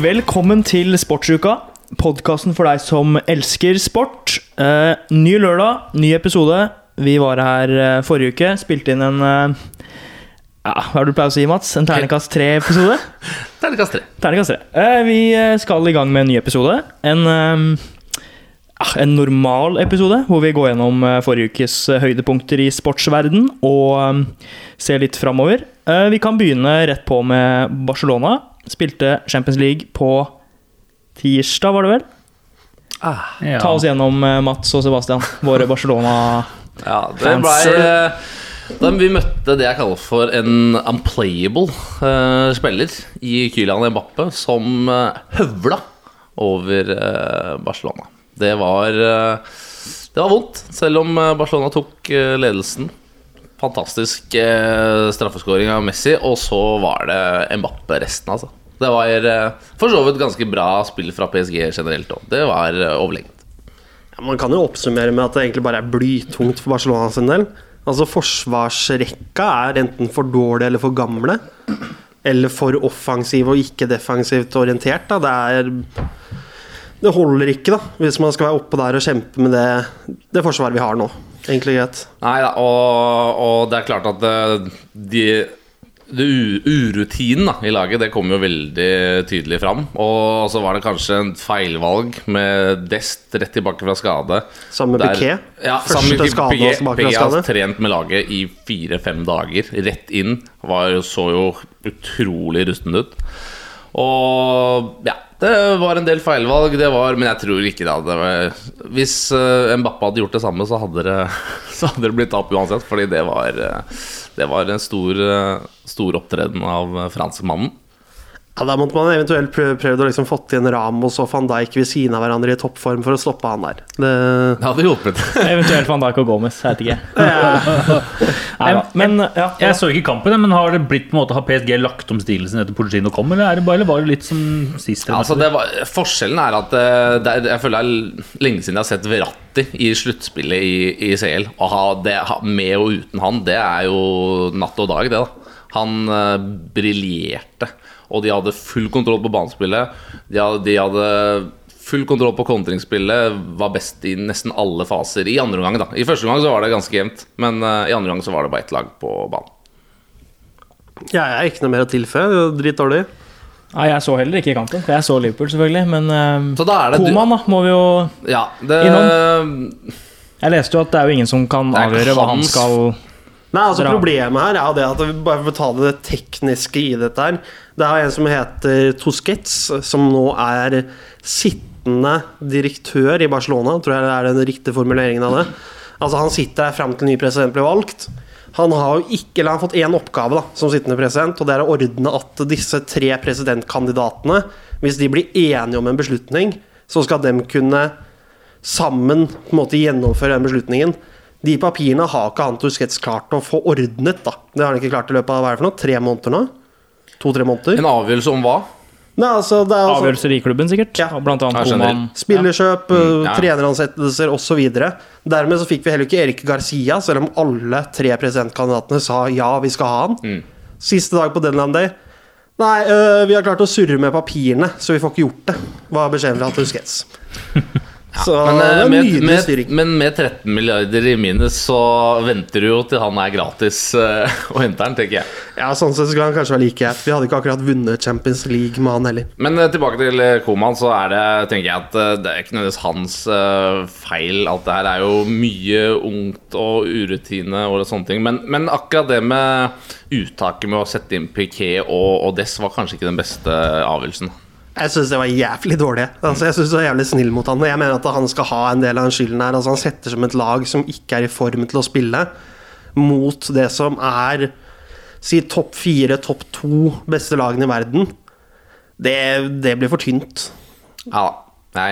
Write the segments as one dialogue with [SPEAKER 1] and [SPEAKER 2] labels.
[SPEAKER 1] Velkommen til Sportsuka, podkasten for deg som elsker sport. Eh, ny lørdag, ny episode. Vi var her eh, forrige uke, spilte inn en eh, ja, Hva er det du pleier å si, Mats? En terningkast tre-episode?
[SPEAKER 2] Terningkast tre.
[SPEAKER 1] Terningkast tre. Eh, vi eh, skal i gang med en ny episode. En, eh, ah, en normal episode hvor vi går gjennom eh, forrige ukes eh, høydepunkter i sportsverden og eh, ser litt framover. Eh, vi kan begynne rett på med Barcelona. Spilte Champions League på tirsdag, var det vel?
[SPEAKER 2] Ah,
[SPEAKER 3] Ja.
[SPEAKER 1] Ta oss gjennom eh, Mats og Sebastian, våre Barcelona.
[SPEAKER 2] Ja, det
[SPEAKER 1] Fans.
[SPEAKER 2] blei eh, da Vi møtte det jeg kaller for en unplayable eh, spiller i Kylian Mbappe, som eh, høvla over eh, Barcelona. Det var eh, Det var vondt, selv om eh, Barcelona tok eh, ledelsen. Fantastisk eh, straffeskåring av Messi, og så var det Mbappe resten, altså. Det var eh, for så vidt ganske bra spill fra PSG generelt òg. Det var eh, overlegent.
[SPEAKER 4] Ja, Man kan jo oppsummere med at det egentlig bare er blytungt for Barcelona sin del. Altså Forsvarsrekka er enten for dårlig eller for gamle. Eller for offensiv og ikke defensivt orientert. Da. Det er Det holder ikke, da, hvis man skal være oppe der og kjempe med det, det forsvaret vi har nå. Egentlig greit.
[SPEAKER 2] Nei da, og, og det er klart at eh, de, de u- urutinen da, i laget det kom jo veldig tydelig fram. Og så var det kanskje en feilvalg med Dest rett tilbake fra skade.
[SPEAKER 4] Sammen med
[SPEAKER 2] Der-
[SPEAKER 4] Piquet.
[SPEAKER 2] Ja, sammen med
[SPEAKER 4] Første skade og
[SPEAKER 2] Piquet.
[SPEAKER 4] tilbake
[SPEAKER 2] Piquet
[SPEAKER 4] fra
[SPEAKER 2] har
[SPEAKER 4] skade.
[SPEAKER 2] trent med laget i fire-fem dager. Rett inn. Var, jo- så jo utrolig rusten ut. Og ja, det var en del feilvalg, det var, men jeg tror ikke det hadde Hvis uh, Mbappe hadde gjort det samme, så hadde det, så hadde det blitt tap uansett. Fordi det var, eh, det var en stor, eh, stor opptreden av eh, franskmannen.
[SPEAKER 4] Ja, da måtte man eventuelt prøve, prøvd å liksom fått igjen Ramos og van Dijk ved siden av hverandre i toppform for å stoppe han der. Det,
[SPEAKER 2] Det hadde hjulpet.
[SPEAKER 1] Eventuelt Van Dijk og Gomez, jeg vet ikke. Neida, Men ja,
[SPEAKER 3] Jeg så ikke kampen, men har det blitt på en måte Har PSG lagt om stilen sin etter Porcino kom, eller, er det bare, eller var det litt som sist?
[SPEAKER 2] Ja, altså det var, forskjellen er at eh, det er, jeg føler det er lenge siden jeg har sett Verratti i sluttspillet i, i CL. Og ha det, ha, med og uten han, det er jo natt og dag, det. da Han eh, briljerte. Og de hadde full kontroll på banespillet. De hadde, de hadde full kontroll på kontringsspillet. Var best i nesten alle faser i andre omgang. da I første omgang så var det ganske jevnt, men eh, i andre omgang så var det bare ett lag på banen.
[SPEAKER 4] jeg er ikke noe mer å tilføye. det er Dritdårlig.
[SPEAKER 1] Nei, jeg så heller ikke kampen. for Jeg så Liverpool, selvfølgelig. Men
[SPEAKER 2] Så da
[SPEAKER 1] eh,
[SPEAKER 2] er det du-
[SPEAKER 1] Koman, da, må vi jo
[SPEAKER 2] Ja, det,
[SPEAKER 1] Jeg leste jo at det er jo ingen som kan
[SPEAKER 2] Det er
[SPEAKER 1] avgjøre hva han
[SPEAKER 2] hans-
[SPEAKER 1] skal
[SPEAKER 4] Nei, altså
[SPEAKER 1] Bra.
[SPEAKER 4] Problemet her er jo det at vi bare får ta det tekniske i dette her. Det er en som heter Tosquets, som nå er sittende direktør i Barcelona. Tror jeg det er den riktige formuleringen av det. Altså Han sitter der fram til ny president blir valgt. Han har jo ikke, eller han har fått én oppgave da, som sittende president, og det er å ordne at disse tre presidentkandidatene, hvis de blir enige om en beslutning, så skal dem kunne sammen på en måte gjennomføre den beslutningen. De papirene har ikke han Tusquets klart å få ordnet. da. Det har han ikke klart i løpet av hva er det for noe? tre måneder nå? To-tre måneder?
[SPEAKER 2] En avgjørelse om hva?
[SPEAKER 4] Nei, altså, det er altså
[SPEAKER 1] avgjørelser i klubben, sikkert.
[SPEAKER 4] Ja.
[SPEAKER 1] Og Blant annet
[SPEAKER 2] Jeg skjønner.
[SPEAKER 1] Koman.
[SPEAKER 4] Spillerkjøp, eh,
[SPEAKER 2] ja.
[SPEAKER 4] treneransettelser osv. Dermed så fikk vi heller ikke Erik Garcia, selv om alle tre presidentkandidatene sa ja, vi skal ha han.
[SPEAKER 2] Mm.
[SPEAKER 4] Siste dag på deadline day. Nei, eh, vi har klart å surre med papirene, så vi får ikke gjort det, var beskjeden fra Tusquets. Så
[SPEAKER 2] Men,
[SPEAKER 4] det
[SPEAKER 2] eh,
[SPEAKER 4] er
[SPEAKER 2] med,
[SPEAKER 4] nydelig
[SPEAKER 2] med,
[SPEAKER 4] styring.
[SPEAKER 2] men med 13 milliarder i minus så venter du jo til han er gratis eh, og henter den, tenker jeg.
[SPEAKER 4] Ja, sånn sett skulle han kanskje være like greit. Vi hadde ikke akkurat vunnet Champions League med han heller.
[SPEAKER 2] Men eh, tilbake til eh, Koman, så er det, tenker jeg at eh, det er ikke nødvendigvis hans eh, feil. Alt det her er jo mye ungt og urutine og sånne ting. Men, men akkurat det med uttaket med å sette inn Piquet og, og Dess var kanskje ikke den beste eh, avgjørelsen.
[SPEAKER 4] Jeg syns det var jævlig dårlig. Altså, jeg synes det var jævlig snill mot han. og Jeg mener at han skal ha en del av den skylden her. Altså, han setter som et lag som ikke er i form til å spille, mot det som er si topp fire, topp to beste lagene i verden. Det, det blir for tynt.
[SPEAKER 2] Ja da.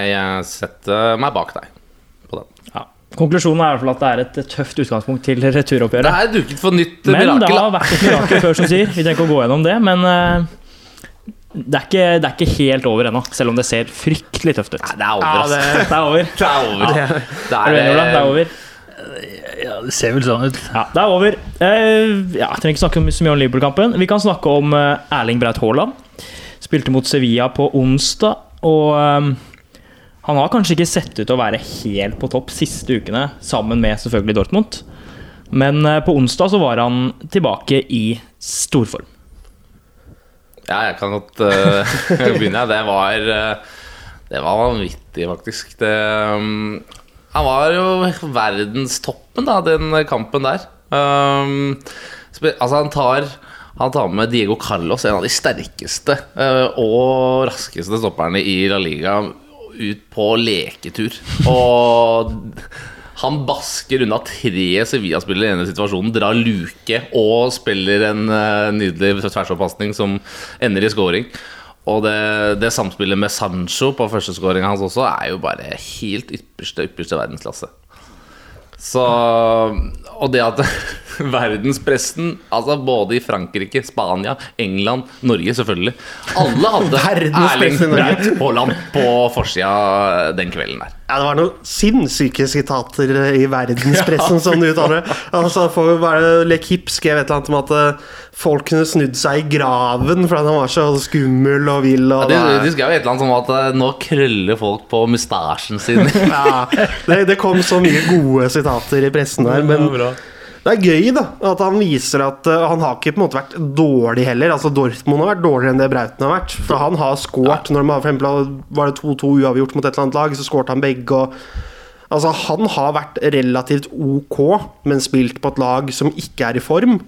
[SPEAKER 2] Jeg eh, setter meg bak deg på den.
[SPEAKER 1] Ja. Konklusjonen er i hvert fall at det er et tøft utgangspunkt til
[SPEAKER 2] Det
[SPEAKER 1] returoppgjøret.
[SPEAKER 2] er duket for nytt eh,
[SPEAKER 1] Men det
[SPEAKER 2] mirakel.
[SPEAKER 1] har
[SPEAKER 2] da.
[SPEAKER 1] vært et mirakel før, som sier. Vi trenger ikke å gå gjennom det, men eh, det, er ikke, det er ikke helt over ennå. Selv om det ser fryktelig tøft ut.
[SPEAKER 2] Nei, det er over, ass.
[SPEAKER 1] Det er over.
[SPEAKER 2] Det er over. Det
[SPEAKER 1] Er du enig, Olav? Det er over.
[SPEAKER 3] ja, det ser vel sånn ut.
[SPEAKER 1] Ja, det er over. Eh, ja, jeg trenger ikke snakke så mye om Liverpool-kampen. Vi kan snakke om eh, Erling Braut Haaland. Spilte mot Sevilla på onsdag, og ehm, han har kanskje ikke sett ut til å være helt på topp siste ukene, sammen med selvfølgelig Dortmund. Men eh, på onsdag så var han tilbake i storform.
[SPEAKER 2] Ja, jeg kan godt eh, begynne. jeg. Det var eh, Det var vanvittig, faktisk. Det, um, han var jo verdenstoppen, da, den kampen der. Um, spe- altså, han tar han tar med Diego Carlos, en av de sterkeste eh, og raskeste stopperne i La Liga, ut på leketur. Og han basker unna tre Sevilla-spillere i denne situasjonen, drar luke og spiller en eh, nydelig tversoppasning som ender i scoring. Og det, det samspillet med Sancho på førsteskåringa hans også er jo bare helt ypperste, ypperste verdensklasse. Så Og det at verdenspressen, altså både i Frankrike, Spania, England, Norge selvfølgelig Alle hadde Erling
[SPEAKER 4] Verdenspressen i Norge.
[SPEAKER 2] Braut Haaland på forsida den kvelden der.
[SPEAKER 4] Ja, det var noen sinnssyke sitater eh, i verdenspressen som du uttaler. Altså, for bare Lekip skrev et eller annet om at eh, folk kunne snudd seg i graven fordi han var så skummel og vill. Og
[SPEAKER 2] Ja, det, de skrev jo et eller annet sånn at eh, nå krøller folk på mustasjen sin.
[SPEAKER 4] ja, det, det kom så mye gode sitater i pressen der, men det er gøy da, at han viser at eh, han har ikke på en måte vært dårlig heller. Altså Dortmund har vært dårligere enn det Brauten har vært. For han har skåret når de har for eksempel, var det 2-2 uavgjort mot et eller annet lag, så skåret han begge. og Altså Han har vært relativt ok, men spilt på et lag som ikke er i form.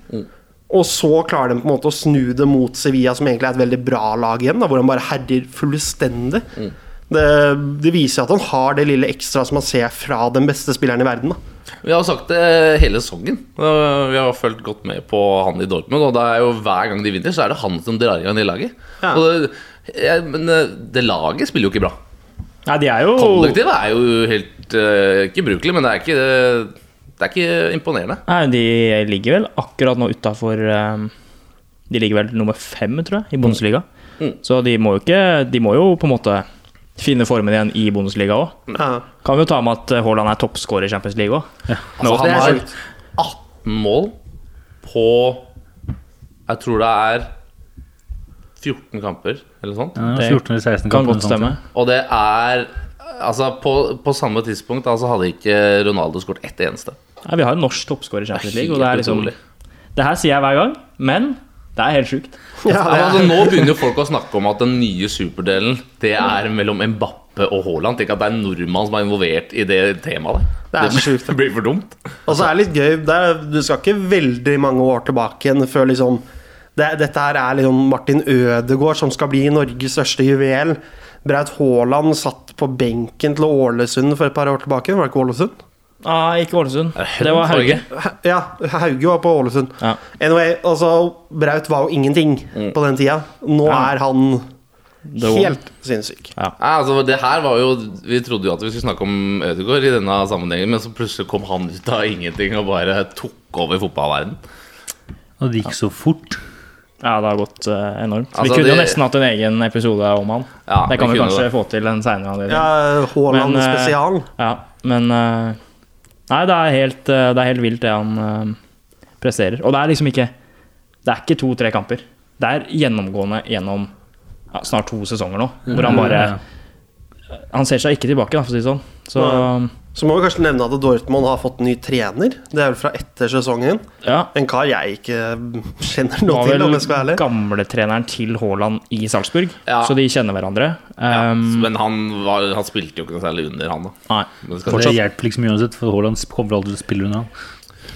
[SPEAKER 4] Og så klarer de på en måte å snu det mot Sevilla, som egentlig er et veldig bra lag igjen. Da, hvor han bare herjer fullstendig. Det, det viser at han har det lille ekstra som man ser fra den beste spilleren i verden. Da.
[SPEAKER 2] Vi har sagt det hele sesongen. Eh, Vi har fulgt godt med på han i Dortmund. Og det er jo hver gang de vinner, så er det han som drar i gang det laget.
[SPEAKER 4] Ja.
[SPEAKER 2] Og det, jeg, men eh, det laget spiller jo ikke bra.
[SPEAKER 1] Nei, de er jo
[SPEAKER 2] Kollektivet er jo helt eh, Ikke brukelig, men det er ikke, eh, det er ikke imponerende.
[SPEAKER 1] Nei, de ligger vel akkurat nå utafor De ligger vel nummer fem, tror jeg, i Bundesliga.
[SPEAKER 2] Mm.
[SPEAKER 1] Så de må jo ikke De må jo på en måte finne formen igjen i Bundesliga òg.
[SPEAKER 2] Mm.
[SPEAKER 4] Ja.
[SPEAKER 1] Kan vi jo ta med at eh, Haaland er toppskårer i Champions League òg.
[SPEAKER 2] Altså,
[SPEAKER 4] det
[SPEAKER 2] han
[SPEAKER 4] er
[SPEAKER 2] har
[SPEAKER 4] sjukt.
[SPEAKER 2] 18 mål på Jeg tror det er 14 kamper, eller noe sånt.
[SPEAKER 3] Ja,
[SPEAKER 1] Det
[SPEAKER 3] 14 eller
[SPEAKER 1] Kan
[SPEAKER 3] 16 kamper,
[SPEAKER 1] godt
[SPEAKER 3] sånn,
[SPEAKER 1] stemme.
[SPEAKER 2] Og det er Altså, på, på samme tidspunkt altså, hadde ikke Ronaldo skåret ett eneste.
[SPEAKER 1] Nei, vi har en norsk toppskårer i Champions League. Og det,
[SPEAKER 2] helt
[SPEAKER 1] er liksom,
[SPEAKER 2] utrolig.
[SPEAKER 1] det her sier jeg hver gang, men det er helt sjukt.
[SPEAKER 4] Ja,
[SPEAKER 2] Ja, men altså, nå begynner jo folk å snakke om at den nye superdelen Det er mellom Mbappe og Haaland. Ikke at det er en nordmann som er involvert i det temaet.
[SPEAKER 4] Det er
[SPEAKER 2] der.
[SPEAKER 4] sjukt.
[SPEAKER 2] det blir for dumt.
[SPEAKER 4] Og så er det litt gøy det er, Du skal ikke veldig mange år tilbake igjen før liksom det, Dette her er liksom Martin Ødegaard som skal bli Norges største juvel. Braut Haaland satt på benken til Ålesund for et par år tilbake. Var det ikke Ålesund?
[SPEAKER 1] Nei, Ah, ikke Ålesund. Det var Hauge.
[SPEAKER 4] Ha- Ja, Hauge var på Ålesund.
[SPEAKER 1] Ja. Mm.
[SPEAKER 4] Anyway, altså Braut var jo ingenting på den tida. Nå
[SPEAKER 1] Ja.
[SPEAKER 4] er han
[SPEAKER 1] var-
[SPEAKER 4] helt sinnssyk.
[SPEAKER 2] Nei, altså, det her var jo Vi trodde jo at vi skulle snakke om Ødegaard i denne sammenhengen, men så plutselig kom han ut av ingenting og bare tok over fotballverdenen.
[SPEAKER 3] Og det gikk så fort.
[SPEAKER 1] Ja, det har gått eh, enormt.
[SPEAKER 2] Altså,
[SPEAKER 1] vi kunne jo
[SPEAKER 2] det-
[SPEAKER 1] nesten hatt en egen episode om han.
[SPEAKER 2] Ja,
[SPEAKER 1] det kan
[SPEAKER 2] vi
[SPEAKER 1] vi
[SPEAKER 2] kunne
[SPEAKER 1] kanskje
[SPEAKER 2] det.
[SPEAKER 1] få til en seinere anledning.
[SPEAKER 4] Ja, Haaland
[SPEAKER 1] Men, eh,
[SPEAKER 4] spesial.
[SPEAKER 1] Ja, men eh, Nei, det er helt, eh, det er helt vilt det han eh, presterer. Og det er liksom ikke Det er ikke to-tre kamper. Det er gjennomgående gjennom ja, snart to sesonger nå, hvor
[SPEAKER 3] Mm,
[SPEAKER 1] han bare Han ser seg ikke tilbake, da, for å si det sånn. Så
[SPEAKER 4] Så må vi kanskje nevne at Dortmund har fått ny trener. Det er vel fra etter sesongen.
[SPEAKER 1] ja.
[SPEAKER 4] En kar jeg ikke kjenner
[SPEAKER 1] Det
[SPEAKER 4] noe
[SPEAKER 1] var
[SPEAKER 4] til, om
[SPEAKER 1] vel
[SPEAKER 4] jeg skal være ærlig.
[SPEAKER 1] gamletreneren til Haaland i Salzburg,
[SPEAKER 2] Ja.
[SPEAKER 1] så de kjenner hverandre. Um,
[SPEAKER 2] Men han, var, han spilte jo ikke noe særlig under, han, da.
[SPEAKER 1] nei.
[SPEAKER 2] Men det skal
[SPEAKER 3] For det hjelper liksom uansett, for Haaland sp- kommer vel aldri til å spille under han.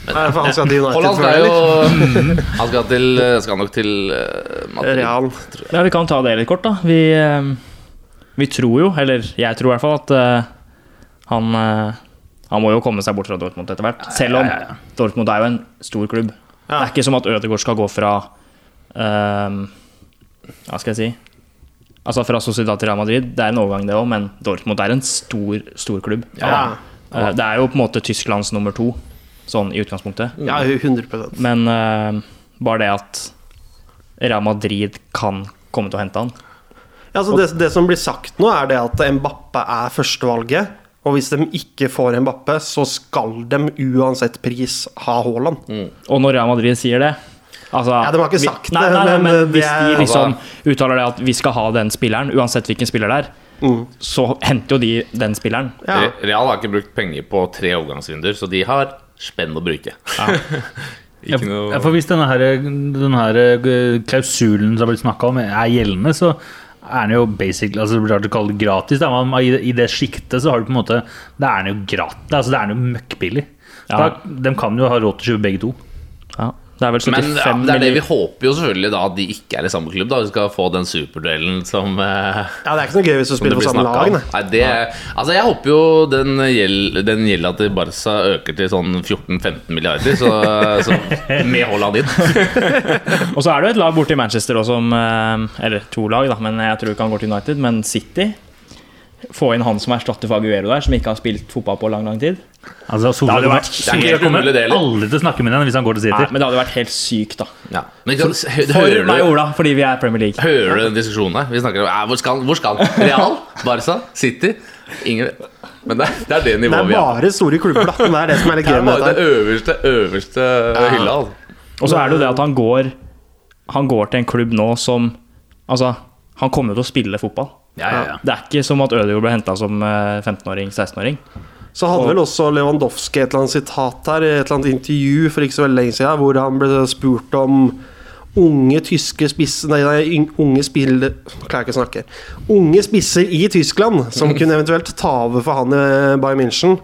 [SPEAKER 4] Nei, for han skal til United
[SPEAKER 2] Haaland
[SPEAKER 4] før,
[SPEAKER 2] skal jo
[SPEAKER 4] eller?
[SPEAKER 2] Han skal, til, skal nok til eh, Madrid.
[SPEAKER 4] Real.
[SPEAKER 1] Ja, vi kan ta det litt kort, da. Vi, eh, vi tror jo, eller jeg tror i hvert fall, at eh, han eh, Han må jo komme seg bort fra Dortmund etter hvert. Selv om Dortmund er jo en stor klubb. Det er ikke som at Ødegaard skal gå fra eh, Hva skal jeg si Altså fra Sociedad til Real Madrid. Det er en overgang, det òg, men Dortmund er en stor, stor klubb.
[SPEAKER 4] Ja,
[SPEAKER 1] Eh, det er jo på en måte Tysklands nummer to, sånn i utgangspunktet.
[SPEAKER 4] ja 100
[SPEAKER 1] Men eh, bare det at Real Madrid kan komme til å hente han.
[SPEAKER 4] ja, så det, det som blir sagt nå, er det at Mbappe er førstevalget. Og hvis de ikke får Mbappe, så skal de uansett pris ha Haaland.
[SPEAKER 2] Mm.
[SPEAKER 1] Og når Real Madrid sier det, Altså,
[SPEAKER 4] Ja, de har ikke sagt
[SPEAKER 1] vi, nei,
[SPEAKER 4] det,
[SPEAKER 1] nei, nei,
[SPEAKER 4] men
[SPEAKER 1] men
[SPEAKER 4] det
[SPEAKER 1] hvis
[SPEAKER 4] er-
[SPEAKER 1] de liksom uttaler det at vi skal ha den spilleren, uansett hvilken spiller det er,
[SPEAKER 4] Mm.
[SPEAKER 1] så henter jo de den spilleren.
[SPEAKER 4] Ja.
[SPEAKER 2] Re- Real har ikke brukt penger på tre overgangsvinduer, så de har spenn å bruke. ikke
[SPEAKER 3] Ja,
[SPEAKER 2] noe
[SPEAKER 3] for hvis denne, her, denne her eh, klausulen som har blitt snakka om, er gjeldende, så er den jo basically altså, Det blir rart å kalle det gratis. Da. Man, i, I det sjiktet så har du på en måte Da er den jo gratis. Altså, det er den jo møkkbillig. Så
[SPEAKER 1] Ja.
[SPEAKER 3] Da, de kan jo ha råd til å kjøpe begge to.
[SPEAKER 1] Ja. Det er vel 75
[SPEAKER 2] Men ja, det er det vi
[SPEAKER 1] millioner.
[SPEAKER 2] håper jo selvfølgelig da at de ikke er i samme klubb. da Vi skal få den superduellen som eh,
[SPEAKER 4] Ja, det er ikke noe gøy hvis du
[SPEAKER 2] som det
[SPEAKER 4] spiller på
[SPEAKER 2] blir
[SPEAKER 4] samme
[SPEAKER 2] snakket
[SPEAKER 4] lag.
[SPEAKER 2] om.
[SPEAKER 4] Nei.
[SPEAKER 2] Nei, det, altså Jeg håper jo den gjeld- den gjelda til Barca øker til sånn 14-15 milliarder, så, så med Haaland inn.
[SPEAKER 1] Og så er det jo et lag borte i Manchester også, som, eh, eller to lag, da, men jeg tror ikke han går til United. Men City Få inn han som erstatter Faguero der, som ikke har spilt fotball på lang lang tid.
[SPEAKER 3] Altså, Solskjær
[SPEAKER 1] hadde
[SPEAKER 3] kommer-
[SPEAKER 1] vært
[SPEAKER 2] helt
[SPEAKER 3] Solskjær kommer
[SPEAKER 2] umulig, det heller.
[SPEAKER 3] aldri til å snakke med den hvis han går til
[SPEAKER 1] Nei,
[SPEAKER 3] City.
[SPEAKER 1] men det hadde vært helt sykt, da.
[SPEAKER 2] Ja. Men ikke sant, hø-
[SPEAKER 1] For
[SPEAKER 2] hører,
[SPEAKER 1] meg og
[SPEAKER 2] du,
[SPEAKER 1] Ola, fordi vi er Premier League.
[SPEAKER 2] hører du den diskusjonen her? Vi snakker om ja, hvor, skal, han- hvor skal han? Real? Barca? City? Ingen Men det, er- det er det
[SPEAKER 4] Det
[SPEAKER 2] nivået
[SPEAKER 4] er
[SPEAKER 2] vi har.
[SPEAKER 4] bare store klubber, da. Det er det som er litt
[SPEAKER 2] Det
[SPEAKER 4] gøy
[SPEAKER 2] er
[SPEAKER 4] med
[SPEAKER 2] bare
[SPEAKER 4] dette.
[SPEAKER 2] det øverste, øverste hylla. altså.
[SPEAKER 1] Og så er det jo det at han går Han går til en klubb nå som Altså, han kommer jo til å spille fotball.
[SPEAKER 2] Ja, ja, ja.
[SPEAKER 1] Det er ikke som at Ødegaard ble henta som eh, 15-åring, 16-åring.
[SPEAKER 4] Så hadde vel også Lewandowski et eller annet sitat her, et eller annet intervju for ikke så veldig lenge siden, hvor han ble spurt om unge tyske spisser Nei, nei yng- unge spiller Klarer ikke å snakke. Unge spisser i Tyskland som kunne eventuelt ta over for han i Bayern München.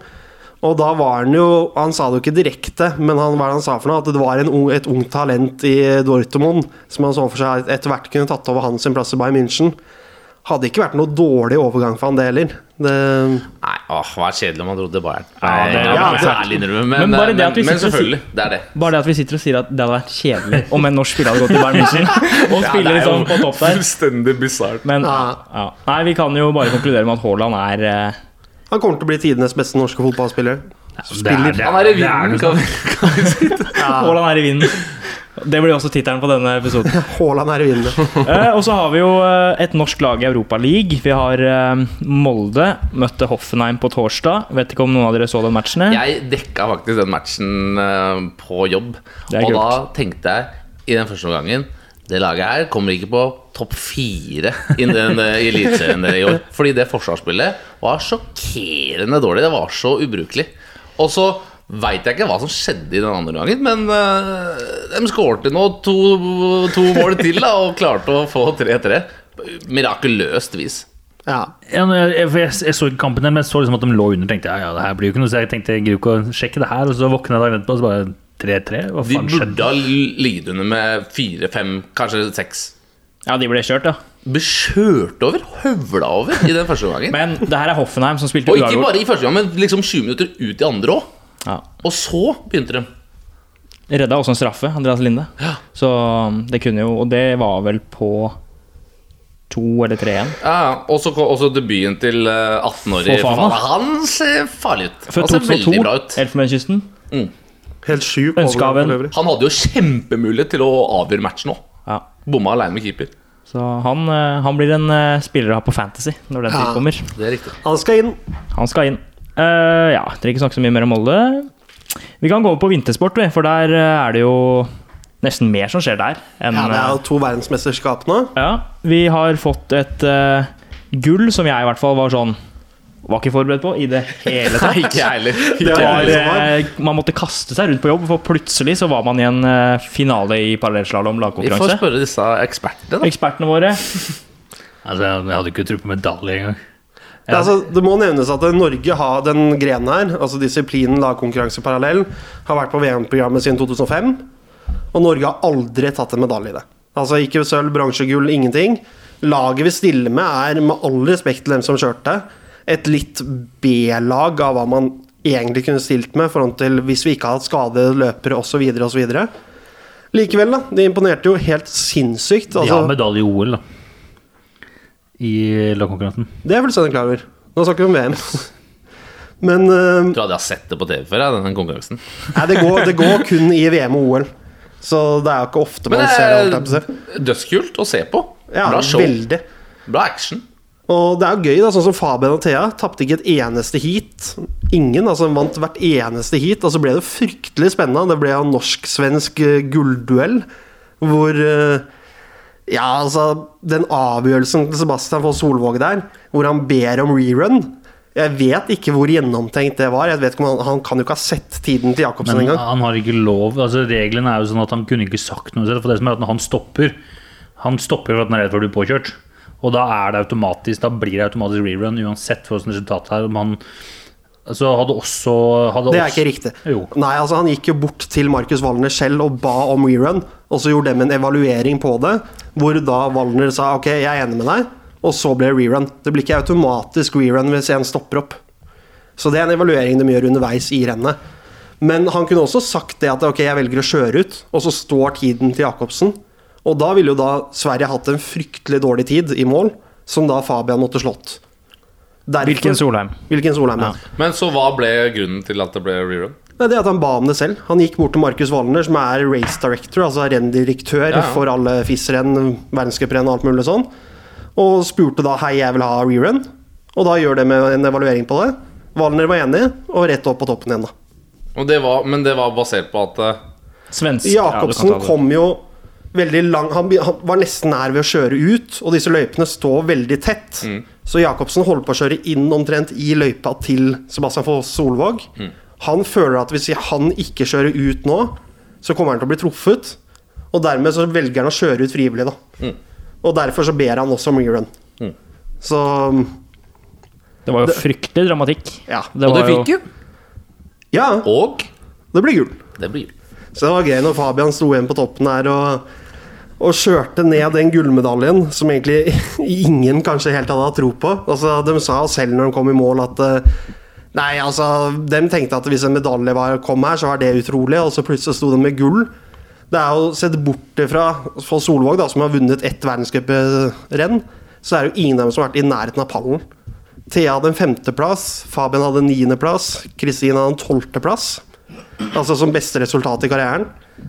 [SPEAKER 4] Og da var han jo Han sa det jo ikke direkte, men han, hva er det han sa for noe? At det var en ung, et ungt talent i Dortmund som han så for seg at etter hvert kunne tatt over hans plass i Bayern München. Hadde ikke vært noe dårlig overgang for han, det heller. Det
[SPEAKER 2] Nei, åh, hva er kjedelig om man dro til Bayern.
[SPEAKER 1] Ja, det-
[SPEAKER 2] Nei,
[SPEAKER 1] ja,
[SPEAKER 2] jeg må
[SPEAKER 1] det-
[SPEAKER 2] ærlig innrømme, men,
[SPEAKER 1] Men bare det at vi
[SPEAKER 2] men, men
[SPEAKER 1] sitter og
[SPEAKER 2] selvfølgelig. Det er det.
[SPEAKER 1] Bare det at vi sitter og sier at det hadde vært kjedelig om en norsk spiller hadde gått til Bayern München og spiller liksom på topp der.
[SPEAKER 2] fullstendig bisart.
[SPEAKER 1] Men
[SPEAKER 4] Ja.
[SPEAKER 1] ja. Nei, vi kan jo bare konkludere med at Haaland er eh,
[SPEAKER 4] Han kommer til å bli tidenes beste norske fotballspiller.
[SPEAKER 3] det er, det
[SPEAKER 2] Han er i
[SPEAKER 3] det er
[SPEAKER 2] vinden,
[SPEAKER 3] liksom- noe
[SPEAKER 1] sånn.
[SPEAKER 2] kan vi
[SPEAKER 1] Haaland er i vinden. Det blir også tittelen på denne episoden.
[SPEAKER 4] Haaland er i vinden.
[SPEAKER 1] Eh, og så har vi jo eh, et norsk lag i Europaligaen. Vi har eh, Molde møtte Hoffenheim på torsdag. Vet ikke om noen av dere så den matchen? jeg?
[SPEAKER 2] Jeg dekka faktisk den matchen eh, på jobb.
[SPEAKER 1] Det er
[SPEAKER 2] Og da
[SPEAKER 1] kult.
[SPEAKER 2] tenkte jeg i den første omgangen det laget her kommer ikke på topp fire i den, eh, i Eliteserien i år. Fordi det forsvarsspillet var sjokkerende dårlig. Det var så ubrukelig. Og så veit jeg ikke hva som skjedde i den andre omgangen, men eh, de skårte nå to, to mål til da, og klarte å få 3-3. Mirakuløst vis.
[SPEAKER 4] Ja.
[SPEAKER 3] Ja, men jeg, jeg, for jeg, jeg så ikke kampen, der, men jeg så liksom at de lå under. tenkte jeg, ja, det her blir jo ikke noe, Så jeg tenkte jeg gidder ikke å sjekke det her. Og så våkna jeg dagen etterpå, og så bare 3-3. Hva
[SPEAKER 2] De
[SPEAKER 3] faen
[SPEAKER 2] burde
[SPEAKER 3] skjedde?
[SPEAKER 2] ha ligget under med fire, fem, kanskje seks.
[SPEAKER 1] Ja, de ble kjørt, ja.
[SPEAKER 2] ble kjørt over, høvla over i den første gangen.
[SPEAKER 1] Men det her er Hoffenheim som spilte
[SPEAKER 2] og ikke
[SPEAKER 1] uavgjort.
[SPEAKER 2] bare i første gang, men liksom 20 minutter ut i andre òg.
[SPEAKER 1] Ja.
[SPEAKER 2] Og så begynte de.
[SPEAKER 1] Redda også en straffe, Andreas Linde. Så um, det kunne jo Og det var vel på to eller tre igjen.
[SPEAKER 2] Ja, ja. og så kom- og så debuten til eh, 18-årige
[SPEAKER 1] Fofana.
[SPEAKER 2] Fofana. Han ser farlig ut.
[SPEAKER 1] Før
[SPEAKER 2] Han
[SPEAKER 4] Altså,
[SPEAKER 2] ser veldig
[SPEAKER 1] 2002,
[SPEAKER 2] bra ut.
[SPEAKER 1] Elfenbenskysten.
[SPEAKER 4] Helt sjuk.
[SPEAKER 1] Ønsket av en-
[SPEAKER 4] overgang for øvrig.
[SPEAKER 2] Han hadde jo kjempemulighet til å avgjøre matchen òg.
[SPEAKER 1] Ja.
[SPEAKER 2] Bomma aleine med keeper.
[SPEAKER 1] Så han, eh, han blir en eh, spiller å ha på Fantasy når den tid
[SPEAKER 4] Ja.
[SPEAKER 1] kommer.
[SPEAKER 2] Det er riktig.
[SPEAKER 4] Han skal inn.
[SPEAKER 1] Han skal inn. Eh, ja, trenger ikke snakke så mye mer om Molde. Vi kan gå over på vintersport, vi, for der eh, er det jo nesten mer som skjer der. Enn,
[SPEAKER 4] Ja, det er jo to verdensmesterskap nå.
[SPEAKER 1] eh, ja, vi har fått et eh, gull som jeg i hvert fall var sånn Var ikke forberedt på i det hele tatt.
[SPEAKER 2] Ikke jeg heller.
[SPEAKER 4] Det
[SPEAKER 1] Det
[SPEAKER 4] var,
[SPEAKER 1] var, eh, man måtte kaste seg rundt på jobb, for plutselig så var man i en eh, finale i parallellslalåm
[SPEAKER 2] Vi får
[SPEAKER 1] lagkonkurranse.
[SPEAKER 2] spørre disse ekspertene, da.
[SPEAKER 1] Ekspertene våre.
[SPEAKER 3] Altså, jeg, jeg hadde ikke tro på medalje engang.
[SPEAKER 4] Det, er altså, det må nevnes at Norge har den grenen her, altså disiplinen lagkonkurranse parallell, har vært på VM-programmet siden 2005. Og Norge har aldri tatt en medalje i det. Altså Ikke sølv, bronse, gull, ingenting. Laget vi stiller med, er med all respekt til dem som kjørte, et litt B-lag av hva man egentlig kunne stilt med i forhold til hvis vi ikke hadde hatt skadede løpere osv. osv. Likevel, da. De imponerte jo helt sinnssykt.
[SPEAKER 3] De har
[SPEAKER 4] Altså,
[SPEAKER 3] medalje i OL, da. I lagkonkurransen.
[SPEAKER 4] det er jeg fullstendig klar over. Nå snakker vi om VM. Men eh,
[SPEAKER 2] Jeg tror jeg hadde sett det på TV før, jeg, den konkurransen.
[SPEAKER 4] Nei, det går, det går kun i VM og OL. Så det er jo ikke ofte
[SPEAKER 2] Men eh,
[SPEAKER 4] man
[SPEAKER 2] det
[SPEAKER 4] ser det. holdt jeg på å si.
[SPEAKER 2] er dødskult å se på.
[SPEAKER 4] Ja,
[SPEAKER 2] Bra show.
[SPEAKER 4] veldig.
[SPEAKER 2] Bra action.
[SPEAKER 4] Og det er jo gøy, da, sånn som Fabian og Thea tapte ikke et eneste heat. Ingen, altså de vant hvert eneste heat. Altså ble det fryktelig spennende. Det ble en norsk-svensk eh, gullduell hvor eh, Ja, altså, den avgjørelsen til Sebastian Foss Solvåg der, hvor han ber om rerun Jeg vet ikke hvor gjennomtenkt det var. Jeg vet ikke om han, han kan jo ikke ha sett tiden til Jacobsen
[SPEAKER 3] Men
[SPEAKER 4] engang.
[SPEAKER 3] han har ikke lov altså Reglene er jo sånn at han kunne ikke sagt noe selv, For det som er at når han stopper Han stopper for at han er redd for å bli påkjørt Og da er det automatisk Da blir det automatisk rerun Uansett hvordan resultatet er Om han Altså hadde også hadde
[SPEAKER 4] Det er
[SPEAKER 3] også,
[SPEAKER 4] ikke riktig.
[SPEAKER 3] Jo
[SPEAKER 4] Nei, altså Han gikk jo bort til Markus Wallner selv og ba om rerun. Og så gjorde dem en evaluering på det, hvor da Wallner sa ok, jeg er enig med deg. Og så ble det rerun. Det blir ikke automatisk rerun hvis en stopper opp. Så det er en evaluering de gjør underveis i rennet. Men han kunne også sagt det at ok, jeg velger å kjøre ut, og så står tiden til Jacobsen. Og da ville jo da Sverige hatt en fryktelig dårlig tid i mål, som da Fabian måtte slått. Derfor-
[SPEAKER 1] Hvilken Solheim?
[SPEAKER 4] Hvilken Solheim, ja.
[SPEAKER 2] Men så hva ble grunnen til at det ble rerun?
[SPEAKER 4] Nei, det er at Han ba om det selv. Han gikk bort til Markus Wallner, som er race director, altså renndirektør
[SPEAKER 2] Ja, ja.
[SPEAKER 4] for alle FIS-renn, verdenscuprenn og alt mulig sånn, og spurte da hei, jeg vil ha rerun. Og da gjør det med en evaluering på det. Wallner var enig, og rett opp på toppen igjen, da.
[SPEAKER 2] Og det var, men det var basert på at eh,
[SPEAKER 1] Svensk.
[SPEAKER 4] Jacobsen
[SPEAKER 1] Ja, du kan ta det.
[SPEAKER 4] kom jo veldig lang han, be- han var nesten nær ved å kjøre ut, og disse løypene står veldig tett.
[SPEAKER 1] Mm.
[SPEAKER 4] Så Jacobsen holder på å kjøre inn omtrent i løypa til Sebastian Foss Solvåg.
[SPEAKER 1] Mm.
[SPEAKER 4] Han føler at hvis han ikke kjører ut nå, så kommer han til å bli truffet. Og dermed så velger han å kjøre ut frivillig, da.
[SPEAKER 1] Mm.
[SPEAKER 4] Og derfor så ber han også om rerun. Så
[SPEAKER 1] Det var jo fryktelig dramatikk.
[SPEAKER 4] ja.
[SPEAKER 2] Og det
[SPEAKER 1] var jo-
[SPEAKER 2] fikk jo.
[SPEAKER 4] ja,
[SPEAKER 2] Og
[SPEAKER 4] det blir gull.
[SPEAKER 2] det blir
[SPEAKER 4] Så det var gøy når Fabian sto igjen på toppen her og, og kjørte ned den gullmedaljen som egentlig ingen kanskje helt hadde hatt tro på. Altså, de sa selv når de kom i mål at eh, Nei, altså, de tenkte at hvis en medalje var, kom her, så var det utrolig, og så plutselig sto de med gull. Det er jo sett bort fra for Solvåg, da, som har vunnet ett verdenscuprenn, så er det jo ingen av dem som har vært i nærheten av pallen. Thea hadde en femteplass, Fabian hadde en niendeplass, Kristin hadde en tolvteplass. Altså som beste resultat i karrieren.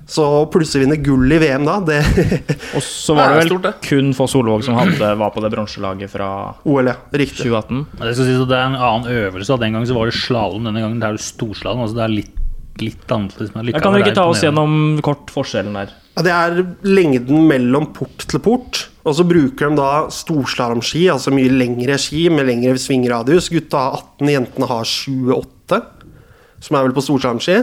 [SPEAKER 4] Så plutselig vinne gull i VM da, det
[SPEAKER 1] Og så var det
[SPEAKER 2] Ja, det er
[SPEAKER 1] vel
[SPEAKER 2] stort,
[SPEAKER 1] kun Foss Solvåg som hadde, var på det bronselaget fra
[SPEAKER 4] OL, ja. Riktig.
[SPEAKER 1] 2018.
[SPEAKER 3] Men Det skal sies at det er en annen øvelse. Den gangen så var det slalåm, denne gangen det er det storslalåm. Altså det er litt, litt annerledes. Men
[SPEAKER 1] Jeg kan dere
[SPEAKER 3] det er
[SPEAKER 1] ikke ta oss
[SPEAKER 3] imponerende.
[SPEAKER 1] gjennom kort forskjellen der?
[SPEAKER 4] Ja, Det er lengden mellom port til port. Og så bruker de da storslalåmski, altså mye lengre ski med lengre svingradius. Gutta har 18, jentene har 28, som er vel på storslalåmski.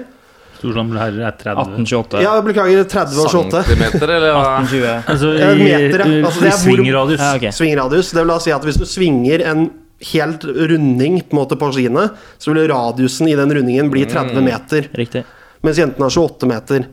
[SPEAKER 3] Storslalåm herrer er 30.
[SPEAKER 1] 1828.
[SPEAKER 4] Ja, beklager, 30 og 28.
[SPEAKER 2] centimeter, eller hva?
[SPEAKER 1] 1820.
[SPEAKER 3] Altså,
[SPEAKER 4] Ja,
[SPEAKER 3] i,
[SPEAKER 4] meter, ja. Altså, det er
[SPEAKER 3] i svingradius.
[SPEAKER 1] Ja, ok.
[SPEAKER 4] Svingradius. Det vil da si at hvis du svinger en helt runding på, en måte, på skiene, så vil radiusen i den rundingen bli 30 meter.
[SPEAKER 1] Riktig.
[SPEAKER 4] Mens jentene har 28 meter.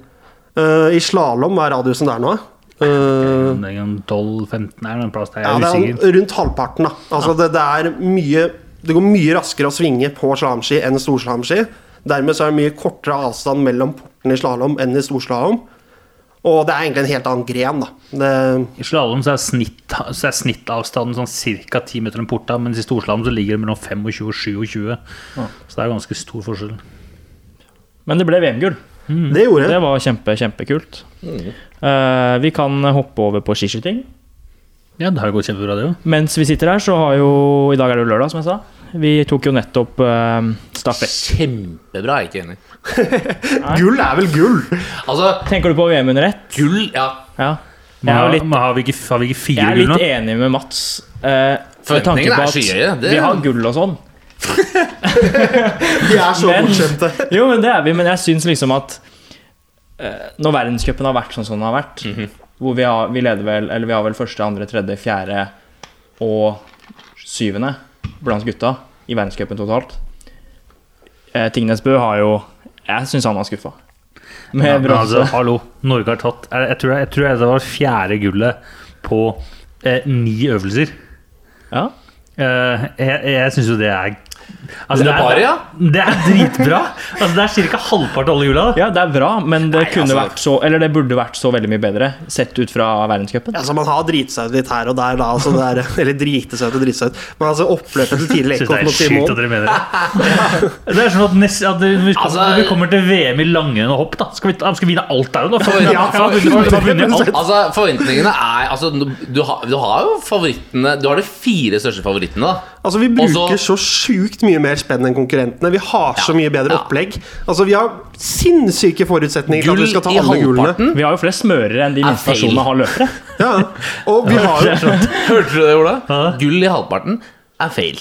[SPEAKER 4] Eh, I slalåm er radiusen der nå. Eh,
[SPEAKER 3] Den gangen 12-15 er den plass der.
[SPEAKER 4] ja,
[SPEAKER 3] Jeg
[SPEAKER 4] det
[SPEAKER 3] er usikker.
[SPEAKER 4] er rundt halvparten, da. Altså, det, det er mye Det går mye raskere å svinge på slalåmski enn storslalåmski. Dermed så er det mye kortere avstand mellom portene i slalåm enn i storslalåm. Og det er egentlig en helt annen gren, da. Det,
[SPEAKER 3] I slalåm så er, snitt, så er snittavstanden sånn ca. 10 meter enn porta, mens i storslalåm så ligger det mellom 25 og 27. Så det er ganske stor forskjell.
[SPEAKER 1] Men det ble VM-gull.
[SPEAKER 3] Mm.
[SPEAKER 4] det gjorde
[SPEAKER 1] Det
[SPEAKER 4] jeg.
[SPEAKER 1] var kjempe, kjempekult.
[SPEAKER 2] Mm.
[SPEAKER 1] Eh, vi kan hoppe over på skiskyting.
[SPEAKER 3] Ja, det har jo gått kjempebra, det òg.
[SPEAKER 1] Mens vi sitter her, så har jo I dag er det jo lørdag, som jeg sa. Vi tok jo nettopp eh, stafett.
[SPEAKER 2] Kjempebra, jeg er ikke enig.
[SPEAKER 4] Gull er vel gull!
[SPEAKER 2] Altså,
[SPEAKER 1] Tenker du på VM under ett?
[SPEAKER 2] gull, ja.
[SPEAKER 1] Ja. Jeg er, jo litt,
[SPEAKER 3] Har vi ikke, har vi ikke
[SPEAKER 1] jeg
[SPEAKER 3] fire
[SPEAKER 1] er
[SPEAKER 3] gull nå?
[SPEAKER 1] litt enig med Mats. eh, med tanke
[SPEAKER 2] Forventningene
[SPEAKER 1] på
[SPEAKER 2] er
[SPEAKER 1] at
[SPEAKER 2] skyhøye. Det-
[SPEAKER 1] Vi har gull og sånn.
[SPEAKER 4] De er så
[SPEAKER 1] Men-
[SPEAKER 4] bortskjemte.
[SPEAKER 1] Jo, men det er vi, men jeg syns liksom at eh, Når verdenscupen har vært sånn som den har vært,
[SPEAKER 3] Mhm.
[SPEAKER 1] hvor vi har, vi leder vel, eller vi har vel første, andre, tredje, fjerde og syvende blant gutta i verdenscupen totalt eh, Tingnes Bø har jo Jeg syns han var skuffa. Med
[SPEAKER 3] Ja, men
[SPEAKER 1] bronse.
[SPEAKER 3] altså, hallo, Norge har tatt Jeg, jeg, tror, jeg tror det var fjerde gullet på eh, ni øvelser.
[SPEAKER 1] Ja.
[SPEAKER 3] Eh, jeg jeg syns jo det er Altså, det,
[SPEAKER 2] Dere
[SPEAKER 3] er,
[SPEAKER 2] bare, ja?
[SPEAKER 3] det er dritbra! Altså, det er ca. halvparten av alle jula. da.
[SPEAKER 1] Ja, det er bra, men det kunne
[SPEAKER 2] altså-
[SPEAKER 1] vært så Eller det burde vært så veldig mye bedre, sett ut fra verdenscupen.
[SPEAKER 4] Altså, man har driti seg ut litt her og der, da. Altså, det er, eller drite seg ut og drite seg ut. Men altså, oppløpet til tidlig
[SPEAKER 3] Synes det
[SPEAKER 4] Leikhoff
[SPEAKER 3] er
[SPEAKER 4] mot
[SPEAKER 3] sjukt
[SPEAKER 4] Simon
[SPEAKER 3] at dere mener det. Det er sånn at, nest, at det- når, vi kommer,
[SPEAKER 2] Altså-
[SPEAKER 3] når vi kommer til VM i langrenn og hopp, da skal vi, han skal vinne alt der og da. For,
[SPEAKER 2] Ja,
[SPEAKER 3] han har vunnet- han har vunnet alt.
[SPEAKER 2] Altså, forventningene er altså, du, har, du har jo favorittene Du har de fire største favorittene, da.
[SPEAKER 4] Altså, Vi
[SPEAKER 2] Og
[SPEAKER 4] bruker
[SPEAKER 2] så-
[SPEAKER 4] så sjukt mye mer spenn enn konkurrentene. Vi har så
[SPEAKER 2] Ja,
[SPEAKER 4] mye bedre
[SPEAKER 2] ja.
[SPEAKER 4] opplegg. Altså, Vi har sinnssyke forutsetninger for at
[SPEAKER 2] Gull
[SPEAKER 4] vi skal ta
[SPEAKER 2] i
[SPEAKER 4] alle gullene.
[SPEAKER 2] halvparten.
[SPEAKER 1] Vi har jo flere smørere enn de
[SPEAKER 2] Er
[SPEAKER 1] minste
[SPEAKER 2] feil.
[SPEAKER 1] nasjonene har løpere.
[SPEAKER 4] Ja. Og vi har jo
[SPEAKER 2] Hørte du det, Ola?
[SPEAKER 3] Hæ?
[SPEAKER 2] Gull i halvparten er feil.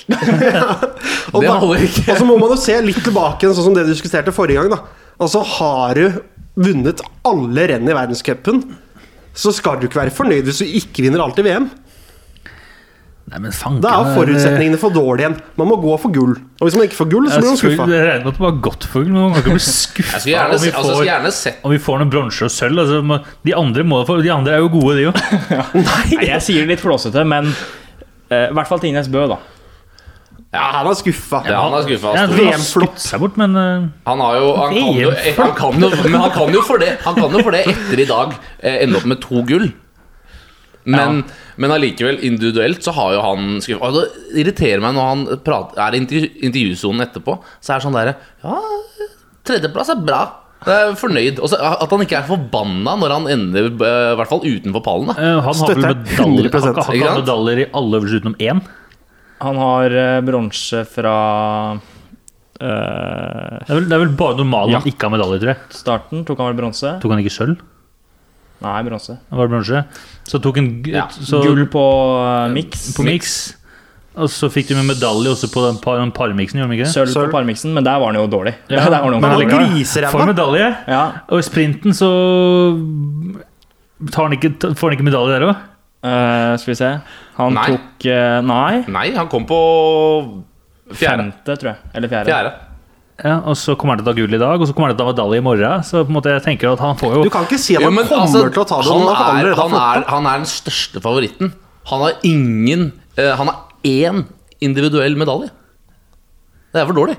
[SPEAKER 4] Og,
[SPEAKER 2] Det
[SPEAKER 4] da,
[SPEAKER 2] holder ikke.
[SPEAKER 4] og så må man jo se litt tilbake, sånn som det du diskuterte forrige gang. da. Altså, Har du vunnet alle renn i verdenscupen, så skal du ikke være fornøyd hvis du ikke vinner alt i VM.
[SPEAKER 3] Nei, men fanken,
[SPEAKER 4] Da er
[SPEAKER 3] det-
[SPEAKER 4] forutsetningene for dårlige igjen. Man må gå for gull. Og hvis man ikke får gull, så
[SPEAKER 3] Jeg
[SPEAKER 4] blir man
[SPEAKER 3] skulle-
[SPEAKER 4] skuffa.
[SPEAKER 3] jeg regner med at det var godt for gull, men man kan ikke bli
[SPEAKER 2] Jeg skulle gjerne, se- altså, jeg skulle
[SPEAKER 3] skuffa.
[SPEAKER 2] gjerne sett
[SPEAKER 3] Om vi får noe bronse og sølv altså, må- De andre må få, de andre er jo gode, de jo.
[SPEAKER 1] Nei, jeg sier det litt flåsete, men eh, i hvert fall til Ines Bø, da.
[SPEAKER 4] Ja, han er skuffa.
[SPEAKER 2] ja, Han er skuffa.
[SPEAKER 3] Ja,
[SPEAKER 2] altså.
[SPEAKER 4] VM
[SPEAKER 3] VM-flopp seg bort, men eh,
[SPEAKER 2] Han har jo Han kan jo, han kan jo, men han kan jo for det Han kan jo for det etter i dag eh, ende opp med to gull. Men, men allikevel, individuelt så har jo han skuff- altså, Det irriterer meg når han prater, er i intervju, intervjusonen etterpå. Så er det sånn derre Ja, tredjeplass er bra. Jeg er fornøyd. Og så at han ikke er forbanna når han ender eh, i hvert fall utenfor pallen. Da.
[SPEAKER 3] eh, han har vel
[SPEAKER 4] Støtter
[SPEAKER 3] medaljer,
[SPEAKER 4] 100%,
[SPEAKER 2] ikke
[SPEAKER 3] han har ikke hatt
[SPEAKER 2] sant?
[SPEAKER 3] medaljer i alle øvelser utenom én.
[SPEAKER 1] Han har eh, bronse fra eh,
[SPEAKER 3] Det er vel, det er vel bare normalen
[SPEAKER 1] Ja.
[SPEAKER 3] han ikke har medaljer, tror jeg.
[SPEAKER 1] starten. Tok han vel bronse?
[SPEAKER 3] Tok han ikke sølv?
[SPEAKER 1] Nei, bronse.
[SPEAKER 3] Han var bronse. Så tok han gu-
[SPEAKER 2] Ja,
[SPEAKER 3] så,
[SPEAKER 1] Gull på eh, miks.
[SPEAKER 3] på mix. Og så fikk de med medalje også på den, par, den parmiksen, gjorde de ikke det?
[SPEAKER 1] Sølv på
[SPEAKER 4] Sølv.
[SPEAKER 1] parmiksen, men der var han jo dårlig.
[SPEAKER 3] Ja,
[SPEAKER 1] der var han jo
[SPEAKER 4] Men han
[SPEAKER 1] dårlig.
[SPEAKER 4] er
[SPEAKER 3] For
[SPEAKER 4] griseræva.
[SPEAKER 3] medalje!
[SPEAKER 1] Ja,
[SPEAKER 3] Og i sprinten så tar han ikke, ta- får han ikke medalje der òg.
[SPEAKER 1] eh, skal vi se. Han
[SPEAKER 2] Nei.
[SPEAKER 1] tok eh, Nei.
[SPEAKER 2] Nei, han kom på fjerde.
[SPEAKER 1] Femte, tror jeg. Eller fjerde.
[SPEAKER 2] fjerde.
[SPEAKER 3] Ja, og så kommer han til å ta gull i dag, og så kommer han til å ta medalje i morgen. Så på en måte jeg tenker at han får jo
[SPEAKER 4] Du kan ikke si at
[SPEAKER 2] Jo,
[SPEAKER 4] han
[SPEAKER 2] men
[SPEAKER 4] kommer
[SPEAKER 2] altså,
[SPEAKER 4] til å ta det.
[SPEAKER 2] han,
[SPEAKER 4] Han, har
[SPEAKER 2] er,
[SPEAKER 4] allerede
[SPEAKER 2] han,
[SPEAKER 4] fått
[SPEAKER 2] er, han er den største favoritten. Han har ingen eh, Han har én individuell medalje. Det er for dårlig.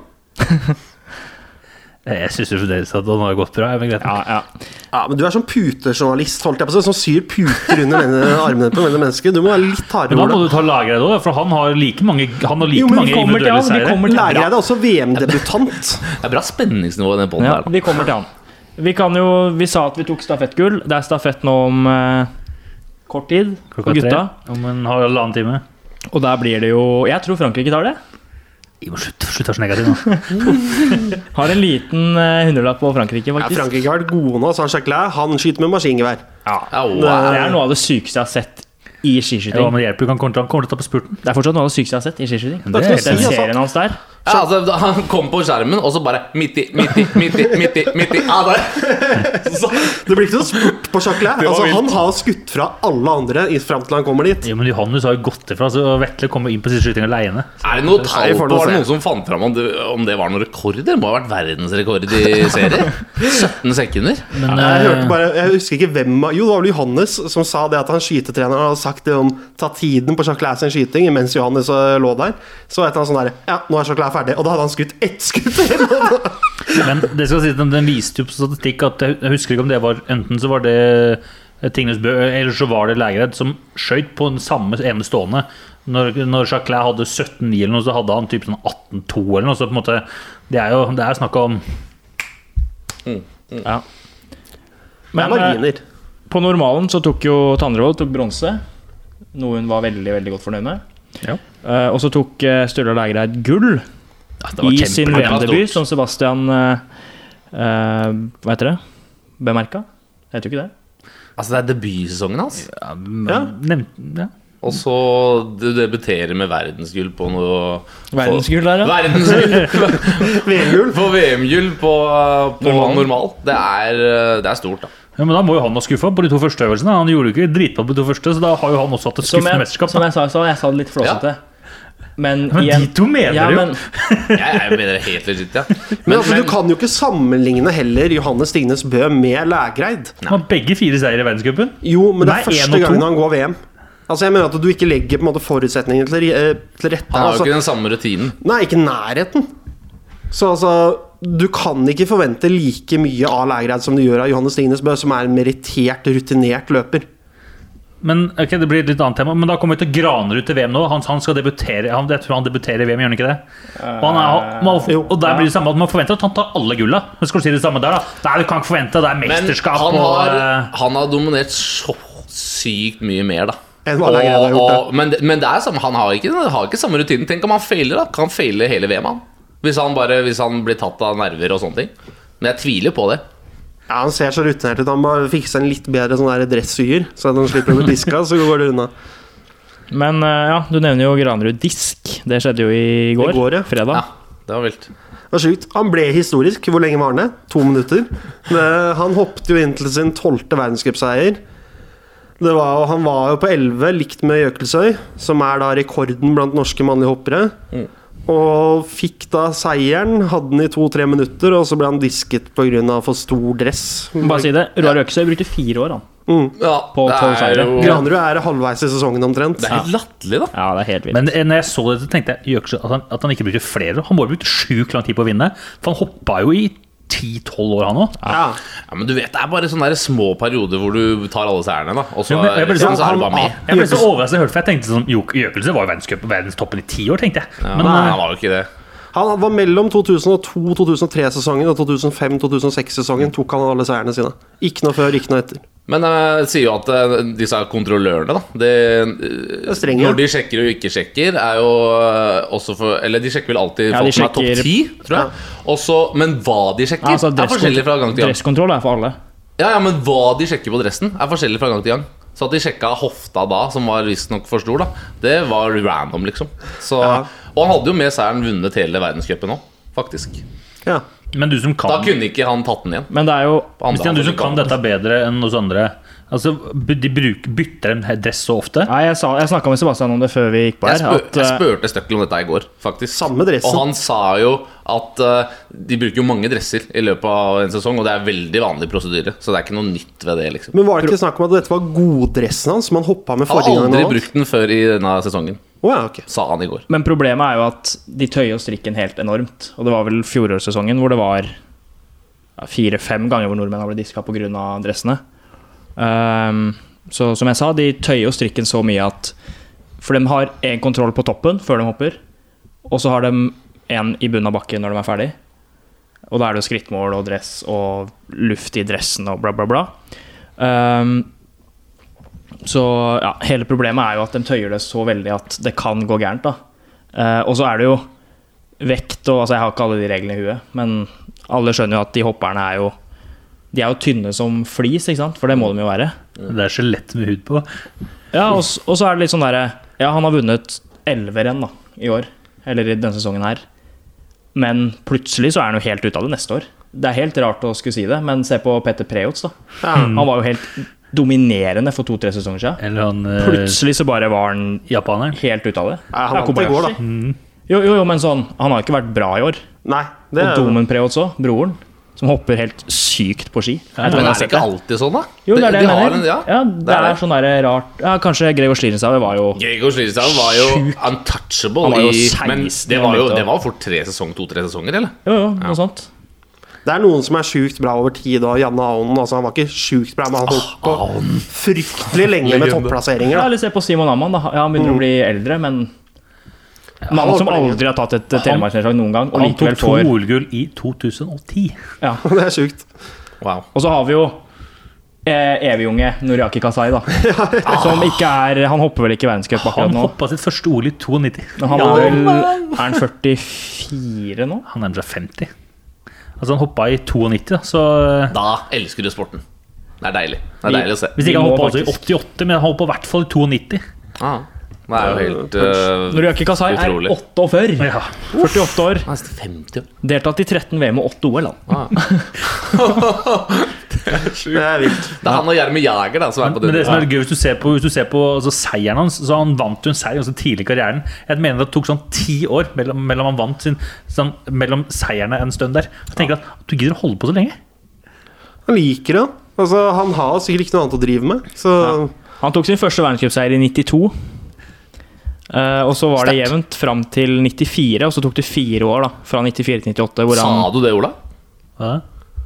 [SPEAKER 3] Jeg syns jo fremdeles at han har gått bra. jeg, Men greit.
[SPEAKER 1] Ja, ja.
[SPEAKER 4] Ja, men Du er sånn putejournalist, holdt jeg på å si, som syr puter under menne- armene på vennlige mennesker. Du må være litt
[SPEAKER 3] Men
[SPEAKER 4] hardere.
[SPEAKER 3] da må
[SPEAKER 4] Ola.
[SPEAKER 3] du ta Lagreid òg, for han har like mange, han har like
[SPEAKER 4] Jo, men vi
[SPEAKER 3] mange
[SPEAKER 1] kommer til
[SPEAKER 3] individuelle
[SPEAKER 1] han, vi
[SPEAKER 3] seire.
[SPEAKER 1] kommer til han.
[SPEAKER 4] Lærer jeg deg også VM-debutant?
[SPEAKER 2] Det er bra spenningsnivå i den poden
[SPEAKER 1] Ja,
[SPEAKER 2] her.
[SPEAKER 1] vi kommer til han. Vi kan jo Vi sa at vi tok stafettgull. Det er stafett nå om eh, kort tid.
[SPEAKER 3] Klokka
[SPEAKER 1] For gutta.
[SPEAKER 3] tre om en halvannen time.
[SPEAKER 1] Og der blir det jo Jeg tror Frankrike tar det.
[SPEAKER 3] Jeg må slutte slutt å være så negativ nå.
[SPEAKER 1] Har en liten eh, hundrelapp på Frankrike,
[SPEAKER 4] Ja,
[SPEAKER 1] faktisk.
[SPEAKER 4] Frankrike har vært gode nå. så han Jacquelin han skyter med maskingevær.
[SPEAKER 2] Ja, wow.
[SPEAKER 1] Det er noe av det sykeste jeg har sett i
[SPEAKER 3] Ja,
[SPEAKER 1] skiskyting.
[SPEAKER 3] men det hjelper jo ikke, han kommer til, han kommer til å ta på spurten.
[SPEAKER 1] Det er fortsatt noe av det sykeste jeg har sett i skiskyting.
[SPEAKER 3] Det er
[SPEAKER 1] Den
[SPEAKER 3] ikke noe å si,
[SPEAKER 4] altså.
[SPEAKER 1] serien hans der.
[SPEAKER 2] ja, altså, da, han kom på skjermen, og så bare midt i, midt i, midt i, midt i. Midt i. Ja, det, så,
[SPEAKER 4] Det blir ikke noe spurt på Jacquelin.
[SPEAKER 2] Det var
[SPEAKER 4] Altså,
[SPEAKER 2] vilt.
[SPEAKER 4] han har skutt fra alle andre i- fram til han kommer dit.
[SPEAKER 3] Jo, men Johannes har jo gått ifra, så Vetle kommer inn på siste skyting alene.
[SPEAKER 2] er det noe tall
[SPEAKER 4] vi
[SPEAKER 2] på
[SPEAKER 4] får nå
[SPEAKER 2] Var det
[SPEAKER 4] se.
[SPEAKER 2] noen som fant fram om det, om det var noen rekorder? Det må ha vært verdensrekord i serier. 17 sekunder.
[SPEAKER 3] Men
[SPEAKER 4] Jeg,
[SPEAKER 3] eh,
[SPEAKER 4] hørte bare, jeg husker ikke hvem av- Jo, det var vel Johannes som sa det at han skytetreneren hadde sagt det om ta tiden på Jacquelin sin skyting mens Johannes øh, lå der. Så var et eller annet sånn der Ja, nå er Jacquelin ferdig. Og da hadde han skutt ett skudd!
[SPEAKER 3] Men det skal sies, den, den viste jo på statistikk at jeg jeg husker ikke om det var Enten så var det Tingnes Bø, eller så var det Lægereid som skøyt på den samme ene stående. Når, når Jacquelin hadde 17-9 eller noe, så hadde han typ sånn 18-2 eller noe. Så på en måte Det er jo det er snakk om
[SPEAKER 4] Det er
[SPEAKER 1] Men eh,
[SPEAKER 4] marginer.
[SPEAKER 1] på normalen så tok jo Tandrevold tok bronse, noe hun var veldig veldig godt fornøyd med.
[SPEAKER 3] Ja.
[SPEAKER 1] Eh, og så tok uh, Sturla Lægreid gull
[SPEAKER 3] ja, det var
[SPEAKER 1] i
[SPEAKER 3] kjempe-
[SPEAKER 1] sin
[SPEAKER 2] det var
[SPEAKER 1] VM-debut,
[SPEAKER 2] stort.
[SPEAKER 1] som Sebastian eh, eh, Hva heter det? Bemerka? Jeg tror ikke det.
[SPEAKER 2] Altså, det er debutsesongen hans.
[SPEAKER 3] ja, men-
[SPEAKER 4] Ja.
[SPEAKER 3] nevnte- ja.
[SPEAKER 2] Og så du debuterer med verdensgull på noe
[SPEAKER 1] Verdensgull der, ja.
[SPEAKER 2] Verdensgull
[SPEAKER 4] VM-gull.
[SPEAKER 2] på VM-gull på, på normal. Det, er, eh, det er stort, da.
[SPEAKER 3] Ja, men da må jo han ha skuffa på de to første øvelsene. Han gjorde jo ikke dritbra på de to første, så da har jo han også hatt et
[SPEAKER 1] Som
[SPEAKER 3] skuffende
[SPEAKER 1] jeg,
[SPEAKER 3] mesterskap.
[SPEAKER 1] som
[SPEAKER 3] da.
[SPEAKER 1] jeg sa, så jeg sa det litt flåsete. Men,
[SPEAKER 3] Men
[SPEAKER 1] igjen
[SPEAKER 3] de to mener
[SPEAKER 1] ja,
[SPEAKER 3] det jo.
[SPEAKER 1] men,
[SPEAKER 2] Jeg er mener det helt legit, ja.
[SPEAKER 4] Men, altså, du kan jo ikke sammenligne heller Johannes Stignes Bø med Lægreid.
[SPEAKER 3] Han har begge fire seier i verdenscupen.
[SPEAKER 4] Jo, men det
[SPEAKER 3] Nei,
[SPEAKER 4] er
[SPEAKER 3] en
[SPEAKER 4] første
[SPEAKER 3] og to.
[SPEAKER 4] gangen han går VM. Altså Jeg mener at du ikke legger på en måte forutsetningene til, eh, til rette.
[SPEAKER 2] Han har jo
[SPEAKER 4] altså,
[SPEAKER 2] ikke den samme rutinen.
[SPEAKER 4] Nei, ikke nærheten. Så altså Du kan ikke forvente like mye av Lægreid som du gjør av Johannes Tingnes Bø, som er en merittert, rutinert løper.
[SPEAKER 3] Men ok, det blir et litt annet tema Men da kommer vi til Granerud til VM nå. Han, han skal debutere han, Jeg tror han debuterer i VM, gjør han ikke det? Og, han er, man,
[SPEAKER 4] jo.
[SPEAKER 3] og der blir det samme at man forventer at han tar alle gulla. Men skal du si det samme der, da? Nei, du kan ikke forvente. Det er
[SPEAKER 2] Men
[SPEAKER 3] mesterskap
[SPEAKER 2] han har,
[SPEAKER 3] og eh,
[SPEAKER 2] han har dominert så sykt mye mer, da.
[SPEAKER 4] Enn hva Lægreid har gjort,
[SPEAKER 2] og, men, det- men det er samme, han har ikke, han har ikke samme rutinen. Tenk om han feiler, da. Kan han feile hele VM, han? Hvis han, bare, hvis han blir tatt av nerver og sånne ting. Men jeg tviler på det.
[SPEAKER 4] Ja, Han ser så rutinert ut. Han bare fikser en litt bedre sånn der dressyer, så at han slipper å bli diska, så går det unna.
[SPEAKER 1] Men eh, ja, du nevner jo Granerud Disk. Det skjedde jo i går.
[SPEAKER 4] I går, ja.
[SPEAKER 1] Fredag.
[SPEAKER 2] Ja, det var vilt.
[SPEAKER 4] Det var sjukt. Han ble historisk. Hvor lenge var han det? To minutter. Men eh, han hoppet jo inn til sin tolvte verdenscupseier. Det var jo- Han var jo på elleve, likt med Jøkelsøy, som er da rekorden blant norske mannlige hoppere. Og fikk da seieren, hadde den i to-tre minutter, og så ble han disket pga. for stor dress.
[SPEAKER 1] Bare si det. Roar Øksøy brukte fire år, han.
[SPEAKER 2] Ja,
[SPEAKER 1] På
[SPEAKER 2] det
[SPEAKER 1] tolv
[SPEAKER 2] er
[SPEAKER 1] seire.
[SPEAKER 2] jo
[SPEAKER 4] Granerud er halvveis i sesongen omtrent.
[SPEAKER 2] Det er helt latterlig, da.
[SPEAKER 1] Ja, det er helt vilt.
[SPEAKER 3] Men eh, når jeg så dette, tenkte jeg Jøksjø, at han, at han ikke brukte flere. Han må ha brukt sjukt lang tid på å vinne. For han hoppa jo i 10-12 år, han òg.
[SPEAKER 4] Ja.
[SPEAKER 2] Ja, men du vet, Det er bare sånne der små perioder hvor du tar alle seierne, da. Og så,
[SPEAKER 3] Jo, men jeg
[SPEAKER 2] er-
[SPEAKER 3] ble
[SPEAKER 2] så
[SPEAKER 3] sånn-
[SPEAKER 2] er du bare med.
[SPEAKER 4] han-
[SPEAKER 3] Jeg ble så overrasket jeg hørte, for jeg tenkte sånn Jok- Jøkelse var jo verdenscup- verdenstoppen i ti år, tenkte jeg.
[SPEAKER 2] Ja,
[SPEAKER 3] Men
[SPEAKER 2] nei,
[SPEAKER 3] eh,
[SPEAKER 2] han var jo ikke det.
[SPEAKER 4] Han var mellom 2002-2003-sesongen og 2005-2006-sesongen tok han alle seierne sine. Ikke noe før, ikke noe etter.
[SPEAKER 2] Men eh, det sier jo at eh, disse kontrollørene, da det, eh,
[SPEAKER 4] er strenge.
[SPEAKER 2] Når de sjekker og ikke sjekker, er jo eh, også for Eller de sjekker vel alltid
[SPEAKER 1] Ja, de
[SPEAKER 2] folk som er topp
[SPEAKER 1] sjekker-
[SPEAKER 2] ti, tror jeg. Også- men hva de sjekker,
[SPEAKER 1] Ja, altså,
[SPEAKER 2] er
[SPEAKER 1] dresskont-
[SPEAKER 2] forskjellig fra gang til gang.
[SPEAKER 1] Dresskontroll er for alle.
[SPEAKER 2] Ja, ja, men hva de sjekker på dressen, er forskjellig fra gang til gang. Så at de sjekka hofta da, som var visstnok for stor, da, det var random, liksom. Så,
[SPEAKER 4] Ja.
[SPEAKER 2] Og han hadde jo med seieren vunnet hele verdenscupen òg, faktisk.
[SPEAKER 4] Ja.
[SPEAKER 3] men du som
[SPEAKER 2] Da
[SPEAKER 3] kan
[SPEAKER 2] kunne ikke han tatt den igjen.
[SPEAKER 1] Men det er jo
[SPEAKER 2] Andre
[SPEAKER 3] Stian, du som kan dette bedre enn oss andre. Altså, b- De bruk, bytter en dress så ofte.
[SPEAKER 1] Nei, jeg, sa- jeg snakka med Sebastian om det før vi gikk på
[SPEAKER 2] Jeg,
[SPEAKER 1] her.
[SPEAKER 2] spør,
[SPEAKER 1] at,
[SPEAKER 2] jeg
[SPEAKER 1] eh,
[SPEAKER 2] spurte Støkkel om dette i går, faktisk.
[SPEAKER 4] Samme dressen.
[SPEAKER 2] Og han sa jo at eh, de bruker jo mange dresser i løpet av en sesong, og det er veldig vanlig prosedyre. Så det er ikke noe nytt ved det, liksom.
[SPEAKER 4] Men var det ikke snakk om at dette var goddressen hans som han hoppa med
[SPEAKER 2] Han har
[SPEAKER 4] forrige gang?
[SPEAKER 2] aldri
[SPEAKER 4] han vant?
[SPEAKER 2] brukt den før i denne sesongen,
[SPEAKER 4] Å ja, ok.
[SPEAKER 2] sa han i går.
[SPEAKER 1] Men problemet er jo at de tøyer jo strikken helt enormt. Og det var vel fjorårssesongen hvor det var ja, fire-fem ganger hvor nordmenn har blitt diska pga. dressene. Ehm, så som jeg sa, de tøyer jo strikken så mye at For de har én kontroll på toppen før de hopper, og så har de én i bunnen av bakken når de er ferdig. Og da er det jo skrittmål og dress og luft i dressen og bla, bla, bla. Ehm, så ja, hele problemet er jo at de tøyer det så veldig at det kan gå gærent. da. Eh, og så er det jo vekt og altså Jeg har ikke alle de reglene i huet, men alle skjønner jo at de hopperne er jo De er jo tynne som flis, ikke sant? For det må de jo være.
[SPEAKER 3] Det er skjelett med hud på.
[SPEAKER 1] Ja, og, s- og så er det litt sånn derre Ja, han har vunnet elleve renn da, i år. Eller i denne sesongen her. Men plutselig så er han jo helt ute av det neste år. Det er helt rart å skulle si det, men se på Petter Preots, da. Han var jo helt dominerende for to-tre sesonger siden.
[SPEAKER 3] Eller han eh,
[SPEAKER 1] Plutselig så bare var han
[SPEAKER 3] japaneren.
[SPEAKER 1] helt ute av det.
[SPEAKER 4] Nei, han
[SPEAKER 1] Det er
[SPEAKER 4] vant i går, da.
[SPEAKER 1] Kobayashi.
[SPEAKER 3] Mm.
[SPEAKER 1] Jo, jo, jo, men sånn, han har ikke vært bra i år.
[SPEAKER 4] Nei, det
[SPEAKER 1] Og
[SPEAKER 4] er jo
[SPEAKER 1] Domen Preots òg, broren, som hopper helt sykt på ski. Jeg tror
[SPEAKER 2] Men
[SPEAKER 1] jeg har
[SPEAKER 2] er det
[SPEAKER 1] sett
[SPEAKER 2] ikke alltid sånn, da?
[SPEAKER 1] Jo, det er det
[SPEAKER 2] De
[SPEAKER 1] jeg
[SPEAKER 2] har
[SPEAKER 1] mener.
[SPEAKER 2] en-
[SPEAKER 1] ja, det, er, sånn der rart ja, Kanskje Gregor Slirenshaug var jo
[SPEAKER 2] Gregor Slidstad var jo untouchable
[SPEAKER 1] Han var jo
[SPEAKER 2] i-
[SPEAKER 1] 16
[SPEAKER 2] Men det
[SPEAKER 1] da han
[SPEAKER 2] var jo
[SPEAKER 1] begynte å-
[SPEAKER 2] det var fort tre sesong, to-tre sesonger, eller?
[SPEAKER 1] Jo, jo, noe sånt.
[SPEAKER 4] Det er noen som er sjukt bra over tid, og Janne Aonen altså, Han var ikke sjukt bra, men han holdt på fryktelig lenge med
[SPEAKER 2] Legende.
[SPEAKER 1] Ja,
[SPEAKER 4] topplasseringer. Da.
[SPEAKER 1] eller se på Simon Amman. da. Ja, han begynner å bli eldre, men Mannen
[SPEAKER 4] Mm. han
[SPEAKER 1] som
[SPEAKER 4] holdt på lenge.
[SPEAKER 1] aldri har tatt et eh, telemarksnedslag noen gang, og
[SPEAKER 3] Han
[SPEAKER 1] likevel
[SPEAKER 3] tok to
[SPEAKER 1] får
[SPEAKER 3] OL-gull i 2010.
[SPEAKER 1] ja.
[SPEAKER 4] Det er sjukt.
[SPEAKER 2] Wow.
[SPEAKER 1] Og så har vi jo eh, evigunge Noriaki Kasai, da. Som ikke er Han hopper vel ikke i verdenscup akkurat
[SPEAKER 3] Han
[SPEAKER 1] nå.
[SPEAKER 3] hoppa sitt første OL i 92.
[SPEAKER 1] Men han var vel Er han 44 nå?
[SPEAKER 3] Han nærmer seg 50. Altså, han hoppa i 92, da, så eh,
[SPEAKER 2] Da elsker du sporten. Det er deilig. Det er
[SPEAKER 1] Vi-
[SPEAKER 2] deilig å se.
[SPEAKER 3] Hvis
[SPEAKER 1] Vi
[SPEAKER 3] ikke han
[SPEAKER 1] må
[SPEAKER 3] hoppa altså i
[SPEAKER 1] faktisk-
[SPEAKER 3] 88, men han hoppa i hvert fall i 92.
[SPEAKER 2] Ah, det er jo helt eh,
[SPEAKER 1] Noriaki Kasai er
[SPEAKER 2] utrolig.
[SPEAKER 1] 48.
[SPEAKER 3] Ja.
[SPEAKER 1] 48 år.
[SPEAKER 2] Nesten 50 år. Ah.
[SPEAKER 1] Deltatt i 13 VM og 8 OL. Han.
[SPEAKER 4] Det er vilt.
[SPEAKER 2] Det er han og Gjermund Jæger da, som er på
[SPEAKER 3] Men
[SPEAKER 2] den.
[SPEAKER 3] det som er gøy hvis du ser på, hvis du ser på altså, seieren hans Så Han vant jo en seier ganske tidlig i karrieren. Jeg mener Det tok sånn ti år mellom, mellom han vant sin sånn, Mellom seierne en stund der. Jeg tenker at, at Du gidder å holde på så lenge?
[SPEAKER 4] Han liker det. Altså, han har sikkert ikke noe annet å drive med, så
[SPEAKER 1] Han tok sin første verdenscupseier i 92. Eh, og så var det
[SPEAKER 2] Sterkt.
[SPEAKER 1] jevnt fram til 94, og så tok det fire år, da. Fra 94 til 98. Hvor
[SPEAKER 2] Sa
[SPEAKER 1] han,
[SPEAKER 2] du det, Ola?
[SPEAKER 3] Hva?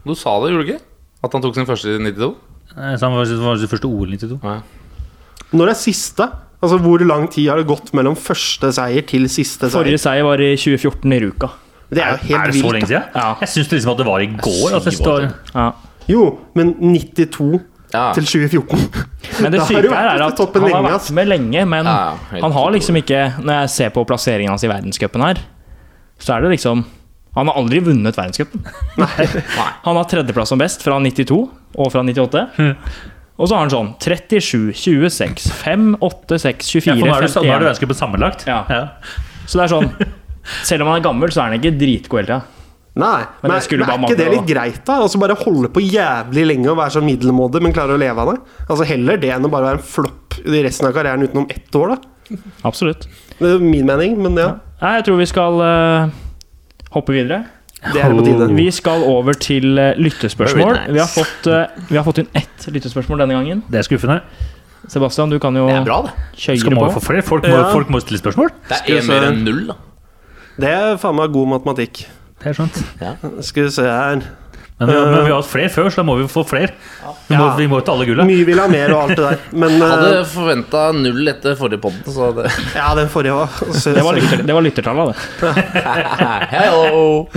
[SPEAKER 2] Du sa det, gjorde du ikke? At han tok sin første i 92?
[SPEAKER 3] Nei, Så han var, var det første OL 92.
[SPEAKER 4] Når er siste? Altså, Hvor lang tid har det gått mellom første seier til siste
[SPEAKER 1] forrige
[SPEAKER 4] seier?
[SPEAKER 1] seier var i 2014 i Ruka.
[SPEAKER 4] Det er jo
[SPEAKER 3] er
[SPEAKER 4] helt
[SPEAKER 3] det så
[SPEAKER 4] vilt.
[SPEAKER 3] lenge siden?
[SPEAKER 1] Ja.
[SPEAKER 3] Jeg syns liksom at det var i går. Altså, jeg
[SPEAKER 2] Syv år
[SPEAKER 3] står,
[SPEAKER 1] Ja.
[SPEAKER 4] Jo, men 92
[SPEAKER 2] Ja.
[SPEAKER 4] til 2014.
[SPEAKER 1] Men det
[SPEAKER 4] Da har du
[SPEAKER 1] syke her
[SPEAKER 4] vært
[SPEAKER 1] er
[SPEAKER 4] på
[SPEAKER 1] at
[SPEAKER 4] toppen
[SPEAKER 1] han har
[SPEAKER 4] lenge,
[SPEAKER 1] vært
[SPEAKER 4] ass.
[SPEAKER 1] med lenge, men
[SPEAKER 2] Ja, ja, helt
[SPEAKER 1] han har
[SPEAKER 2] utrolig.
[SPEAKER 1] liksom ikke Når jeg ser på plasseringen hans i verdenscupen her, så er det liksom Han har aldri vunnet verdenscupen. Han har tredjeplass som best fra 92 og fra 98. Og så har han sånn 37, 26, 5, 8, 6,
[SPEAKER 3] ja,
[SPEAKER 1] 24,
[SPEAKER 3] for nå er du, nå er du
[SPEAKER 1] 51
[SPEAKER 3] venskap på sammenlagt.
[SPEAKER 1] Ja.
[SPEAKER 3] Ja.
[SPEAKER 1] Så det er sånn Selv om han er gammel, så er han ikke dritgod hele tida.
[SPEAKER 4] Nei,
[SPEAKER 1] Men
[SPEAKER 4] men,
[SPEAKER 1] det skulle
[SPEAKER 4] men er
[SPEAKER 1] bare
[SPEAKER 4] ikke det
[SPEAKER 1] mangle,
[SPEAKER 4] litt greit, da? Altså Bare holde på jævlig lenge og være sånn middelmådig, men klare å leve av det? Altså Heller det enn å bare være en flopp i resten av karrieren utenom ett år, da.
[SPEAKER 1] Absolutt.
[SPEAKER 4] Det er min mening, men ja.
[SPEAKER 1] Nei, jeg tror vi skal eh, hoppe videre.
[SPEAKER 4] Det er det på tide.
[SPEAKER 1] Vi skal over til eh, lyttespørsmål.
[SPEAKER 2] Very nice.
[SPEAKER 1] vi, har fått, eh, vi har fått inn ett lyttespørsmål denne gangen.
[SPEAKER 3] Det er skuffende.
[SPEAKER 1] Sebastian, du kan jo
[SPEAKER 2] Det er bra, det.
[SPEAKER 1] kjøre
[SPEAKER 3] Skal man
[SPEAKER 1] på.
[SPEAKER 3] få flere? Folk må,
[SPEAKER 4] Ja.
[SPEAKER 3] folk må stille spørsmål.
[SPEAKER 2] Det
[SPEAKER 4] Skal
[SPEAKER 2] er
[SPEAKER 4] vi
[SPEAKER 2] én
[SPEAKER 4] se.
[SPEAKER 2] mer enn null, da.
[SPEAKER 4] Det er faen meg god matematikk.
[SPEAKER 3] Det er sant.
[SPEAKER 4] Skal vi se her
[SPEAKER 3] Men vi, men vi har hatt flere før, så da må vi få flere. Vi må,
[SPEAKER 4] Ja.
[SPEAKER 3] vi må jo ta alle gulla.
[SPEAKER 4] Mye vil ha mer og alt det der, men
[SPEAKER 2] Jeg hadde
[SPEAKER 4] eh,
[SPEAKER 2] forventa null etter forrige podden, så det
[SPEAKER 4] Ja, den forrige var så-
[SPEAKER 1] Det var, lytter, det var lyttertallet, det.
[SPEAKER 2] Hello!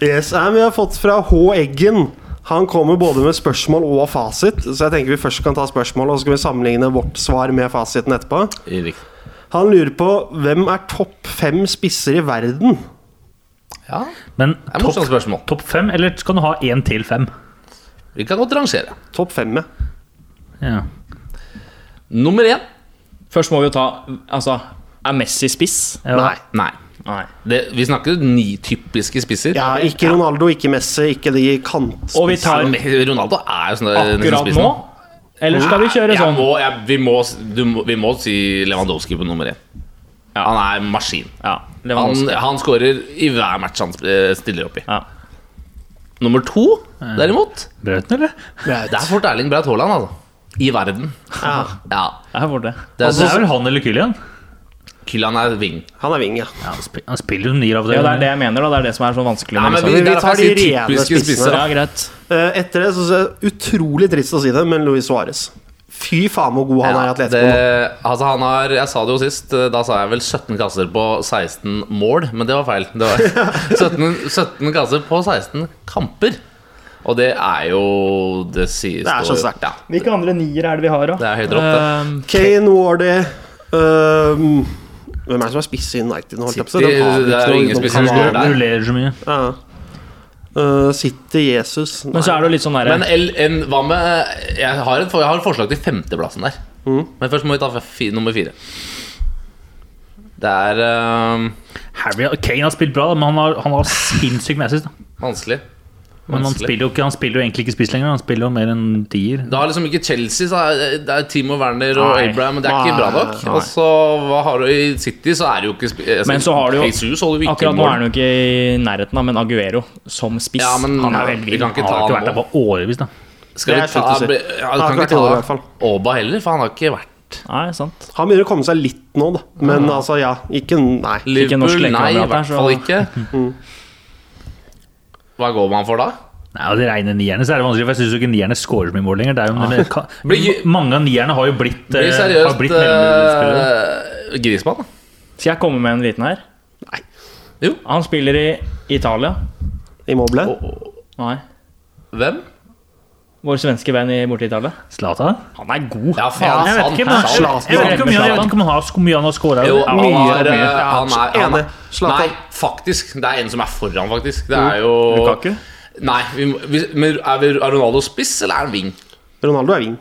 [SPEAKER 4] Yes, nei, men Vi har fått fra H. Eggen. Han kommer både med spørsmål og fasit, så jeg tenker vi først kan ta spørsmålet, og så skal vi sammenligne vårt svar med fasiten etterpå.
[SPEAKER 2] Riktig.
[SPEAKER 4] Han lurer på hvem er topp fem spisser i verden?
[SPEAKER 2] Ja,
[SPEAKER 3] Men
[SPEAKER 2] det er morsomt
[SPEAKER 3] topp
[SPEAKER 2] spørsmål.
[SPEAKER 3] top fem, eller skal du ha én til fem?
[SPEAKER 2] Vi kan godt rangere.
[SPEAKER 4] Topp fem, ja.
[SPEAKER 3] Ja.
[SPEAKER 2] Nummer én?
[SPEAKER 1] Først må vi jo ta Altså, er Messi spiss?
[SPEAKER 3] Ja.
[SPEAKER 4] Nei.
[SPEAKER 2] Nei.
[SPEAKER 1] Nei.
[SPEAKER 2] Det, vi snakker ni typiske spisser.
[SPEAKER 4] Ja, ikke Ronaldo, ikke Messi, ikke de kantspissene.
[SPEAKER 1] Og vi tar
[SPEAKER 2] Ronaldo er jo sånn der-
[SPEAKER 1] akkurat
[SPEAKER 2] spissen.
[SPEAKER 1] nå? Eller skal vi kjøre
[SPEAKER 2] Jeg
[SPEAKER 1] sånn?
[SPEAKER 2] må, jeg, vi, må, du, må- vi må si Lewandowski på nummer én. Han er en maskin.
[SPEAKER 1] Ja,
[SPEAKER 2] Han,
[SPEAKER 1] Lewandowski.
[SPEAKER 2] han skårer i hver match han eh, stiller opp i.
[SPEAKER 1] Ja.
[SPEAKER 2] Nummer to, derimot,
[SPEAKER 3] Brauten, eller?
[SPEAKER 2] det er fort Erling Braut Haaland. Altså. I verden.
[SPEAKER 4] Ja,
[SPEAKER 2] Ja.
[SPEAKER 1] Der var det.
[SPEAKER 2] Det
[SPEAKER 3] Altså, Det er
[SPEAKER 2] er,
[SPEAKER 3] vel han eller Kylian?
[SPEAKER 2] Kylian er wing.
[SPEAKER 4] han er wing, ja.
[SPEAKER 3] Ja, han, spil, han spiller jo nier av og til.
[SPEAKER 1] Ja, det er det jeg mener, da. Det er det som er sånn vanskelig.
[SPEAKER 2] Ja,
[SPEAKER 1] med
[SPEAKER 2] men
[SPEAKER 1] liksom.
[SPEAKER 2] vi,
[SPEAKER 4] vi
[SPEAKER 2] der
[SPEAKER 4] tar
[SPEAKER 2] kan jeg
[SPEAKER 4] de
[SPEAKER 2] si
[SPEAKER 4] rene
[SPEAKER 2] typiske
[SPEAKER 4] spissene,
[SPEAKER 2] spisser.
[SPEAKER 1] ja, greit.
[SPEAKER 4] Eh, Etter det så er det utrolig trist å si det, men Luis Suárez. Fy faen hvor god han er i
[SPEAKER 2] Ja, det,
[SPEAKER 4] Atletico. nå.
[SPEAKER 2] altså han har, jeg sa det jo sist, eh, da sa jeg vel 17 kasser på 16 mål, men det var feil. Det var 17, 17 kasser på 16 kamper. Og det er jo Det sies
[SPEAKER 4] Det er så sterkt.
[SPEAKER 2] Ja.
[SPEAKER 1] Hvilke andre nier er det vi har, da?
[SPEAKER 2] Det er høyt opp,
[SPEAKER 1] Eh,
[SPEAKER 4] Kane, Wardy ehm, Hvem er det som er spiss i United nå? holdt jeg på å si?
[SPEAKER 2] City,
[SPEAKER 4] Den har vi
[SPEAKER 2] det er
[SPEAKER 4] ikke noe
[SPEAKER 2] ingen
[SPEAKER 4] utenom
[SPEAKER 2] spisser som
[SPEAKER 4] Cavani.
[SPEAKER 2] skårer der.
[SPEAKER 3] Rullerer så mye.
[SPEAKER 4] Ja. Eh, City, Jesus Nei.
[SPEAKER 1] Men så er det jo litt sånn derre
[SPEAKER 2] Men L, en, hva med jeg har, et, for- jeg har et forslag til femteplassen der.
[SPEAKER 4] Mm.
[SPEAKER 2] Men først må vi ta fi, nummer fire. Det er eh,
[SPEAKER 3] Harry, Kane har spilt bra, da, men han har, han har sinnssykt med assist. da.
[SPEAKER 2] vanskelig.
[SPEAKER 3] Men han
[SPEAKER 2] vanskelig.
[SPEAKER 3] spiller, jo ikke, han spiller jo egentlig ikke spiss lenger. Han spiller jo mer enn dier.
[SPEAKER 2] Du har liksom ikke Chelsea, så er- det er Timo Werner og
[SPEAKER 1] Nei.
[SPEAKER 2] Abraham, men det er ikke bra nok.
[SPEAKER 1] Nei.
[SPEAKER 2] Og så hva har du i City, så er det jo ikke sp- altså,
[SPEAKER 1] Men så har du jo-
[SPEAKER 2] Jesus holder jo ikke
[SPEAKER 1] Akkurat nå
[SPEAKER 2] mål.
[SPEAKER 1] er han jo ikke i nærheten, da, men Aguero som spiss
[SPEAKER 2] Ja, men
[SPEAKER 1] Han er
[SPEAKER 2] vi
[SPEAKER 1] veldig vill.
[SPEAKER 2] kan ikke
[SPEAKER 3] Han har
[SPEAKER 2] ta
[SPEAKER 3] ikke
[SPEAKER 2] han
[SPEAKER 3] vært der
[SPEAKER 2] nå.
[SPEAKER 3] på årevis, da.
[SPEAKER 2] Skal
[SPEAKER 4] Det
[SPEAKER 2] vi
[SPEAKER 4] er
[SPEAKER 2] ta
[SPEAKER 4] sant å si.
[SPEAKER 2] ja,
[SPEAKER 4] Han
[SPEAKER 2] Du
[SPEAKER 4] har
[SPEAKER 2] kan
[SPEAKER 4] ikke vært i år i
[SPEAKER 2] ikke
[SPEAKER 4] hvert
[SPEAKER 2] ta
[SPEAKER 4] fall.
[SPEAKER 2] Oba heller, for han har ikke vært
[SPEAKER 1] Nei, sant.
[SPEAKER 4] Han begynner å komme seg litt nå, da. Men altså, ja. Ikke Nei.
[SPEAKER 1] Ikke norsk
[SPEAKER 2] Liverpool, nei, i
[SPEAKER 1] lekekamerat her,
[SPEAKER 2] hvert fall
[SPEAKER 1] så-
[SPEAKER 2] ikke. Hva går man for da?
[SPEAKER 3] Nei, og De rene nierne så er det vanskelig, for jeg syns ikke nierne scorer så mye mål lenger. Det er jo, men det kan,
[SPEAKER 2] Blir-
[SPEAKER 3] mange av nierne har jo blitt,
[SPEAKER 2] Blir
[SPEAKER 3] eh, har
[SPEAKER 2] seriøst
[SPEAKER 3] blitt mellomspillere.
[SPEAKER 2] eh, Grismann, da.
[SPEAKER 1] Skal jeg komme med en liten her?
[SPEAKER 4] Nei.
[SPEAKER 2] Jo.
[SPEAKER 1] Han spiller i Italia.
[SPEAKER 4] Immobile.
[SPEAKER 1] Nei.
[SPEAKER 2] Hvem?
[SPEAKER 1] Vår svenske venn i- borte i Italia.
[SPEAKER 3] Zlatan?
[SPEAKER 1] Han er god.
[SPEAKER 2] Ja, faen,
[SPEAKER 3] Jeg vet
[SPEAKER 2] sant,
[SPEAKER 3] ikke, men, jeg,
[SPEAKER 2] sant.
[SPEAKER 3] vet- jeg vet ikke om jeg, jeg vet ikke om han har hvor mye han har scora.
[SPEAKER 2] Jo, han er, eh,
[SPEAKER 4] mye.
[SPEAKER 2] han er, han
[SPEAKER 4] Enig.
[SPEAKER 2] er
[SPEAKER 4] Zlatan.
[SPEAKER 2] Nei, faktisk. Det er en som er foran, faktisk. Det
[SPEAKER 3] Mm.
[SPEAKER 2] er jo
[SPEAKER 1] Lukaku?
[SPEAKER 2] Nei, vi, må- vi, men er, vi, er Ronaldo spiss, eller er han wing?
[SPEAKER 4] Ronaldo er wing.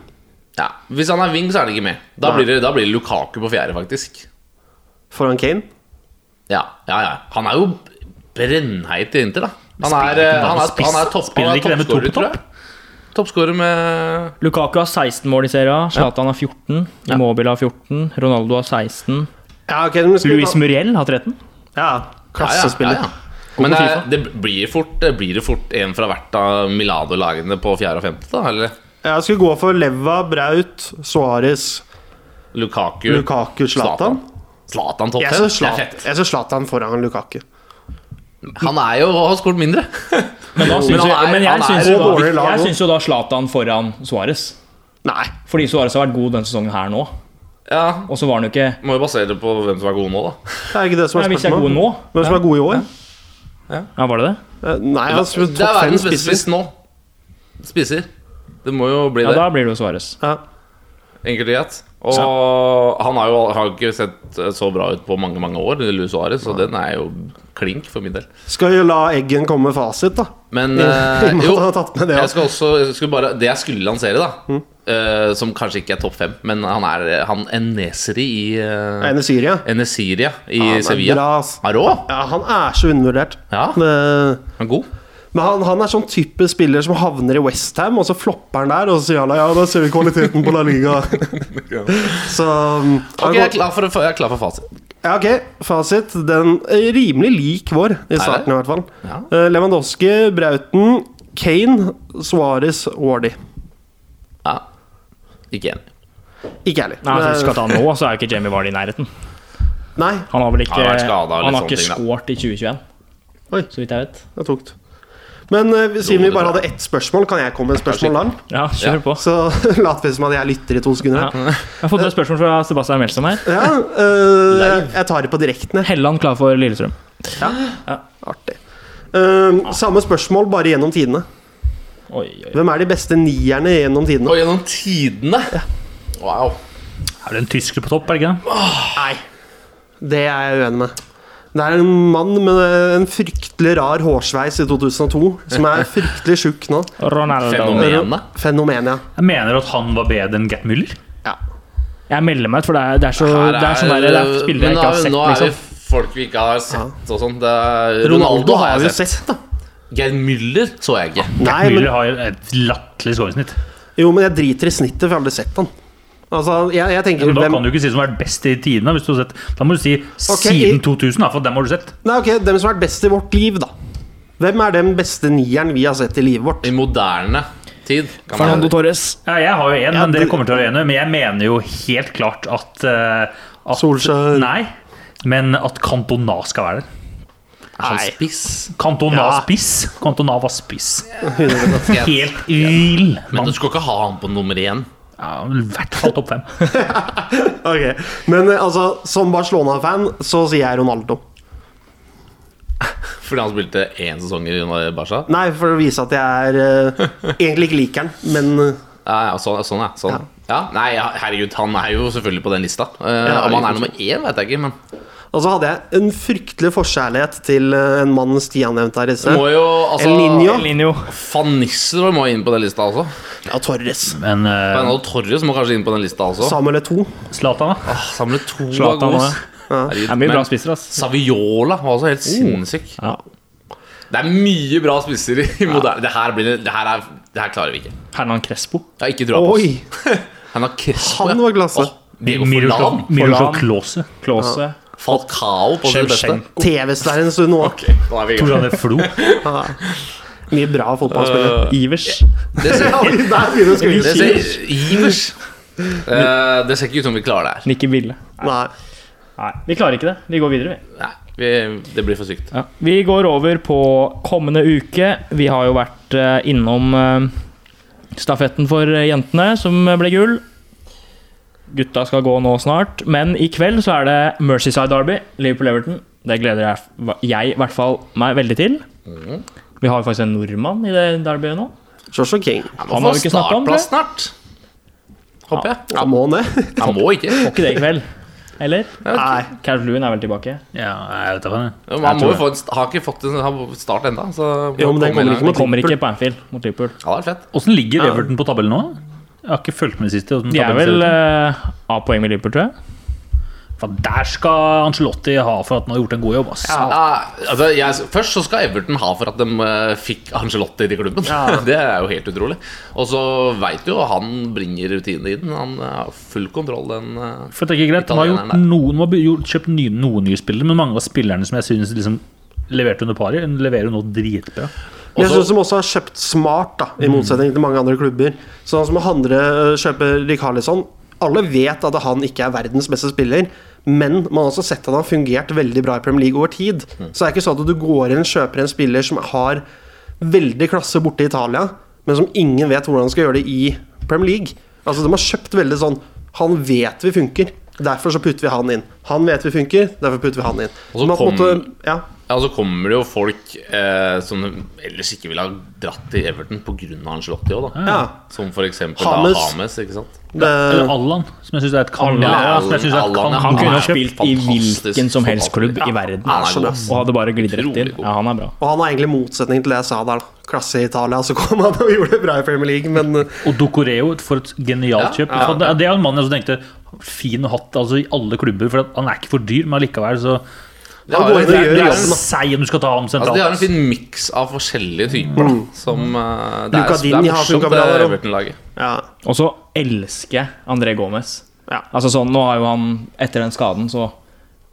[SPEAKER 2] Ja, Hvis han er wing, så er han ikke med. Da
[SPEAKER 4] Nei.
[SPEAKER 2] blir det, da blir det Lukaku på fjerde, faktisk.
[SPEAKER 4] Foran Kane.
[SPEAKER 2] Ja, ja, ja. Han er jo brennheit i Inter, da. Han er,
[SPEAKER 3] Spiller ikke
[SPEAKER 2] eh,
[SPEAKER 3] bare
[SPEAKER 2] han er,
[SPEAKER 3] spiss,
[SPEAKER 2] han er,
[SPEAKER 3] da.
[SPEAKER 2] topp,
[SPEAKER 3] Spiller
[SPEAKER 2] han er
[SPEAKER 3] ikke det med to
[SPEAKER 2] toppskårer,
[SPEAKER 3] på
[SPEAKER 2] tror jeg. Toppskårer med
[SPEAKER 1] Lukaku har 16 mål i serien. Zlatan har 14. Immobile har 14. Ronaldo har 16.
[SPEAKER 4] Ja, ok, men skal vi
[SPEAKER 1] Luis
[SPEAKER 4] ta-
[SPEAKER 1] Muriel har 13.
[SPEAKER 4] Ja, klassespiller.
[SPEAKER 2] Ja, ja, ja. Men
[SPEAKER 1] på
[SPEAKER 2] eh, det blir fort det blir det fort en fra hvert av Milano-lagene på fjerde og femte, da? Eller?
[SPEAKER 4] Jeg skulle gå for Leva, Braut, Suárez,
[SPEAKER 2] Lukaku,
[SPEAKER 4] Lukaku, Zlatan.
[SPEAKER 2] Zlatan topp
[SPEAKER 4] Jeg
[SPEAKER 2] 10.
[SPEAKER 4] så
[SPEAKER 2] Det er
[SPEAKER 4] Zlatan-
[SPEAKER 2] fett.
[SPEAKER 4] jeg så Zlatan foran Lukaku.
[SPEAKER 2] Han er jo og har skåret mindre.
[SPEAKER 1] Men, da syns
[SPEAKER 2] Men han
[SPEAKER 1] jo-
[SPEAKER 2] er-
[SPEAKER 1] men
[SPEAKER 2] han
[SPEAKER 1] jeg
[SPEAKER 2] er
[SPEAKER 1] syns
[SPEAKER 4] så
[SPEAKER 1] jo, da-
[SPEAKER 4] dårlig lag
[SPEAKER 1] jeg
[SPEAKER 4] nå.
[SPEAKER 1] syns jo da Zlatan foran Suárez.
[SPEAKER 4] Nei.
[SPEAKER 1] Fordi Suárez har vært god denne sesongen her nå.
[SPEAKER 2] Ja,
[SPEAKER 1] Og så var han jo ikke
[SPEAKER 2] Må jo basere det på hvem som er god nå, da.
[SPEAKER 4] Det er ikke det som
[SPEAKER 1] Nei,
[SPEAKER 4] er
[SPEAKER 1] Hvis jeg er god
[SPEAKER 4] spørsmålet.
[SPEAKER 1] nå
[SPEAKER 4] Hvem som er god i år?
[SPEAKER 1] Ja, var det det?
[SPEAKER 4] Eh, Nei, han er
[SPEAKER 2] Det er
[SPEAKER 4] topp fem
[SPEAKER 2] verdens beste
[SPEAKER 4] spisser.
[SPEAKER 2] spiss nå. Spiser. Det må jo bli
[SPEAKER 1] Ja,
[SPEAKER 2] det.
[SPEAKER 1] da blir det jo Suárez.
[SPEAKER 4] Ja.
[SPEAKER 2] Enkelt og greit. Og han har jo har jo ikke sett eh, så bra ut på mange mange år, Luis Suárez, så den er jo klink for min del.
[SPEAKER 4] Skal vi la Eggen komme med fasit, da?
[SPEAKER 2] Men
[SPEAKER 4] I-
[SPEAKER 2] eh,
[SPEAKER 4] i og med
[SPEAKER 2] jo,
[SPEAKER 4] at han har tatt med det, ja. Mm.
[SPEAKER 2] jeg skal også, jeg skulle bare, det jeg skulle lansere, da eh, Som kanskje ikke er topp fem, men han er han Enesiri i eh,
[SPEAKER 4] Ene Syria.
[SPEAKER 2] Enesiria i
[SPEAKER 4] Han er
[SPEAKER 2] Sevilla.
[SPEAKER 4] bra, ass.
[SPEAKER 2] Han er rå!
[SPEAKER 4] Ja, han er så undervurdert. Eh,
[SPEAKER 2] Ja.
[SPEAKER 4] Det-
[SPEAKER 2] Han er god.
[SPEAKER 4] Men han, han er sånn type spiller som havner i Westham, og så flopper han der, og så sier han ja, da ser vi kvaliteten på La Liga. så um, han
[SPEAKER 2] Ok, jeg er
[SPEAKER 4] går-
[SPEAKER 2] klar for, jeg er klar for fasit.
[SPEAKER 4] ja, ok, fasit. Den er rimelig lik vår, i starten i hvert fall.
[SPEAKER 2] Ja.
[SPEAKER 4] Eh, Lewandowski, Brauten, Kane, Suárez, Wardy.
[SPEAKER 2] Ja. Ikke enig.
[SPEAKER 4] Ikke ærlig. Eh,
[SPEAKER 1] Nei, altså, Husk at han nå så er jo ikke Jamie Vardy i nærheten.
[SPEAKER 4] Nei,
[SPEAKER 1] Han har vel ikke
[SPEAKER 2] Han har vært skadet og
[SPEAKER 1] Han har
[SPEAKER 2] litt
[SPEAKER 1] ikke
[SPEAKER 2] sånne ting,
[SPEAKER 1] scoret i 2021.
[SPEAKER 4] Oi.
[SPEAKER 1] Så vidt jeg vet.
[SPEAKER 4] det er tungt. Men eh, siden
[SPEAKER 2] Jo,
[SPEAKER 4] vi
[SPEAKER 2] det
[SPEAKER 4] bare
[SPEAKER 2] tror
[SPEAKER 4] hadde ett spørsmål, kan jeg komme med et spørsmål da?
[SPEAKER 1] Ja, kjør på.
[SPEAKER 4] Så lat vi som at jeg lytter i to sekunder.
[SPEAKER 1] Ja. Jeg har fått et spørsmål fra Sebastian Melsom her.
[SPEAKER 4] Ja, eh, jeg tar det på direkten. jeg.
[SPEAKER 1] Helland klar for Lillestrøm.
[SPEAKER 4] Artig. Ehm, samme spørsmål, bare gjennom tidene.
[SPEAKER 1] Oi, oi.
[SPEAKER 4] Hvem er de beste nierne gjennom tidene?
[SPEAKER 2] Og gjennom tidene Wow.
[SPEAKER 3] Er det en tysker på topp, er det ikke det?
[SPEAKER 4] Nei, det er jeg uenig med. Det er en mann med en fryktelig rar hårsveis i 2002, som er fryktelig tjukk nå.
[SPEAKER 1] Ronaldo.
[SPEAKER 2] Fenomen. Fenomenet?
[SPEAKER 4] Fenomenet,
[SPEAKER 3] Jeg mener at han var bedre enn Gert Müller.
[SPEAKER 4] ja.
[SPEAKER 1] Jeg melder meg ut, for det er, det er så
[SPEAKER 2] Her
[SPEAKER 1] Det er sånn der, det er spillere jeg
[SPEAKER 2] men
[SPEAKER 1] ikke har
[SPEAKER 2] da-
[SPEAKER 1] sett,
[SPEAKER 2] Nå er vi
[SPEAKER 1] liksom.
[SPEAKER 2] folk vi ikke har sett og sånn. Det er-
[SPEAKER 4] ja. Ronaldo har vi jo sett, da.
[SPEAKER 2] Geir Müller så jeg ikke.
[SPEAKER 4] Nei, men,
[SPEAKER 3] Müller har et latterlig skåringssnitt.
[SPEAKER 4] jo, men jeg driter i snittet, for jeg har aldri sett han. Altså, jeg, jeg tenker
[SPEAKER 3] Men Da
[SPEAKER 4] hvem,
[SPEAKER 3] kan du ikke si som har vært best i tidene. Hvis du har sett. Da må du si
[SPEAKER 4] i-
[SPEAKER 3] siden 2000, da, for dem har du sett.
[SPEAKER 4] Nei, ok, Dem som har vært best i vårt liv, da. Hvem er den beste nieren vi har sett i livet vårt?
[SPEAKER 2] I moderne tid. kan man-
[SPEAKER 1] Fernando Torres.
[SPEAKER 3] Ja, jeg har jo én,
[SPEAKER 4] Ja,
[SPEAKER 3] men dere
[SPEAKER 4] du-
[SPEAKER 3] kommer til å være enige. Men jeg mener jo helt klart at, eh, at
[SPEAKER 4] Solskjær.
[SPEAKER 3] Nei, men at Cantona skal være der.
[SPEAKER 2] Er han
[SPEAKER 4] Nei.
[SPEAKER 2] spiss?
[SPEAKER 3] Cantona
[SPEAKER 4] Ja.
[SPEAKER 3] spiss. Cantona var spiss.
[SPEAKER 2] Jeg-
[SPEAKER 3] Helt vill
[SPEAKER 2] Men du
[SPEAKER 3] mann.
[SPEAKER 2] skal ikke ha han på nummer én.
[SPEAKER 3] Ja, I hvert fall topp fem.
[SPEAKER 4] Ok, Men eh, altså, som Barcelona-fan så sier jeg Ronaldo.
[SPEAKER 2] Fordi han spilte én sesong i Barca?
[SPEAKER 4] Nei, for å vise at jeg er eh, Egentlig ikke liker han, men eh,
[SPEAKER 2] Ja, ja, sånn, sånn, ja. Sånn. ja. Nei, ja, herregud, han er jo selvfølgelig på den lista. Eh,
[SPEAKER 4] Ja,
[SPEAKER 2] om han er
[SPEAKER 4] herregud.
[SPEAKER 2] nummer én, vet jeg ikke, men
[SPEAKER 4] Og så altså hadde jeg en fryktelig forkjærlighet til eh, en mann Stian nevnte her i sted.
[SPEAKER 2] må jo altså
[SPEAKER 4] El Niño.
[SPEAKER 1] Linjo.
[SPEAKER 2] Van Nistelrooy må inn på den lista også.
[SPEAKER 4] Ja, Torres.
[SPEAKER 3] Men eh,
[SPEAKER 2] Fernando Torres må kanskje inn på den lista også.
[SPEAKER 4] Samuel Eto'o.
[SPEAKER 3] Zlatan, da?
[SPEAKER 2] Ah, Samle to av
[SPEAKER 1] Zlatan
[SPEAKER 2] gode.
[SPEAKER 1] også.
[SPEAKER 2] Herregud,
[SPEAKER 1] Det er mye
[SPEAKER 2] men-
[SPEAKER 1] bra spisser, ass.
[SPEAKER 2] Saviola var også helt sinnssyk.
[SPEAKER 1] Ja.
[SPEAKER 2] Det er mye bra spisser i moderne det her, blir, det, her er, det her klarer vi ikke.
[SPEAKER 1] Hernan Crespo.
[SPEAKER 2] Jeg har ikke trua på oss.
[SPEAKER 4] Oi!
[SPEAKER 2] Han har Crespo.
[SPEAKER 4] Han
[SPEAKER 2] ja.
[SPEAKER 4] var klasse.
[SPEAKER 2] Åh, Diego Forlan.
[SPEAKER 3] Miroslav Miroslav
[SPEAKER 1] Forlan.
[SPEAKER 3] Klause.
[SPEAKER 1] Klause.
[SPEAKER 2] Falcao på sitt beste.
[SPEAKER 1] Shevchenko.
[SPEAKER 4] TV-stjernen en stund nå.
[SPEAKER 2] Ok, nå er vi i gang.
[SPEAKER 3] Torane Flo.
[SPEAKER 4] Ja. Mye bra fotballspillere.
[SPEAKER 1] Ivers.
[SPEAKER 2] Det ser,
[SPEAKER 4] Oi, Der begynner
[SPEAKER 2] det
[SPEAKER 4] skvisen.
[SPEAKER 2] ser, Ivers. Eh, det ser ikke ut som vi klarer det her.
[SPEAKER 1] Nikki Bille.
[SPEAKER 4] Nei.
[SPEAKER 1] Nei, vi klarer ikke det. Vi går videre, vi.
[SPEAKER 2] Nei, vi, det blir for sykt.
[SPEAKER 1] Ja. Vi går over på kommende uke. Vi har jo vært eh, innom eh, stafetten for eh, jentene, som eh, ble gull. Gutta skal gå nå snart, men i kveld så er det Mercyside Derby. Liverpool-Everton. Det gleder jeg, jeg i hvert fall meg veldig til.
[SPEAKER 3] Mhm.
[SPEAKER 1] Vi har jo faktisk en nordmann i det derbyet nå.
[SPEAKER 4] Joshua King.
[SPEAKER 1] Han har vi ikke snakket om,
[SPEAKER 2] Startplass snart. Håper jeg.
[SPEAKER 4] Ja, må han det?
[SPEAKER 2] Han må ikke.
[SPEAKER 1] Får ikke det i kveld. Eller?
[SPEAKER 4] Nei.
[SPEAKER 1] Carl Lewin er vel tilbake?
[SPEAKER 3] Ja, jeg vet da faen. jeg.
[SPEAKER 2] Han må
[SPEAKER 3] Jeg
[SPEAKER 2] jo
[SPEAKER 3] tror det.
[SPEAKER 2] få en, st- har ikke fått en har start ennå.
[SPEAKER 4] Jo, men den kommer ikke
[SPEAKER 1] Han
[SPEAKER 4] mot-
[SPEAKER 1] kommer ikke på Anfield mot Liverpool.
[SPEAKER 2] Ja, det er fett.
[SPEAKER 3] Åssen ligger Everton på tabellen nå? Jeg har ikke fulgt med sist. hvordan
[SPEAKER 1] De er
[SPEAKER 3] tabellen ser
[SPEAKER 1] vel
[SPEAKER 3] ut.
[SPEAKER 1] eh, A-poeng med Liverpool, tror jeg.
[SPEAKER 3] Faen, Der skal Ancelotti ha for at han har gjort en god jobb. ass.
[SPEAKER 2] Ja, altså, jeg, først så skal Everton ha for at de eh, fikk Angelotti til klubben. det er jo helt utrolig. Og så veit du jo han bringer rutinene i den. Han eh, har full kontroll, den eh,
[SPEAKER 3] For det er ikke greit, De har,
[SPEAKER 2] Italieneren
[SPEAKER 3] gjort
[SPEAKER 2] der.
[SPEAKER 3] noen, de har gjort, kjøpt nye, noen nye spillere, men mange av spillerne som jeg synes liksom leverte under pari, leverer jo nå dritbra.
[SPEAKER 2] Også-
[SPEAKER 4] Men jeg
[SPEAKER 2] Mm.
[SPEAKER 4] synes de også har Sånn kjøpt smart, da, i motsetning til mange andre klubber. Sånn som Handre øh, eh, kjøper Rikarlisson Alle vet at han ikke er verdens beste spiller, men man har også sett at han har fungert veldig bra i Premier League over tid.
[SPEAKER 2] Mm.
[SPEAKER 4] Så det er ikke sånn at du går inn og kjøper en spiller som har veldig klasse borte i Italia, men som ingen vet hvordan han skal gjøre det i Premier League. Altså De har kjøpt veldig sånn Han vet vi funker, derfor så putter vi han inn. Han vet vi funker, derfor putter vi han inn.
[SPEAKER 2] Og så
[SPEAKER 4] Man på
[SPEAKER 2] kom-
[SPEAKER 4] en måte- ja.
[SPEAKER 2] Ja, og så kommer det jo folk eh, som ellers ikke ville ha dratt til Everton pga. Angelotti òg, da.
[SPEAKER 4] ja.
[SPEAKER 2] Som for eksempel
[SPEAKER 4] Hames.
[SPEAKER 2] Da, Hames, ikke sant.
[SPEAKER 4] Det,
[SPEAKER 3] Eller Allan, som jeg syns er et kan.
[SPEAKER 1] Allan,
[SPEAKER 3] ja, som jeg synes er et
[SPEAKER 2] Eh, Allan, ja.
[SPEAKER 1] Han kunne ha
[SPEAKER 2] er
[SPEAKER 1] spilt i
[SPEAKER 2] fantastisk
[SPEAKER 1] hvilken som helst
[SPEAKER 2] fotballspiller.
[SPEAKER 1] klubb i verden.
[SPEAKER 2] Han er god, ass.
[SPEAKER 1] Og hadde bare glidd rett inn.
[SPEAKER 2] Utrolig god.
[SPEAKER 1] Ja, han er bra.
[SPEAKER 4] og han har egentlig motsetning til det jeg sa der. da. Klasse i Italia, så kom han og gjorde det bra i Premier League, men
[SPEAKER 3] Og Docoreo, for et genialt
[SPEAKER 2] Ja,
[SPEAKER 3] kjøp. Det det er en mann jeg også tenkte fin å hatt altså, i alle klubber, for at han er ikke for dyr, men allikevel så
[SPEAKER 2] De har,
[SPEAKER 4] går
[SPEAKER 2] en-
[SPEAKER 4] inn
[SPEAKER 3] Det
[SPEAKER 4] og
[SPEAKER 2] de
[SPEAKER 3] er,
[SPEAKER 4] gjør
[SPEAKER 3] det er
[SPEAKER 2] har
[SPEAKER 3] en
[SPEAKER 2] en,
[SPEAKER 3] sei om du skal ta ham
[SPEAKER 2] altså, de har
[SPEAKER 3] sentralt.
[SPEAKER 2] en fin miks av forskjellige typer. Da, som eh, det, er,
[SPEAKER 4] Luca
[SPEAKER 2] det
[SPEAKER 4] Dini
[SPEAKER 2] er
[SPEAKER 4] Mm. har
[SPEAKER 2] morsomt,
[SPEAKER 4] Luca
[SPEAKER 2] det
[SPEAKER 4] Bravo.
[SPEAKER 2] Everton-laget.
[SPEAKER 4] ja.
[SPEAKER 1] Og så elsker jeg André Gomez.
[SPEAKER 4] Ja.
[SPEAKER 1] Altså sånn, nå har jo han Etter den skaden så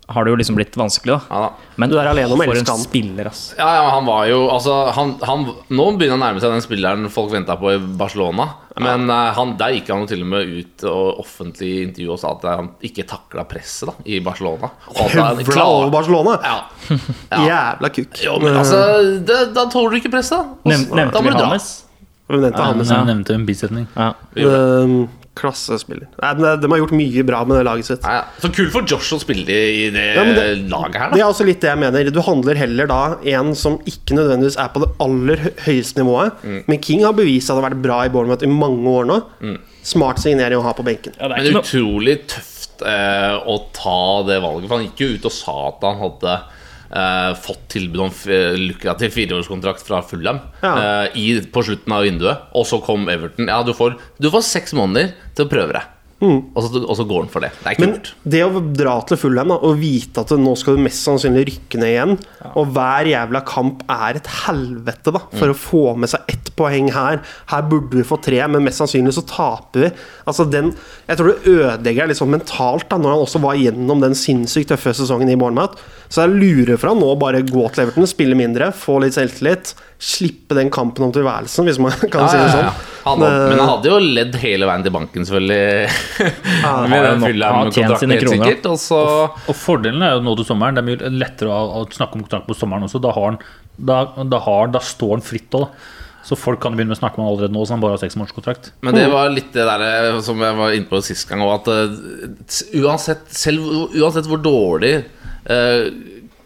[SPEAKER 1] har det jo liksom blitt vanskelig, da.
[SPEAKER 2] Ja, da.
[SPEAKER 1] Men
[SPEAKER 4] Du er alene om å
[SPEAKER 1] for
[SPEAKER 4] elske
[SPEAKER 1] en
[SPEAKER 4] han.
[SPEAKER 1] spiller, ass.
[SPEAKER 2] Ja, ja, men han var jo altså, han, han, Nå begynner han å nærme seg den spilleren folk venta på i Barcelona. Men eh, han, der gikk han jo til og med ut og offentlig i intervju og sa at han ikke takla presset da, i Barcelona. Og at han
[SPEAKER 4] Høvla over Barcelona!
[SPEAKER 2] Ja.
[SPEAKER 4] Jævla kukk. Eh,
[SPEAKER 2] Jo, men altså, det, da tåler du ikke presset, da.
[SPEAKER 1] Nev, nevnte vi Hames?
[SPEAKER 4] Vi nevnte han
[SPEAKER 3] Som jeg nevnte en bisetning.
[SPEAKER 1] Ja.
[SPEAKER 4] Ehm, Klassespiller. Nei, men eh, de har gjort mye bra med det laget sitt.
[SPEAKER 2] Nei, ja. Så kult for Josh å spille i det,
[SPEAKER 4] Ja, men det-
[SPEAKER 2] laget her,
[SPEAKER 4] Det
[SPEAKER 2] da.
[SPEAKER 4] er også litt det jeg mener. Du handler heller da en som ikke nødvendigvis er på det aller hø- høyeste nivået.
[SPEAKER 2] Mm.
[SPEAKER 4] Men King har bevist at det har vært bra i Bournemouth i mange år nå. Smart signering å ha på benken.
[SPEAKER 1] Ja, det er
[SPEAKER 2] Men
[SPEAKER 1] ikke noe
[SPEAKER 2] utrolig tøft eh, å ta det valget. For han gikk jo ut og sa at han hadde eh, fått tilbud om f- lukrativ fireårskontrakt fra Fulham
[SPEAKER 4] Ja.
[SPEAKER 2] eh, i, på slutten av vinduet. Og så kom Everton. Ja, du får, du får seks måneder til å prøve deg. Og, så, og så går han for det. Det er
[SPEAKER 4] Mm. Men
[SPEAKER 2] kult.
[SPEAKER 4] det å dra til Fulham da, og vite at nå skal du mest sannsynlig rykke ned igjen, og hver jævla kamp er et helvete da,
[SPEAKER 2] Mm.
[SPEAKER 4] for å få med seg ett poeng her Her burde vi få tre, men mest sannsynlig så taper vi. Altså den, Jeg tror det ødelegger litt sånn mentalt, da, når han også var gjennom den sinnssykt tøffe sesongen i Bournemouth. Så jeg lurer for han nå å bare gå til Everton, spille mindre, få litt selvtillit, slippe den kampen om tilværelsen, hvis man kan si det
[SPEAKER 2] Ja, ja,
[SPEAKER 4] sånn.
[SPEAKER 2] ja. Han, hadde- men han hadde jo ledd hele veien til banken, selvfølgelig. Med
[SPEAKER 1] han nok- han har tjent
[SPEAKER 2] den Fulham-kontrakten,
[SPEAKER 1] sine
[SPEAKER 2] helt
[SPEAKER 1] kroner, da.
[SPEAKER 2] sikkert. Og så
[SPEAKER 3] Og fordelen er jo nå til sommeren. Det er mye lettere å, å snakke om kontrakt på sommeren også. Da, har han, da, da, har, han- da står han fritt òg, da. Så folk kan begynne med å snakke med han allerede nå, så han bare har seksmånederskontrakt.
[SPEAKER 2] Men det var litt det der eh, som jeg var inne på sist gang, og at eh, s- uansett, selv, uansett hvor dårlig eh,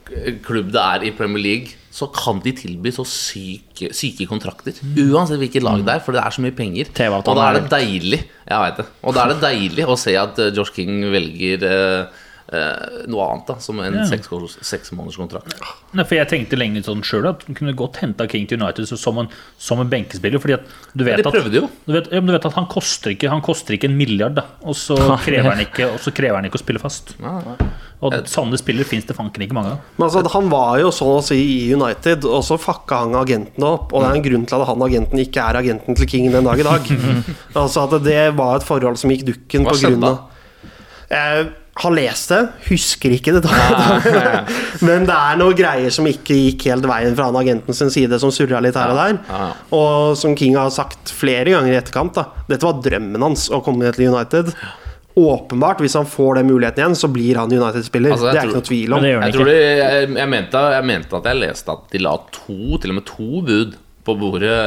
[SPEAKER 2] k- klubb det er i Premier League, så kan de tilby så syke, syke kontrakter. Uansett hvilket lag det er, for det er så mye penger.
[SPEAKER 1] TV-avtalen
[SPEAKER 2] Og da er
[SPEAKER 1] er
[SPEAKER 2] det deilig Jeg vet det Og da er det deilig å se at eh, Josh King velger eh, eh, noe annet da som en seks års- seks måneders kontrakt.
[SPEAKER 3] Nei, for jeg tenkte lenge sånn sjøl at du kunne godt henta King til United så som en, som en benkespiller. fordi at du vet
[SPEAKER 2] de prøvde jo.
[SPEAKER 3] at, du vet, ja, men du vet at han koster ikke Han koster ikke en milliard, da. Og så krever han ikke, og så krever han ikke å spille fast. Og sanne spillere fins det fanken ikke mange av.
[SPEAKER 4] Men altså, Han var jo sånn å si i United, og så fucka han agentene opp. Og det er en grunn til at han agenten ikke er agenten til King den dag i dag. altså at Det var et forhold som gikk dukken
[SPEAKER 2] Hva
[SPEAKER 4] på
[SPEAKER 2] skjedde
[SPEAKER 4] grunn
[SPEAKER 2] da?
[SPEAKER 4] av Jeg har lest det, husker ikke det.
[SPEAKER 2] Ah,
[SPEAKER 4] Men det er noen greier som ikke gikk helt veien fra han agenten sin side, som surra litt her og
[SPEAKER 2] Ja, ja.
[SPEAKER 4] der. Og som King har sagt flere ganger i etterkant, da dette var drømmen hans å komme ned til United. Åpenbart, hvis han får den muligheten igjen, så blir han United-spiller.
[SPEAKER 2] Altså, jeg
[SPEAKER 4] det er
[SPEAKER 2] tror-
[SPEAKER 4] ikke noe tvil om.
[SPEAKER 1] Men det gjør han
[SPEAKER 2] Jeg,
[SPEAKER 1] ikke.
[SPEAKER 2] tror de, jeg, jeg, mente, jeg mente at jeg leste at de la to, til og med to bud på bordet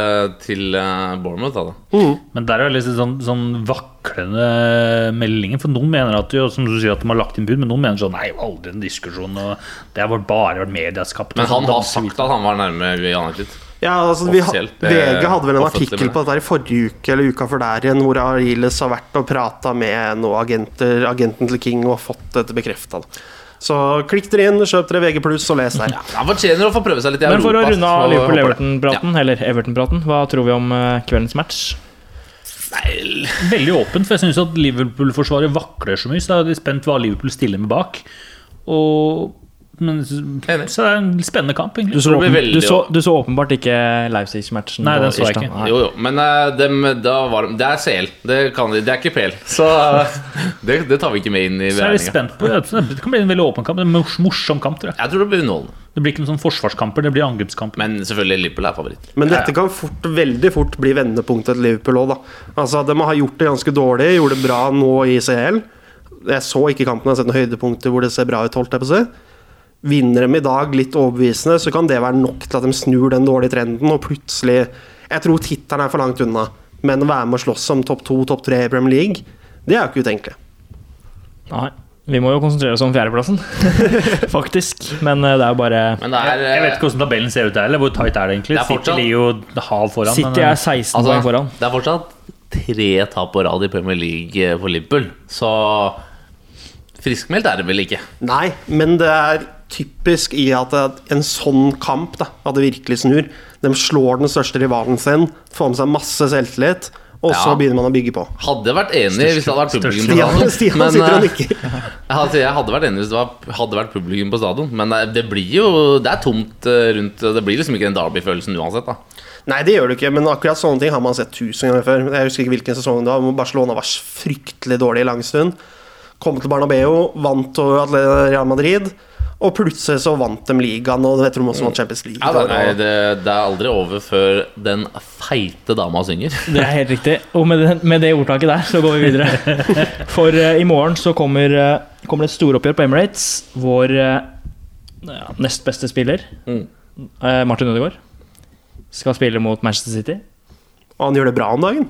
[SPEAKER 2] til eh, Bournemouth. Da, da.
[SPEAKER 4] Mm.
[SPEAKER 3] Men der er det litt sånn, sånn vaklende meldinger. For noen mener at jo, som du sier at de har lagt inn bud, men noen mener sånn Nei, aldri en diskusjon. Og det har vært- bare vært medieskapt.
[SPEAKER 2] Men
[SPEAKER 3] og sånn,
[SPEAKER 2] han har
[SPEAKER 3] danse-
[SPEAKER 2] sagt at han var nærme United.
[SPEAKER 4] Ja, altså vi ha,
[SPEAKER 2] Offisielt, eh,
[SPEAKER 4] VG hadde vel en
[SPEAKER 2] offentlig,
[SPEAKER 4] artikkel på dette her i forrige uke eller uka før der igjen, hvor Ariles har vært og prata med noen agenter, agenten til King og fått dette bekrefta. Så klikk dere inn, kjøp dere VG+, og les der.
[SPEAKER 2] Han fortjener å få prøve seg litt i
[SPEAKER 1] Men
[SPEAKER 2] Europa.
[SPEAKER 1] for å runde av
[SPEAKER 2] så jeg håper det.
[SPEAKER 1] Liverpool-Everton-praten, eller Everton-praten, hva tror vi om eh, kveldens match?
[SPEAKER 2] Nei,
[SPEAKER 3] Veldig åpent, for jeg syns at Liverpool-forsvaret vakler så mye. Så jeg er litt spent hva Liverpool stiller med bak. Og Men jeg synes-
[SPEAKER 2] Enig.
[SPEAKER 3] så det er en spennende kamp,
[SPEAKER 1] Du
[SPEAKER 3] egentlig.
[SPEAKER 1] så,
[SPEAKER 2] tror
[SPEAKER 1] åpen,
[SPEAKER 2] det blir
[SPEAKER 1] du
[SPEAKER 2] veldig-
[SPEAKER 1] så, du så åpenbart ikke Livestage-matchen.
[SPEAKER 3] Nei,
[SPEAKER 1] på
[SPEAKER 3] den så jeg
[SPEAKER 1] tirsdag.
[SPEAKER 3] ikke.
[SPEAKER 1] Nei.
[SPEAKER 2] Jo, jo, men eh, dem, da var de, det er CL. Det, kan de, det er ikke PL. Så eh, det, det tar vi ikke med inn i
[SPEAKER 3] Så jeg er litt
[SPEAKER 2] beregninga.
[SPEAKER 3] spent på Det kan bli en veldig åpen kamp. Det er en mors- morsom kamp, tror jeg.
[SPEAKER 2] Jeg tror det blir underholdende.
[SPEAKER 3] Det blir ikke noen sånn forsvarskamper, det blir angrepskamper.
[SPEAKER 2] Men selvfølgelig Liverpool er favoritt.
[SPEAKER 4] Men dette kan fort, veldig fort bli vendepunktet til Liverpool òg, da. Altså, de har gjort det ganske dårlig, gjorde det bra nå i CL. Jeg så ikke kampen, jeg har sett noen høydepunkter hvor det ser bra ut. holdt jeg på å si. Vinner de i dag litt overbevisende, så kan det være nok til at de snur den dårlige trenden og plutselig Jeg tror tittelen er for langt unna, men å være med og slåss om topp to, topp tre i Premier League, det er jo ikke utenkelig.
[SPEAKER 1] Nei. Vi må jo konsentrere oss om fjerdeplassen, faktisk. Men eh, det er jo bare
[SPEAKER 2] Men det er,
[SPEAKER 3] Jeg vet ikke hvordan tabellen ser ut der, eller hvor tight er det
[SPEAKER 2] Det
[SPEAKER 3] egentlig?
[SPEAKER 2] er
[SPEAKER 3] City
[SPEAKER 2] fortsatt-
[SPEAKER 3] ligger jo halv foran. men,
[SPEAKER 1] City
[SPEAKER 3] eh,
[SPEAKER 1] er 16
[SPEAKER 2] altså,
[SPEAKER 1] poeng foran.
[SPEAKER 2] Det er fortsatt tre tap på rad i Premier League eh, for Liverpool, så friskmeldt er det vel ikke.
[SPEAKER 4] Nei, men det er typisk i at at en sånn kamp da, at det virkelig snur. De slår den største rivalen sin, får med seg masse selvtillit, og så
[SPEAKER 2] Ja.
[SPEAKER 4] begynner man å bygge på.
[SPEAKER 2] Hadde vært enig hvis det hadde vært publikum på
[SPEAKER 4] Stian,
[SPEAKER 2] stadion.
[SPEAKER 4] Stian
[SPEAKER 2] men,
[SPEAKER 4] sitter og
[SPEAKER 2] eh,
[SPEAKER 4] nikker.
[SPEAKER 2] jeg hadde- Jeg hadde vært enig hvis det var, hadde vært publikum på stadion, men eh, det blir jo Det er tomt eh, rundt Det blir liksom ikke den Derby-følelsen uansett, da.
[SPEAKER 4] Nei, det gjør du ikke, men akkurat sånne ting har man sett tusen ganger før. Jeg husker ikke hvilken sesong det var, men Barcelona var fryktelig dårlig i lang stund. Kom til Bernabeu, vant over Atletico Real Madrid, og plutselig så vant de ligaen, og vet du om også vant Champions League.
[SPEAKER 2] Ja, da, nei,
[SPEAKER 4] og-
[SPEAKER 2] det, det er aldri over før den feite dama synger.
[SPEAKER 1] Det er helt riktig. Og med, den, med det ordtaket der, så går vi videre. For eh, i morgen så kommer, eh, kommer det et storoppgjør på Emirates. Vår eh, ja, nest beste spiller,
[SPEAKER 2] Mm.
[SPEAKER 1] eh, Martin Ødegaard, skal spille mot Manchester City.
[SPEAKER 4] Og han gjør det bra om dagen.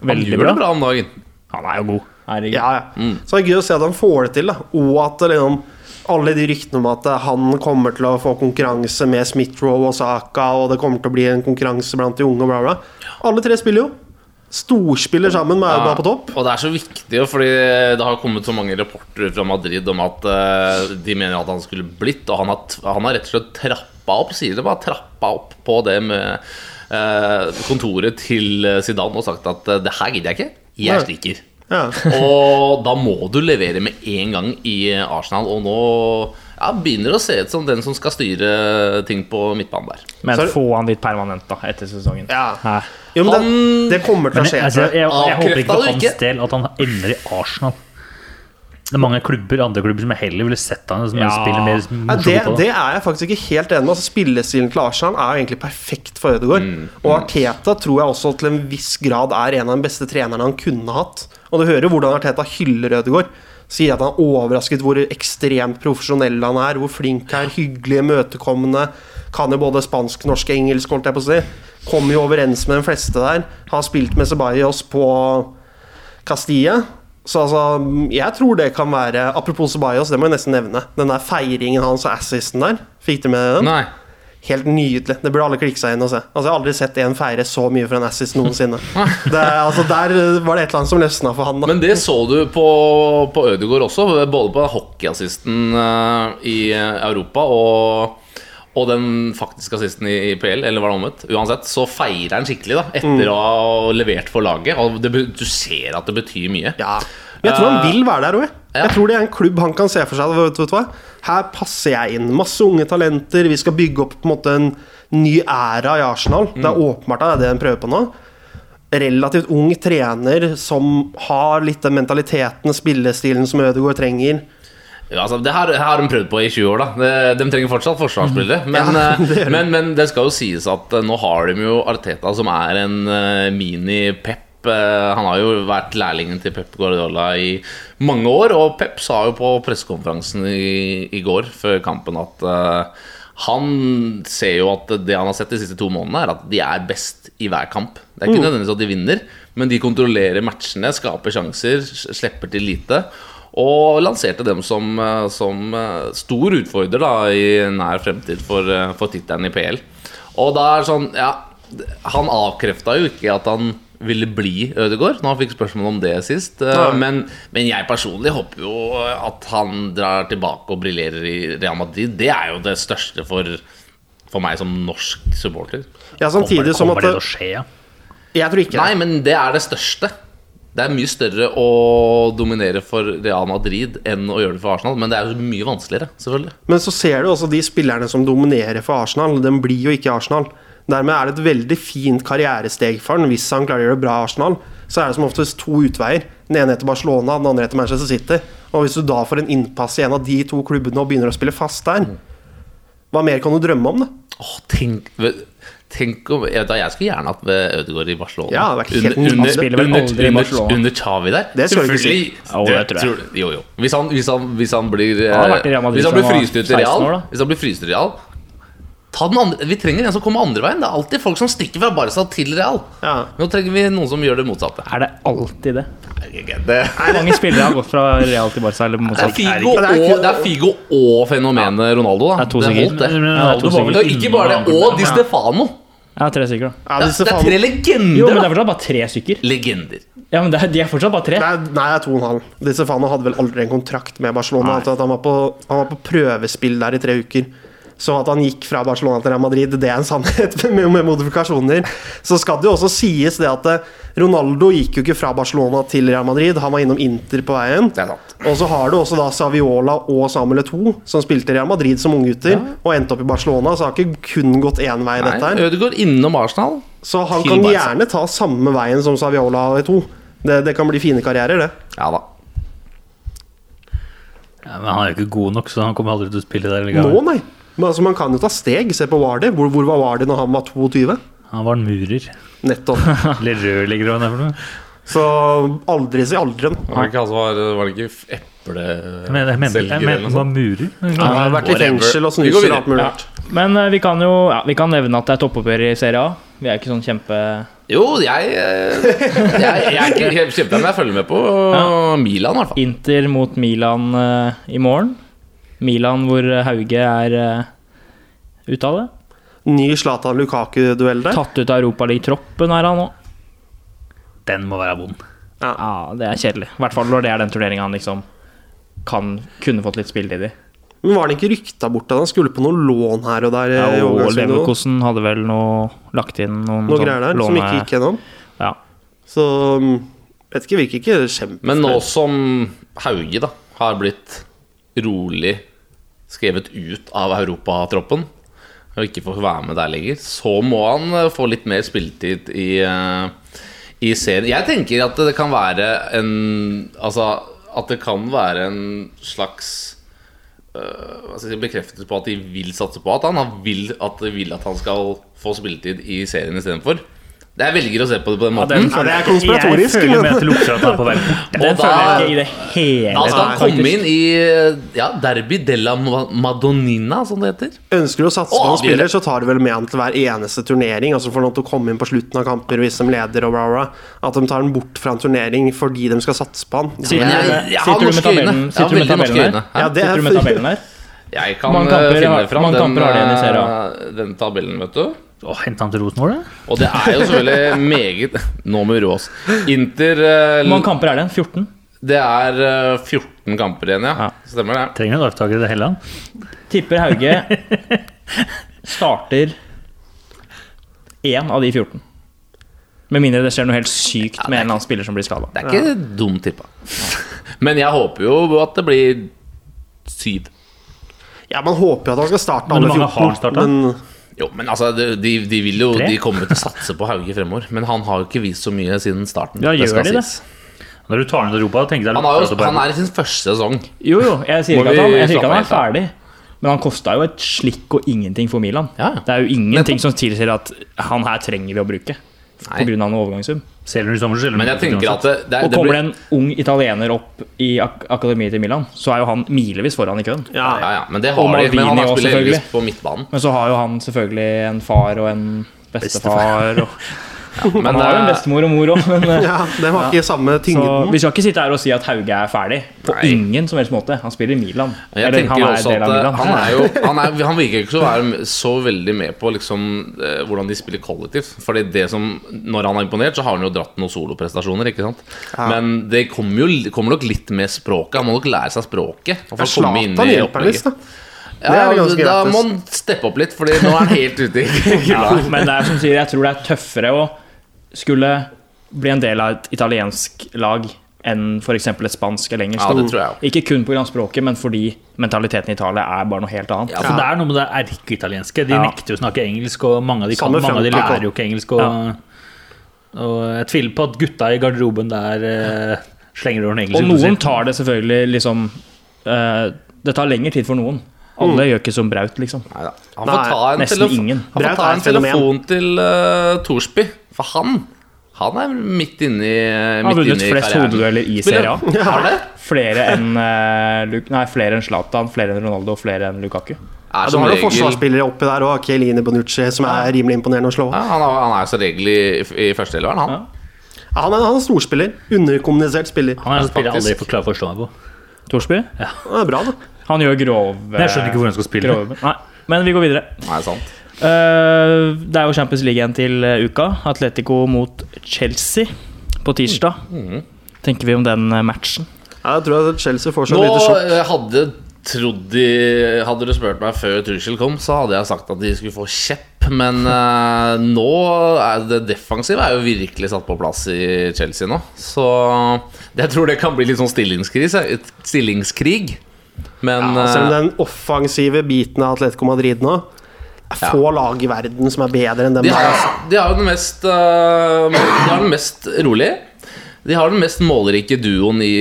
[SPEAKER 2] Han
[SPEAKER 1] Veldig
[SPEAKER 2] gjør det
[SPEAKER 1] bra.
[SPEAKER 2] bra om dagen.
[SPEAKER 1] Han er jo god. Herregud.
[SPEAKER 4] Ja, ja. Så det er gøy å se at han får det til, da. og at det liksom alle de ryktene om at eh, han kommer til å få konkurranse med Smith-Roe og Saka, og det kommer til å bli en konkurranse blant de unge, og bla, bla. Alle tre spiller jo. Storspiller sammen med Auba
[SPEAKER 2] Ja,
[SPEAKER 4] på topp.
[SPEAKER 2] Og det er så viktig, jo, fordi det har kommet så mange rapporter fra Madrid om at eh, de mener at han skulle blitt, og han har, t- han har rett og slett trappa opp, sier det bare, trappa opp på det med eh, kontoret til eh, Zidane og sagt at eh, det her gidder jeg ikke,
[SPEAKER 4] Nei.
[SPEAKER 2] jeg stikker.
[SPEAKER 4] Ja.
[SPEAKER 2] Og da må du levere med en gang i Arsenal, og nå ja, begynner det å se ut som den som skal styre ting på midtbanen der.
[SPEAKER 1] Men
[SPEAKER 4] Så er det-
[SPEAKER 1] få han dit permanent, da, etter sesongen.
[SPEAKER 4] Ja.
[SPEAKER 1] Hæ?
[SPEAKER 4] Jo, men det,
[SPEAKER 2] Han-
[SPEAKER 4] det kommer til
[SPEAKER 3] Men
[SPEAKER 4] å
[SPEAKER 3] jeg,
[SPEAKER 4] skje.
[SPEAKER 3] altså,
[SPEAKER 4] tror
[SPEAKER 3] jeg,
[SPEAKER 4] jeg.
[SPEAKER 3] jeg, håper ikke
[SPEAKER 2] Avkrefta
[SPEAKER 3] for
[SPEAKER 2] det
[SPEAKER 3] hans
[SPEAKER 2] ikke.
[SPEAKER 3] del at han ender i Arsenal. Det er mange klubber, andre klubber som jeg heller ville sett han som
[SPEAKER 1] Ja.
[SPEAKER 3] spiller mer morsom
[SPEAKER 4] Ja, det,
[SPEAKER 3] fotball.
[SPEAKER 4] det er jeg faktisk ikke helt enig med. Altså, spillestilen til Arsenal er jo egentlig perfekt for Ødegaard. Og Arteta tror jeg også til en viss grad er en av de beste trenerne han kunne hatt. Og du hører jo hvordan Arteta hyller Ødegaard. Sier at han er overrasket hvor ekstremt profesjonell han er, hvor flink han er, hyggelig, imøtekommende. Kan jo både spansk, norsk, engelsk, holdt jeg på å si. Kommer jo overens med de fleste der. Har spilt med Ceballos på Castilla. Så altså, jeg tror det kan være Apropos Ceballos, det må jeg nesten nevne. Den der feiringen hans og assisten der. Fikk du med den?
[SPEAKER 2] Nei.
[SPEAKER 4] Helt nydelig. Det burde alle klikke seg inn og se. Altså, Jeg har aldri sett en feire så mye for en assist noensinne. Det, altså, Der eh, var det et eller annet som løsna for han. da
[SPEAKER 2] Men det så du på, på Ødegaard også, både på hockeyassisten eh, i Europa og, og den faktiske assisten i, i PL, eller var det omvendt? Uansett, så feirer han skikkelig da, etter å ha levert for laget. Og det, be- du ser at det betyr mye.
[SPEAKER 4] Ja. Men jeg tror han
[SPEAKER 2] Eh,
[SPEAKER 4] vil være der òg.
[SPEAKER 2] ja.
[SPEAKER 4] Jeg tror det er en klubb han kan se for seg. Vet, vet du hva? Her passer jeg inn. Masse unge talenter. Vi skal bygge opp på en måte en ny æra i Arsenal. Det er åpenbart at det er det de prøver på nå. Relativt ung trener som har litt den mentaliteten, spillestilen som Ødegaard trenger.
[SPEAKER 2] Ja, altså, det her, her har de prøvd på i 20 år, da. De, de trenger fortsatt forsvarsspillere. Men,
[SPEAKER 4] Mhm. Ja,
[SPEAKER 2] eh,
[SPEAKER 4] det gjør de.
[SPEAKER 2] men, men det skal jo sies at eh, nå har de jo Arteta, som er en eh, mini-Pep. Eh, Han har jo vært lærlingen til Pep Guardiola i mange år, og Pep sa jo på pressekonferansen i, i går før kampen at eh, han ser jo at det han har sett de siste to månedene, er at de er best i hver kamp. Det er ikke
[SPEAKER 4] Mm.
[SPEAKER 2] nødvendigvis at de vinner, men de kontrollerer matchene, skaper sjanser, s- slipper til lite. Og lanserte dem som, eh, som eh, stor utfordrer da, i nær fremtid for, eh, for tittelen i PL. Og da er det sånn, ja Han avkrefta jo ikke at han ville bli Ødegaard, når han fikk spørsmål om det sist. eh,
[SPEAKER 4] Nei.
[SPEAKER 2] Men, men jeg personlig håper jo at han drar tilbake og briljerer i Real Madrid. Det er jo det største for, for meg som norsk supporter.
[SPEAKER 4] Ja, samtidig
[SPEAKER 3] kommer,
[SPEAKER 4] som at
[SPEAKER 3] kommer det til å skje, ja.
[SPEAKER 4] Jeg tror ikke
[SPEAKER 2] Nei,
[SPEAKER 4] det.
[SPEAKER 2] men det er det største. Det er mye større å dominere for Real Madrid enn å gjøre det for Arsenal, men det er jo mye vanskeligere, selvfølgelig.
[SPEAKER 4] Men så ser du også de spillerne som dominerer for Arsenal. Den blir jo ikke Arsenal. Dermed er det et veldig fint karrieresteg for han hvis han klarer å gjøre det bra i Arsenal. Så er det som oftest to utveier. Den ene heter Barcelona, den andre heter Manchester City. Og hvis du da får en innpass i en av de to klubbene og begynner å spille fast der, hva mer kan du drømme om, da?
[SPEAKER 2] Åh, tenk, tenk om Jeg, vet da, jeg skulle gjerne hatt ved Ødegaard i Barcelona.
[SPEAKER 4] Ja, det hadde vært helt
[SPEAKER 2] under,
[SPEAKER 1] Han spiller
[SPEAKER 2] under,
[SPEAKER 1] vel
[SPEAKER 2] under,
[SPEAKER 1] aldri i
[SPEAKER 2] under,
[SPEAKER 1] Barcelona.
[SPEAKER 2] under Xavi der.
[SPEAKER 4] Det skal du ikke si.
[SPEAKER 1] Jo, det tror jeg.
[SPEAKER 2] du- jo, jo. Hvis han, hvis han, hvis han blir eh,
[SPEAKER 1] Han har vært i Real Madrid
[SPEAKER 2] Hvis han blir
[SPEAKER 1] siden han var
[SPEAKER 2] fryst ut i
[SPEAKER 1] 16
[SPEAKER 2] Real,
[SPEAKER 1] år, da.
[SPEAKER 2] hvis han blir fryst ut i Real Ta den andre, vi trenger en som kommer andre veien. Det er alltid folk som stikker fra Barca til Real.
[SPEAKER 4] Ja.
[SPEAKER 2] Nå trenger vi noen som gjør det motsatte.
[SPEAKER 1] Er det alltid det?
[SPEAKER 2] Det
[SPEAKER 1] Mange spillere har gått fra Real til Barca eller
[SPEAKER 2] det er
[SPEAKER 1] motsatt.
[SPEAKER 2] Figo
[SPEAKER 4] det er ikke-
[SPEAKER 2] og, det er Figo og fenomenet Ronaldo.
[SPEAKER 1] Det
[SPEAKER 2] Da.
[SPEAKER 1] er to
[SPEAKER 2] det
[SPEAKER 1] stykker.
[SPEAKER 2] holdt, det.
[SPEAKER 3] Men- men
[SPEAKER 1] Ja, det er to
[SPEAKER 3] Ronaldo var
[SPEAKER 1] stykker.
[SPEAKER 3] vel
[SPEAKER 2] Og ikke bare det, og Di Stefano.
[SPEAKER 1] Ja, tre stykker, da.
[SPEAKER 4] Ja,
[SPEAKER 2] Det
[SPEAKER 4] disse
[SPEAKER 2] er, det er
[SPEAKER 4] faen-
[SPEAKER 2] tre legender,
[SPEAKER 1] Jo, men det
[SPEAKER 2] da.
[SPEAKER 1] er fortsatt bare tre stykker.
[SPEAKER 2] Legender.
[SPEAKER 1] Ja, men det er, De er fortsatt bare tre.
[SPEAKER 4] Nei, nei, det er to og en halv. Disse faene hadde vel aldri en kontrakt med Barcelona. altså At han, var på, han var på prøvespill der i tre uker. Så at han gikk fra Barcelona til Real Madrid, det er en sannhet med, med modifikasjoner. Så skal det jo også sies det at eh, Ronaldo gikk jo ikke fra Barcelona til Real Madrid. Han var innom Inter på veien.
[SPEAKER 2] Det er sant.
[SPEAKER 4] Og så har du også da Saviola og Samuel Eto'o, som spilte i Real Madrid som unggutter, og endte opp i Barcelona, så har ikke kun gått én vei,
[SPEAKER 2] Nei,
[SPEAKER 4] dette her.
[SPEAKER 2] Ødegaard innom Arsenal.
[SPEAKER 4] Så han
[SPEAKER 2] Til
[SPEAKER 4] kan
[SPEAKER 2] Barca.
[SPEAKER 4] gjerne ta samme veien som Saviola og Eto'o. Det, det kan bli fine karrierer, det.
[SPEAKER 2] Ja da.
[SPEAKER 3] Ja, men han er jo ikke god nok, så han kommer aldri til å spille der.
[SPEAKER 4] Nå,
[SPEAKER 3] likevel.
[SPEAKER 4] nei. Men altså, man kan jo ta steg. Se på Vardy. Hvor, hvor var Vardy når han var 22?
[SPEAKER 3] Han var en murer.
[SPEAKER 4] Nettopp.
[SPEAKER 3] Eller rørlegger, hva det er for noe.
[SPEAKER 4] Så aldri si aldri. da.
[SPEAKER 2] Var det ikke, han som var, var det ikke f- eple...
[SPEAKER 3] Jeg mener, jeg mener, jeg mener han var murer.
[SPEAKER 4] Han har vært i
[SPEAKER 2] Whatever.
[SPEAKER 4] fengsel og
[SPEAKER 2] Vi går
[SPEAKER 4] snuser og
[SPEAKER 2] videre.
[SPEAKER 4] alt mulig rart.
[SPEAKER 1] Men eh, vi kan jo ja, vi kan nevne at det er toppoppgjør i Serie A. Vi er ikke sånn kjempe...
[SPEAKER 2] Jo, jeg, eh, jeg, jeg er ikke helt kjempeenig, men jeg følger med på eh, Milan, i hvert fall.
[SPEAKER 1] Inter mot Milan eh, i morgen. Milan hvor eh, Hauge er eh, ute av det.
[SPEAKER 4] Ny Zlatan Lukaku-duell der.
[SPEAKER 1] Tatt ut av Europaliga-troppen er han nå.
[SPEAKER 3] Den må være vond.
[SPEAKER 1] Ja, det er kjedelig. I hvert fall når det er den turneringa han liksom kan, kunne fått litt spilletid i.
[SPEAKER 4] Men var han ikke rykta bort at han skulle på noe lån her og der? i
[SPEAKER 1] Ja, og
[SPEAKER 4] overgangsvinduet?
[SPEAKER 1] Leverkosen hadde vel noe, lagt inn noen
[SPEAKER 4] Noe
[SPEAKER 1] sånn
[SPEAKER 4] greier der som
[SPEAKER 1] låne-
[SPEAKER 4] ikke gikk gjennom.
[SPEAKER 1] Ja.
[SPEAKER 4] Så mm, vet ikke, virker ikke kjempe...
[SPEAKER 2] Men nå som Hauge da har blitt rolig skrevet ut av europatroppen og ikke får være med der lenger, så må han eh, få litt mer spilletid i, eh, i serien. Jeg tenker at det kan være en Altså at det kan være en slags eh, hva skal jeg si, bekreftelse på at de vil satse på at han han vil at, de vil at han skal få spilletid i serien istedenfor. Jeg velger å se på det på den måten.
[SPEAKER 4] Ja, det er konspiratorisk,
[SPEAKER 3] Jeg
[SPEAKER 4] men-
[SPEAKER 3] føler med at det lukter at han er på vei bort.
[SPEAKER 1] Den
[SPEAKER 2] da-
[SPEAKER 1] føler jeg ikke i det hele
[SPEAKER 2] Da skal altså, han
[SPEAKER 4] Nei,
[SPEAKER 2] komme inn i ja, Derby della Ma- Madonnina, som det heter.
[SPEAKER 4] Ønsker du å satse
[SPEAKER 2] Å,
[SPEAKER 4] på en
[SPEAKER 2] avgjøre.
[SPEAKER 4] spiller, så tar du vel med han til hver eneste turnering. Altså får han lov til å komme inn på slutten av kamper hvis de leder og bla, bla. At de tar han bort fra en turnering fordi de skal satse på han.
[SPEAKER 1] Sitter
[SPEAKER 2] Men jeg-
[SPEAKER 1] du med-
[SPEAKER 2] jeg har
[SPEAKER 1] sitter du med
[SPEAKER 2] norske øyne.
[SPEAKER 1] tabellen-
[SPEAKER 2] Jeg har
[SPEAKER 1] sitter du med
[SPEAKER 2] veldig
[SPEAKER 1] tabellen
[SPEAKER 2] norske øyne.
[SPEAKER 1] der?
[SPEAKER 4] Ja,
[SPEAKER 1] Sitter
[SPEAKER 4] det
[SPEAKER 1] du
[SPEAKER 4] er
[SPEAKER 1] med tabellen der?
[SPEAKER 2] Jeg kan
[SPEAKER 1] Mange kamper
[SPEAKER 2] eh, finne
[SPEAKER 1] har-
[SPEAKER 2] fram
[SPEAKER 1] mange
[SPEAKER 2] den,
[SPEAKER 1] kamper har de igjen i Serie
[SPEAKER 2] eh, den tabellen, vet du.
[SPEAKER 3] Å, Hente han til Rosenborg, da?
[SPEAKER 2] Og det er jo selvfølgelig meget Nå må vi roe oss. Inter eh,
[SPEAKER 1] Hvor mange kamper er det? 14?
[SPEAKER 2] Det er eh, 14 kamper igjen, ja.
[SPEAKER 1] Ja.
[SPEAKER 2] Stemmer det.
[SPEAKER 3] Trenger en arvtaker i det hele tatt.
[SPEAKER 1] Tipper Hauge starter én av de 14. Med mindre det skjer noe helt sykt med en eller annen spiller som blir skada.
[SPEAKER 2] Det er ikke dumt tippa. Men jeg håper jo at det blir syv.
[SPEAKER 4] Ja, Man håper jo at han skal starte
[SPEAKER 3] Men
[SPEAKER 4] alle
[SPEAKER 3] hvor mange har
[SPEAKER 4] 14.
[SPEAKER 3] han startet?
[SPEAKER 4] Men
[SPEAKER 2] Jo, men altså, de, de de vil jo
[SPEAKER 3] Tre?
[SPEAKER 2] De kommer jo til å satse på Hauge fremover. Men han har jo ikke vist så mye siden starten.
[SPEAKER 1] Ja, gjør
[SPEAKER 2] skal
[SPEAKER 1] de det?
[SPEAKER 2] sies.
[SPEAKER 3] Når du tar ned til Europa, tenker jeg
[SPEAKER 2] Han, har jo,
[SPEAKER 3] lukter at
[SPEAKER 2] han
[SPEAKER 3] det
[SPEAKER 2] er i sin første sesong.
[SPEAKER 1] Jo, jo, jeg sier
[SPEAKER 2] Må
[SPEAKER 1] ikke at han,
[SPEAKER 2] vi
[SPEAKER 1] jeg sier ikke at han er
[SPEAKER 2] slappe
[SPEAKER 1] ferdig. Men han kosta jo et slikk og ingenting for Milan.
[SPEAKER 2] Ja.
[SPEAKER 1] Det er jo ingenting som tilsier at han her trenger vi å bruke.
[SPEAKER 2] Nei.
[SPEAKER 1] Pga. noe overgangssum.
[SPEAKER 3] Selger du i sommer, så selger du
[SPEAKER 2] Men jeg tenker at det, det,
[SPEAKER 1] Og
[SPEAKER 2] det
[SPEAKER 1] kommer det
[SPEAKER 2] blir
[SPEAKER 1] en ung italiener opp i ak akademiet til Milan, så er jo han milevis foran i køen.
[SPEAKER 2] ja, ja, ja, men det
[SPEAKER 1] Og
[SPEAKER 2] har de. Men han
[SPEAKER 1] Maldini
[SPEAKER 2] har
[SPEAKER 1] også,
[SPEAKER 2] spiller
[SPEAKER 1] selvfølgelig.
[SPEAKER 2] Elvis på midtbanen.
[SPEAKER 1] Men så har jo han selvfølgelig en far og en bestefar. Og,
[SPEAKER 2] Men
[SPEAKER 1] han har jo en
[SPEAKER 2] eh,
[SPEAKER 1] bestemor og mor òg, men eh,
[SPEAKER 4] ja, den har ikke samme
[SPEAKER 1] så,
[SPEAKER 4] tyngden.
[SPEAKER 1] vi skal ikke sitte her og si at Hauge er ferdig. På
[SPEAKER 2] Nei.
[SPEAKER 1] ingen som helst måte. Han spiller i Milan.
[SPEAKER 2] jeg
[SPEAKER 1] Eller
[SPEAKER 2] tenker
[SPEAKER 1] han
[SPEAKER 2] jo
[SPEAKER 1] er
[SPEAKER 2] også
[SPEAKER 1] del
[SPEAKER 2] at
[SPEAKER 1] av
[SPEAKER 2] eh,
[SPEAKER 1] Milan.
[SPEAKER 2] han, er jo, han, er, han virker ikke så å være så veldig med på liksom, eh, hvordan de spiller kollektivt. Fordi det som, Når han har imponert, så har han jo dratt noen soloprestasjoner. ikke sant? Men det kommer jo det kommer nok litt med språket. Han må nok lære seg språket. Og
[SPEAKER 4] Ja,
[SPEAKER 2] få komme inn
[SPEAKER 4] Zlatan
[SPEAKER 2] i
[SPEAKER 4] hjelper han
[SPEAKER 2] opplegget.
[SPEAKER 4] visst, da. Det
[SPEAKER 2] Ja,
[SPEAKER 4] er ganske
[SPEAKER 2] da
[SPEAKER 4] gratis.
[SPEAKER 2] må han steppe opp litt, Fordi nå er han helt ute i kulda.
[SPEAKER 1] Ja, men det er som sier, jeg tror det er tøffere å skulle bli en del av et italiensk lag enn f.eks. et spansk eller engelsk.
[SPEAKER 2] Ja,
[SPEAKER 1] da.
[SPEAKER 2] det tror jeg også.
[SPEAKER 1] Ikke kun pga. språket, men fordi mentaliteten i Italia er bare noe helt annet.
[SPEAKER 2] Ja,
[SPEAKER 3] For det er noe med det erkeitalienske. De
[SPEAKER 1] Ja.
[SPEAKER 3] nekter jo å snakke engelsk, og mange av de, kan,
[SPEAKER 4] Samme
[SPEAKER 3] mange av de
[SPEAKER 4] Frankrike.
[SPEAKER 3] lærer jo ikke engelsk. Og, og jeg tviler på at gutta i garderoben der eh, slenger over noe engelsk.
[SPEAKER 1] Og
[SPEAKER 3] ut
[SPEAKER 1] noen
[SPEAKER 3] sitt.
[SPEAKER 1] tar det selvfølgelig liksom eh, Det tar lengre tid for noen. Alle
[SPEAKER 2] Mm.
[SPEAKER 1] gjør ikke som Braut, liksom.
[SPEAKER 2] Neida. Han
[SPEAKER 4] Nei,
[SPEAKER 2] får ta en,
[SPEAKER 1] nesten
[SPEAKER 2] telefo
[SPEAKER 1] ingen.
[SPEAKER 2] Han får
[SPEAKER 4] Braut
[SPEAKER 2] ta
[SPEAKER 4] er
[SPEAKER 2] en
[SPEAKER 4] et fenomen.
[SPEAKER 2] telefon til uh, Torsby, for han Han er midt inne i
[SPEAKER 1] Han har vunnet flest hodedueller i Serie A.
[SPEAKER 2] Ja. Er det?
[SPEAKER 1] Flere enn eh, Lu- Nei, flere enn Zlatan, flere enn Ronaldo og flere enn Lukaku.
[SPEAKER 2] Er
[SPEAKER 4] Ja, du
[SPEAKER 2] som
[SPEAKER 4] har noen
[SPEAKER 2] regel-
[SPEAKER 4] forsvarsspillere oppi der òg. Kielini Bonucci, som er rimelig imponerende å slå.
[SPEAKER 2] ja, han, er, han er som regel i, i førsteelveren, han.
[SPEAKER 4] Ja, han, er, han er storspiller. Underkommunisert spiller.
[SPEAKER 3] Han er en spiller jeg aldri
[SPEAKER 2] Faktisk.
[SPEAKER 3] får klarer å forstå meg på.
[SPEAKER 1] Torsby?
[SPEAKER 4] Han er bra, da.
[SPEAKER 1] Han gjør grove
[SPEAKER 3] Jeg skjønner ikke hvor han skal spille.
[SPEAKER 1] grove. Nei, men vi går videre.
[SPEAKER 2] Nei, sant.
[SPEAKER 1] Eh, det er jo Champions League igjen til eh, uka. Atletico mot Chelsea på tirsdag.
[SPEAKER 3] Mm.
[SPEAKER 1] Tenker vi om den eh, matchen?
[SPEAKER 4] Ja, Jeg tror at Chelsea får seg
[SPEAKER 2] Nå
[SPEAKER 4] et lite sjokk.
[SPEAKER 2] eh, hadde trodd de Hadde du spurt meg før Tuchel kom, så hadde jeg sagt at de skulle få kjepp, men eh, nå er det defensive er jo virkelig satt på plass i Chelsea nå. Så jeg tror det kan bli litt sånn stillingskrise, et stillingskrig. Men
[SPEAKER 4] Ja, altså, selv om
[SPEAKER 2] eh,
[SPEAKER 4] den offensive biten av Atletico Madrid nå er Få lag i verden som er bedre enn dem.
[SPEAKER 2] de
[SPEAKER 4] der,
[SPEAKER 2] har,
[SPEAKER 4] altså.
[SPEAKER 2] de har jo den mest eh, De har den mest rolige. De har den mest målrike duoen i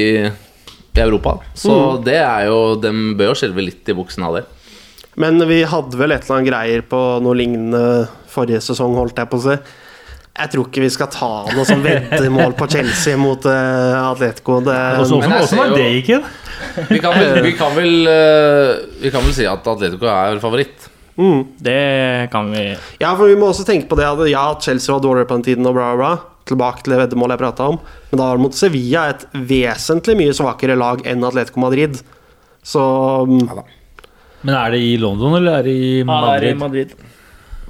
[SPEAKER 2] i Europa, så
[SPEAKER 4] Mm.
[SPEAKER 2] det er jo De bør jo skjelve litt i buksen av det.
[SPEAKER 4] Men vi hadde vel et eller annet greier på noe lignende forrige sesong, holdt jeg på å si. Jeg tror ikke vi skal ta noe sånn veddemål på Chelsea mot eh, Atletico. Det,
[SPEAKER 3] Også,
[SPEAKER 2] Men
[SPEAKER 3] også,
[SPEAKER 2] jeg
[SPEAKER 3] også
[SPEAKER 2] ser
[SPEAKER 3] når
[SPEAKER 2] jo-
[SPEAKER 3] det gikk inn.
[SPEAKER 2] Vi kan, vel, vi, kan vel, eh, vi kan vel si at Atletico er favoritt.
[SPEAKER 1] Det kan vi
[SPEAKER 4] Ja, for vi må også tenke på det at ja, Chelsea var dårligere på den tiden og bla, bla, bla. Tilbake til det veddemålet jeg prata om. Men da var det mot Sevilla et vesentlig mye svakere lag enn Atletico Madrid. Så mm,
[SPEAKER 3] Men er det i London, eller er det i
[SPEAKER 1] Ja, det er i
[SPEAKER 3] Madrid?
[SPEAKER 1] Madrid.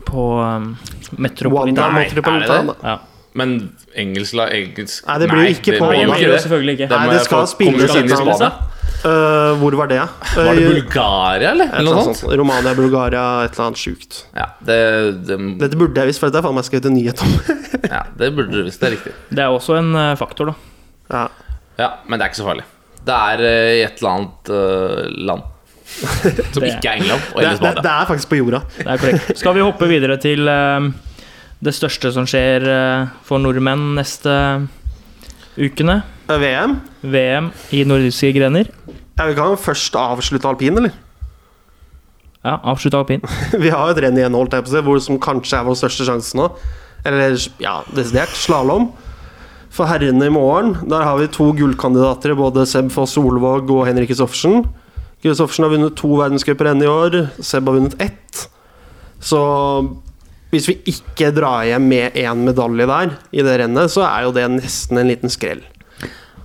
[SPEAKER 1] På um,
[SPEAKER 4] Wanda
[SPEAKER 1] Metropolitan.
[SPEAKER 2] Nei, er
[SPEAKER 4] Metropolitan
[SPEAKER 2] det
[SPEAKER 4] da.
[SPEAKER 1] Ja.
[SPEAKER 2] Men engelsk la engelsk
[SPEAKER 4] Nei, det blir jo ikke på
[SPEAKER 1] Det
[SPEAKER 2] blir jo
[SPEAKER 4] Wanda.
[SPEAKER 1] gjør
[SPEAKER 2] ikke
[SPEAKER 1] jo
[SPEAKER 2] det.
[SPEAKER 1] selvfølgelig ikke.
[SPEAKER 2] Da
[SPEAKER 4] Nei,
[SPEAKER 2] må
[SPEAKER 4] det
[SPEAKER 2] jeg
[SPEAKER 4] skal
[SPEAKER 2] få-
[SPEAKER 4] spilles
[SPEAKER 2] kommer det inn i
[SPEAKER 4] utenlands,
[SPEAKER 2] Spania.
[SPEAKER 4] Øh, hvor var det?
[SPEAKER 2] Var det
[SPEAKER 4] Øh,
[SPEAKER 2] Bulgaria, eller?
[SPEAKER 4] et
[SPEAKER 2] eller
[SPEAKER 4] eller
[SPEAKER 2] noe
[SPEAKER 4] annet
[SPEAKER 2] sånt?
[SPEAKER 4] sånt. Romania, Bulgaria, et eller annet sjukt.
[SPEAKER 2] Ja, det, det,
[SPEAKER 4] Dette burde jeg visst, for dette har faen meg skrevet en nyhet om.
[SPEAKER 2] ja, det burde du visst. Det er riktig.
[SPEAKER 1] Det er også en eh, faktor, da.
[SPEAKER 4] ja.
[SPEAKER 2] Ja, Men det er ikke så farlig. Det er eh, i et eller annet eh, land. Som ikke er England og
[SPEAKER 4] det,
[SPEAKER 2] eller
[SPEAKER 4] det, det
[SPEAKER 2] Spania.
[SPEAKER 4] er faktisk på jorda.
[SPEAKER 1] Det er korrekt. Skal vi hoppe videre til eh, det største som skjer eh, for nordmenn neste eh, ukene?
[SPEAKER 4] Øh, VM?
[SPEAKER 1] VM i nordiske grener.
[SPEAKER 4] Ja, Vi kan jo først avslutte alpin, eller?
[SPEAKER 1] Ja, avslutt alpin.
[SPEAKER 4] Vi har jo et renn igjen, holdt jeg på å si, hvor som kanskje er vår største sjanse nå. Eller ja, desidert slalåm. For herrene i morgen, der har vi to gullkandidater, både Seb Foss Solvåg og Henrik Kristoffersen. Kristoffersen har vunnet to verdenscuper ennå i år, Seb har vunnet ett. Så hvis vi ikke drar hjem med én medalje der, i det rennet, så er jo det nesten en liten skrell.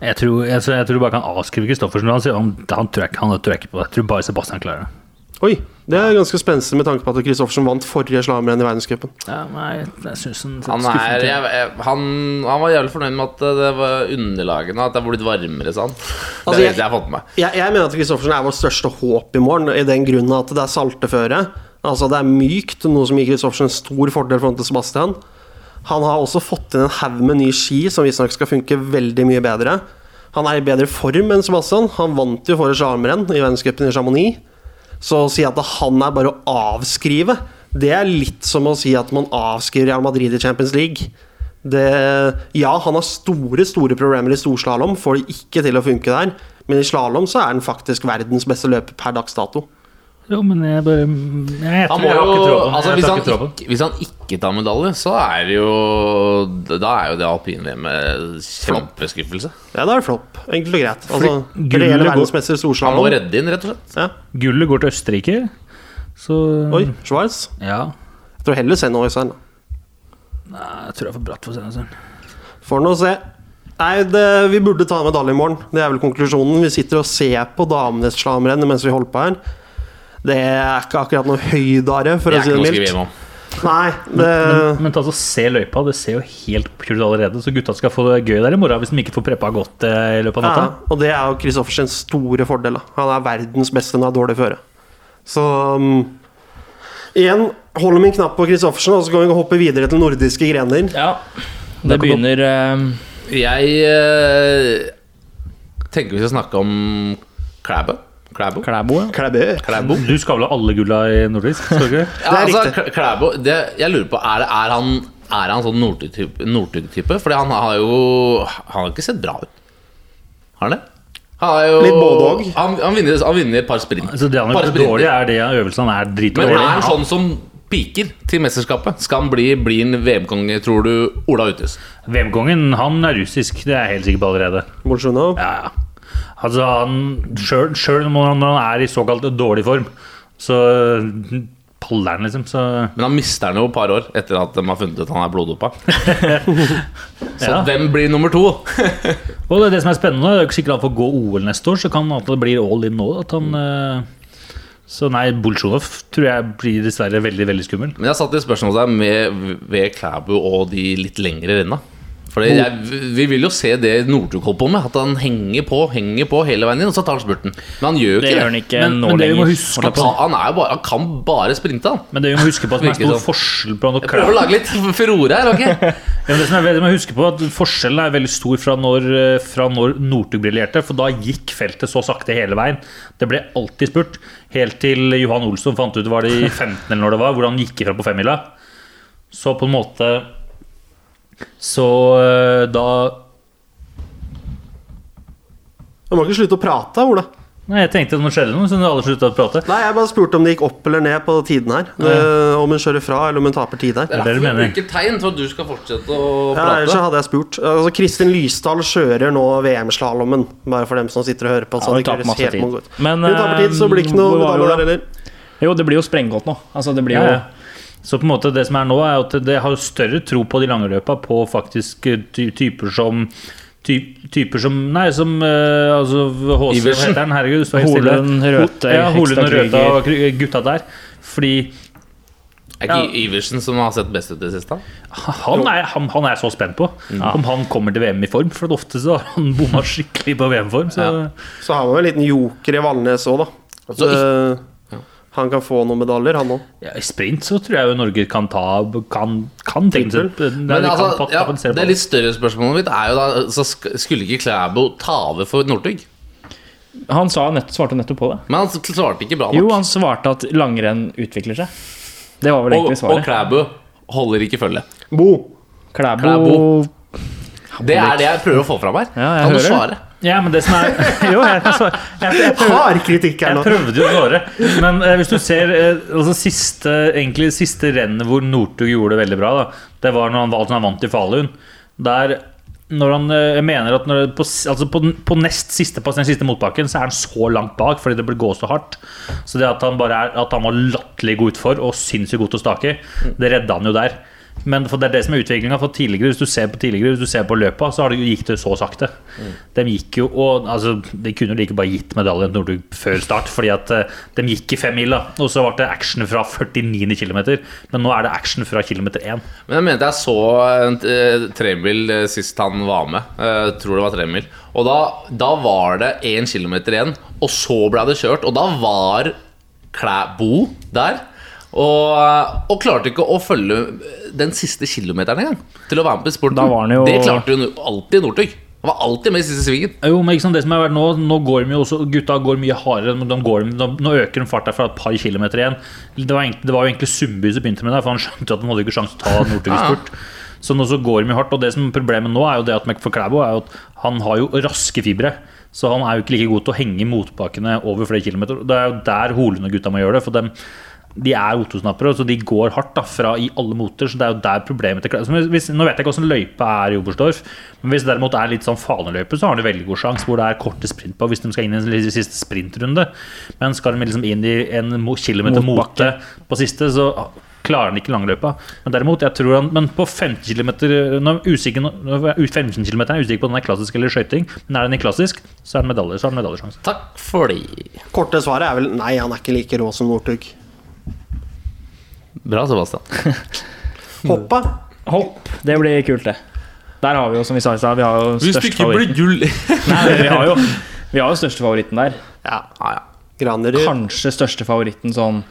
[SPEAKER 3] Jeg tror, jeg, jeg tror du bare kan avskrive Kristoffersen. Han, sier- han, han, tror jeg, ikke- han tror jeg ikke på det. Jeg tror bare Sebastian klarer det.
[SPEAKER 4] Oi, det er ganske spenstig med tanke på at Kristoffersen vant forrige slalåmrenn i verdenscupen.
[SPEAKER 3] Ja, nei, jeg synes han
[SPEAKER 2] Han, er, jeg, jeg, han, han var jævlig fornøyd med at eh, det var underlagene At det var blitt varmere, sa han. Det
[SPEAKER 4] Altså,
[SPEAKER 2] er det
[SPEAKER 4] jeg-
[SPEAKER 2] eneste jeg har fått med meg.
[SPEAKER 4] Jeg, jeg mener at Kristoffersen er vårt største håp i morgen, i den grunn at det er salteføre. Altså, det er mykt, noe som gir Kristoffersen en stor fordel foran til Sebastian. Han har også fått inn en haug med nye ski som visstnok skal funke veldig mye bedre. Han er i bedre form enn Sebastian. Han vant jo forrige slalåmrenn i verdenscupen i Chamonix. Så å si at han er bare å avskrive, det er litt som å si at man avskriver Real Madrid i Champions League. Det, ja, han har store store problemer i storslalåm, får det ikke til å funke der. Men i slalåm så er han faktisk verdens beste løper per dags dato.
[SPEAKER 3] Jo, men jeg bare Jeg, jeg,
[SPEAKER 2] Han
[SPEAKER 3] tror-
[SPEAKER 2] må
[SPEAKER 3] jeg har ikke
[SPEAKER 2] jo,
[SPEAKER 3] tro på han.
[SPEAKER 2] altså,
[SPEAKER 3] Jeg
[SPEAKER 2] hvis,
[SPEAKER 3] tar
[SPEAKER 2] han
[SPEAKER 3] ikke tro på han.
[SPEAKER 2] ikke, hvis han ikke tar medalje, så er det jo Da er jo det alpin-VM kjempeskuffelse.
[SPEAKER 4] Ja, da er det flopp. Enkelt og greit. Altså,
[SPEAKER 3] Fordi
[SPEAKER 4] Reelle
[SPEAKER 3] gullet går-
[SPEAKER 4] verdensmester i
[SPEAKER 2] Han må
[SPEAKER 4] storslalåm.
[SPEAKER 2] redde inn, rett og slett.
[SPEAKER 4] Ja.
[SPEAKER 3] Gullet går til Østerrike, så
[SPEAKER 4] Oi, Schwarz.
[SPEAKER 3] Ja.
[SPEAKER 4] Jeg tror heller Sennois her. da.
[SPEAKER 3] Nei, jeg tror jeg er for bratt for senere.
[SPEAKER 4] Får nå se. Nei, det, vi burde ta en medalje i morgen. Det er vel konklusjonen. Vi sitter og ser på damenes slalåmrenn mens vi holder på her. Det er ikke akkurat noe høydare, for
[SPEAKER 2] Det
[SPEAKER 4] å
[SPEAKER 2] er
[SPEAKER 4] si
[SPEAKER 2] ikke noe
[SPEAKER 4] det
[SPEAKER 2] å skrive
[SPEAKER 4] mildt.
[SPEAKER 2] hjem om.
[SPEAKER 4] Nei, det
[SPEAKER 3] Men, men ta altså, se løypa, det ser jo helt pult allerede, så gutta skal få det gøy der i morgen hvis de ikke får preppa godt eh, i løpet av
[SPEAKER 4] ja,
[SPEAKER 3] natta.
[SPEAKER 4] Og det er jo Kristoffersens store fordel. da. Han er verdens beste når han har dårlig føre. Så um, igjen, holder min knapp på Kristoffersen, og så kan vi hoppe videre til nordiske grener.
[SPEAKER 1] Ja. Det begynner eh,
[SPEAKER 2] Jeg eh, tenker vi skal snakke om Klæbø. Klæbo.
[SPEAKER 1] Klæbo. ja.
[SPEAKER 4] Klæbø.
[SPEAKER 2] Klæbo.
[SPEAKER 3] Du skal vel ha alle gulla i nordisk? Skal du ikke?
[SPEAKER 2] Ja,
[SPEAKER 4] Det er
[SPEAKER 2] altså, Klæ- Klæbo det, Jeg lurer på, er, det, er han er han sånn Northug-type? Northug-type? Fordi han har jo Han har ikke sett bra ut. Har han det? Han er jo,
[SPEAKER 4] Litt både og.
[SPEAKER 2] Han, han, vinner, han vinner et par sprint.
[SPEAKER 3] Altså, det han
[SPEAKER 2] Par
[SPEAKER 3] gjør
[SPEAKER 2] sprinter.
[SPEAKER 3] dårlig, er det øvelsene er
[SPEAKER 2] Men
[SPEAKER 3] dritdårlig.
[SPEAKER 2] er han sånn som piker til mesterskapet? Skal han bli, bli en VM-konge, tror du, Ola Uthus?
[SPEAKER 3] VM-kongen han er russisk, det er jeg helt sikker på allerede.
[SPEAKER 4] Bolsjunov.
[SPEAKER 3] Ja, ja. Altså, han sjøl- Sjøl når han er i såkalt dårlig form, så paller han, liksom. Så
[SPEAKER 2] Men han mister den jo et par år etter at de har funnet ut at han er bloddopa. Så
[SPEAKER 3] Ja.
[SPEAKER 2] hvem blir nummer to?
[SPEAKER 3] Og det, er det som er spennende, det er jo ikke sikkert han får gå OL neste år, så kan at det blir all in nå. At
[SPEAKER 2] Mm.
[SPEAKER 3] han, eh, så nei, Bolsjunov tror jeg blir dessverre veldig veldig skummel.
[SPEAKER 2] Men jeg satte et spørsmålstegn med- ved Klæbu og de litt lengre renna. Fordi jeg, vi vil jo se det Northug holder på med, at han henger på henger på hele veien inn, og så tar han spurten. Men han gjør jo
[SPEAKER 1] Det gjør
[SPEAKER 2] ikke det.
[SPEAKER 1] han ikke
[SPEAKER 3] Men-
[SPEAKER 1] nå
[SPEAKER 3] men det vi må
[SPEAKER 1] lenger.
[SPEAKER 3] huske
[SPEAKER 2] Han, kan- han, er jo bare, han kan bare sprinte, han.
[SPEAKER 3] Men det vi må huske på at det er
[SPEAKER 2] Virker
[SPEAKER 3] stor
[SPEAKER 2] sånn.
[SPEAKER 3] forskjell på han og
[SPEAKER 2] Jeg prøver å lage litt furore her, ok?
[SPEAKER 3] Ja, men det som er veldig, man husker på at Forskjellen er veldig stor fra når, eh, fra når Northug briljerte, for da gikk feltet så sakte hele veien. Det ble alltid spurt, helt til Johan Olsson fant ut var det i 15 eller når det var, hvor han gikk ifra på femmila. Så på en måte Så eh, da
[SPEAKER 4] Du må ikke slutte å prate, Ola.
[SPEAKER 3] Nei, jeg tenkte at nå skjedde det noe, så alle slutta å prate.
[SPEAKER 4] Nei, jeg bare spurte om det gikk opp eller ned på tiden her. Det, om hun kjører fra, eller om hun taper tid her.
[SPEAKER 2] Det er
[SPEAKER 3] det du
[SPEAKER 2] derfor jeg
[SPEAKER 3] mener.
[SPEAKER 2] bruker tegn, for at du skal fortsette å
[SPEAKER 4] Ja, ellers så
[SPEAKER 2] prate.
[SPEAKER 4] hadde jeg spurt. Altså, Kristin Lysdal kjører nå VM-slalåmen. Bare for dem som sitter og hører på.
[SPEAKER 1] Ja,
[SPEAKER 4] Så
[SPEAKER 1] hun
[SPEAKER 4] det ikke
[SPEAKER 1] taper
[SPEAKER 4] høres
[SPEAKER 1] masse
[SPEAKER 4] helt
[SPEAKER 1] tid.
[SPEAKER 4] mongo ut.
[SPEAKER 1] Men,
[SPEAKER 4] hun taper tid, så det blir ikke noe
[SPEAKER 1] eh, hvor var
[SPEAKER 4] medalje
[SPEAKER 1] Ola?
[SPEAKER 4] der heller.
[SPEAKER 1] Jo, det blir jo sprenggodt nå. Altså, det blir
[SPEAKER 3] Ja,
[SPEAKER 1] jo
[SPEAKER 3] ja. Så på en måte det som er nå, er jo at det har større tro på de lange løpa på faktisk eh, ty typer som ty Typer som Nei, som eh, altså HC, hva
[SPEAKER 2] Iversen.
[SPEAKER 3] heter han? Herregud, stå helt stille.
[SPEAKER 1] Holen, Røthe,
[SPEAKER 3] ja, Holen og
[SPEAKER 1] Hekstad
[SPEAKER 3] Røthe og kry- gutta der. Fordi
[SPEAKER 2] Er ikke Iversen som har sett best ut i det siste?
[SPEAKER 3] han er, han, han er jeg så spent på
[SPEAKER 2] Mm.
[SPEAKER 3] om han kommer til VM i form. For at ofte så har han bomma skikkelig på VM-form. Så
[SPEAKER 2] Ja.
[SPEAKER 4] Så har man jo en liten joker i Valnes òg, da.
[SPEAKER 2] Altså,
[SPEAKER 4] Eh, han kan få noen medaljer, han òg.
[SPEAKER 3] ja, i sprint så tror jeg jo Norge kan ta Kan, kan tenke seg det,
[SPEAKER 2] Men altså, ja,
[SPEAKER 3] det,
[SPEAKER 2] det litt større spørsmålet mitt er jo da så sk- Skulle ikke Klæbo ta over for Northug?
[SPEAKER 1] Han sa nett, svarte nettopp på det.
[SPEAKER 2] Men han svarte ikke bra nok.
[SPEAKER 1] Jo, han svarte at langrenn utvikler seg. Det var vel
[SPEAKER 2] Og,
[SPEAKER 1] egentlig
[SPEAKER 2] og
[SPEAKER 1] svaret.
[SPEAKER 2] Klæbu holder ikke følge.
[SPEAKER 4] Bo!
[SPEAKER 1] Klæbo,
[SPEAKER 2] Klæbo. Det er det jeg prøver å få fram her.
[SPEAKER 1] Ja, jeg
[SPEAKER 2] kan du
[SPEAKER 1] hører det.
[SPEAKER 2] svare?
[SPEAKER 3] ja, men det som er Jo, jeg kan svare. Jeg, jeg, prøver-
[SPEAKER 4] Hard kritikk her
[SPEAKER 3] Jeg
[SPEAKER 4] nå.
[SPEAKER 3] prøvde jo å svare, men eh, hvis du ser eh, altså siste, egentlig siste rennet hvor Northug gjorde det veldig bra, da, det var når han, vant- når han vant i Falun. Der når han eh, jeg mener at når, på, s- altså på, den- på nest siste pass, den siste motbakken, så er han så langt bak fordi det ble gå så hardt. Så det at han bare er At han var latterlig god utfor og sinnssykt god til å stake, det redda han jo der. Men for det er det som er utviklinga. Hvis du ser på tidligere Hvis du ser på løpa, så har det, gikk det så sakte. De gikk jo og altså, De kunne jo like bare gitt medaljen til Northug før start, fordi at eh, de gikk i femmila. Og så ble det action fra 49. km, men nå er det action fra kilometer 1.
[SPEAKER 2] Men jeg mente jeg så en eh, tremil eh, sist han var med. Eh, tror det var tremil. Og da, da var det én kilometer igjen, og så ble det kjørt. Og da var Klæbo der. Og, eh, og klarte ikke å følge den siste kilometeren engang. Til å være med på sporten.
[SPEAKER 1] Da var han jo-
[SPEAKER 2] Det klarte jo alltid Northug. Han var alltid med i siste svingen.
[SPEAKER 3] Jo, men ikke sant, det som har vært nå, nå går de jo også, Gutta går mye hardere. men De går, de, nå øker de farta fra et par kilometer igjen. Det var, egentlig, det var jo egentlig Sundby som begynte med det, for han skjønte at han hadde ikke sjanse til å ta Northug i spurt. Så nå så går de jo hardt. Og det som er problemet nå, er jo det at Mac for Klæbo er jo at han har jo raske fibre. Så han er jo ikke like god til å henge i motbakkene over flere kilometer. Det er jo der Holund og gutta må gjøre det. for dem de er O2-snappere, så de går hardt da, fra i alle moter. Så det er jo der problemet til Klæbo Så hvis, Nå vet jeg ikke hvordan løypa er i Oberstdorf, men hvis det derimot er litt sånn faneløype, så har de veldig god sjanse, hvor det er korte sprint på hvis de skal inn i en lille siste sprintrunde. Men skal de liksom inn i en mo- kilometer
[SPEAKER 1] Motbakke.
[SPEAKER 3] mote på siste, så klarer han ikke langløypa. Men derimot, jeg tror han Men på 15 km Nå er jeg usikker nå- nå er jeg ut- 15 km er jeg usikker på om den er klassisk eller skøyting, men er den i klassisk, så er det medalje, så har den medaljesjanse.
[SPEAKER 2] Takk for det.
[SPEAKER 4] Korte svaret er vel nei, han er ikke like rå som Northug.
[SPEAKER 2] Bra, Sebastian.
[SPEAKER 4] Hoppa?
[SPEAKER 1] Hopp. Det blir kult, det. Der har vi jo, som vi sa i stad, vi har jo største favoritten.
[SPEAKER 2] gull
[SPEAKER 1] Nei, vi har jo, vi har jo største favoritten der.
[SPEAKER 4] Ja.
[SPEAKER 2] Ja, ja.
[SPEAKER 4] Granerud.
[SPEAKER 1] Kanskje største favoritten sånn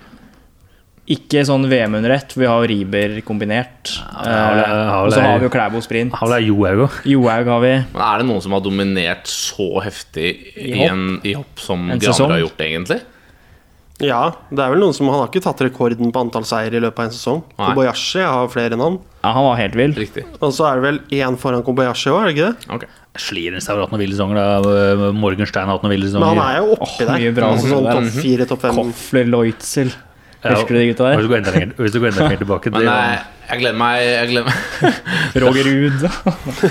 [SPEAKER 1] Ikke sånn VM-under ett, for vi har jo Riiber kombinert.
[SPEAKER 3] Ja, det har vi-
[SPEAKER 1] Eh,
[SPEAKER 3] har vi-
[SPEAKER 1] og så har vi jo Klæbo sprint.
[SPEAKER 3] Han er Johaug òg.
[SPEAKER 1] Johaug har vi.
[SPEAKER 2] Men er det noen som har dominert så heftig i,
[SPEAKER 1] I hopp?
[SPEAKER 2] en, i hopp som
[SPEAKER 1] En sesong?
[SPEAKER 2] Graner har gjort, egentlig?
[SPEAKER 4] Ja, det er vel noen som Han har ikke tatt rekorden på antall seier i løpet av en sesong.
[SPEAKER 2] Nei.
[SPEAKER 4] Kobayashi har flere enn han.
[SPEAKER 1] Ja, han var helt vill.
[SPEAKER 2] Riktig.
[SPEAKER 4] Og så er det vel én foran Kobayashi òg, er det ikke det?
[SPEAKER 2] Ok.
[SPEAKER 3] Slidens har hatt noen ville sesonger. da. Morgenstein har hatt noen ville
[SPEAKER 4] Men han
[SPEAKER 3] sesonger.
[SPEAKER 4] er jo oppi
[SPEAKER 1] Åh,
[SPEAKER 4] der.
[SPEAKER 1] mye bra
[SPEAKER 4] altså,
[SPEAKER 1] som
[SPEAKER 4] sånn
[SPEAKER 1] det er.
[SPEAKER 4] topp fire, topp fem.
[SPEAKER 1] Kofler Leutzel.
[SPEAKER 3] Ja,
[SPEAKER 1] Husker du de gutta der? eh,
[SPEAKER 3] Hvis du går enda lenger, hvis du går enda lenger tilbake
[SPEAKER 2] Men
[SPEAKER 3] til
[SPEAKER 2] jeg, jeg gleder meg Jeg gleder meg,
[SPEAKER 1] Roger Ruud.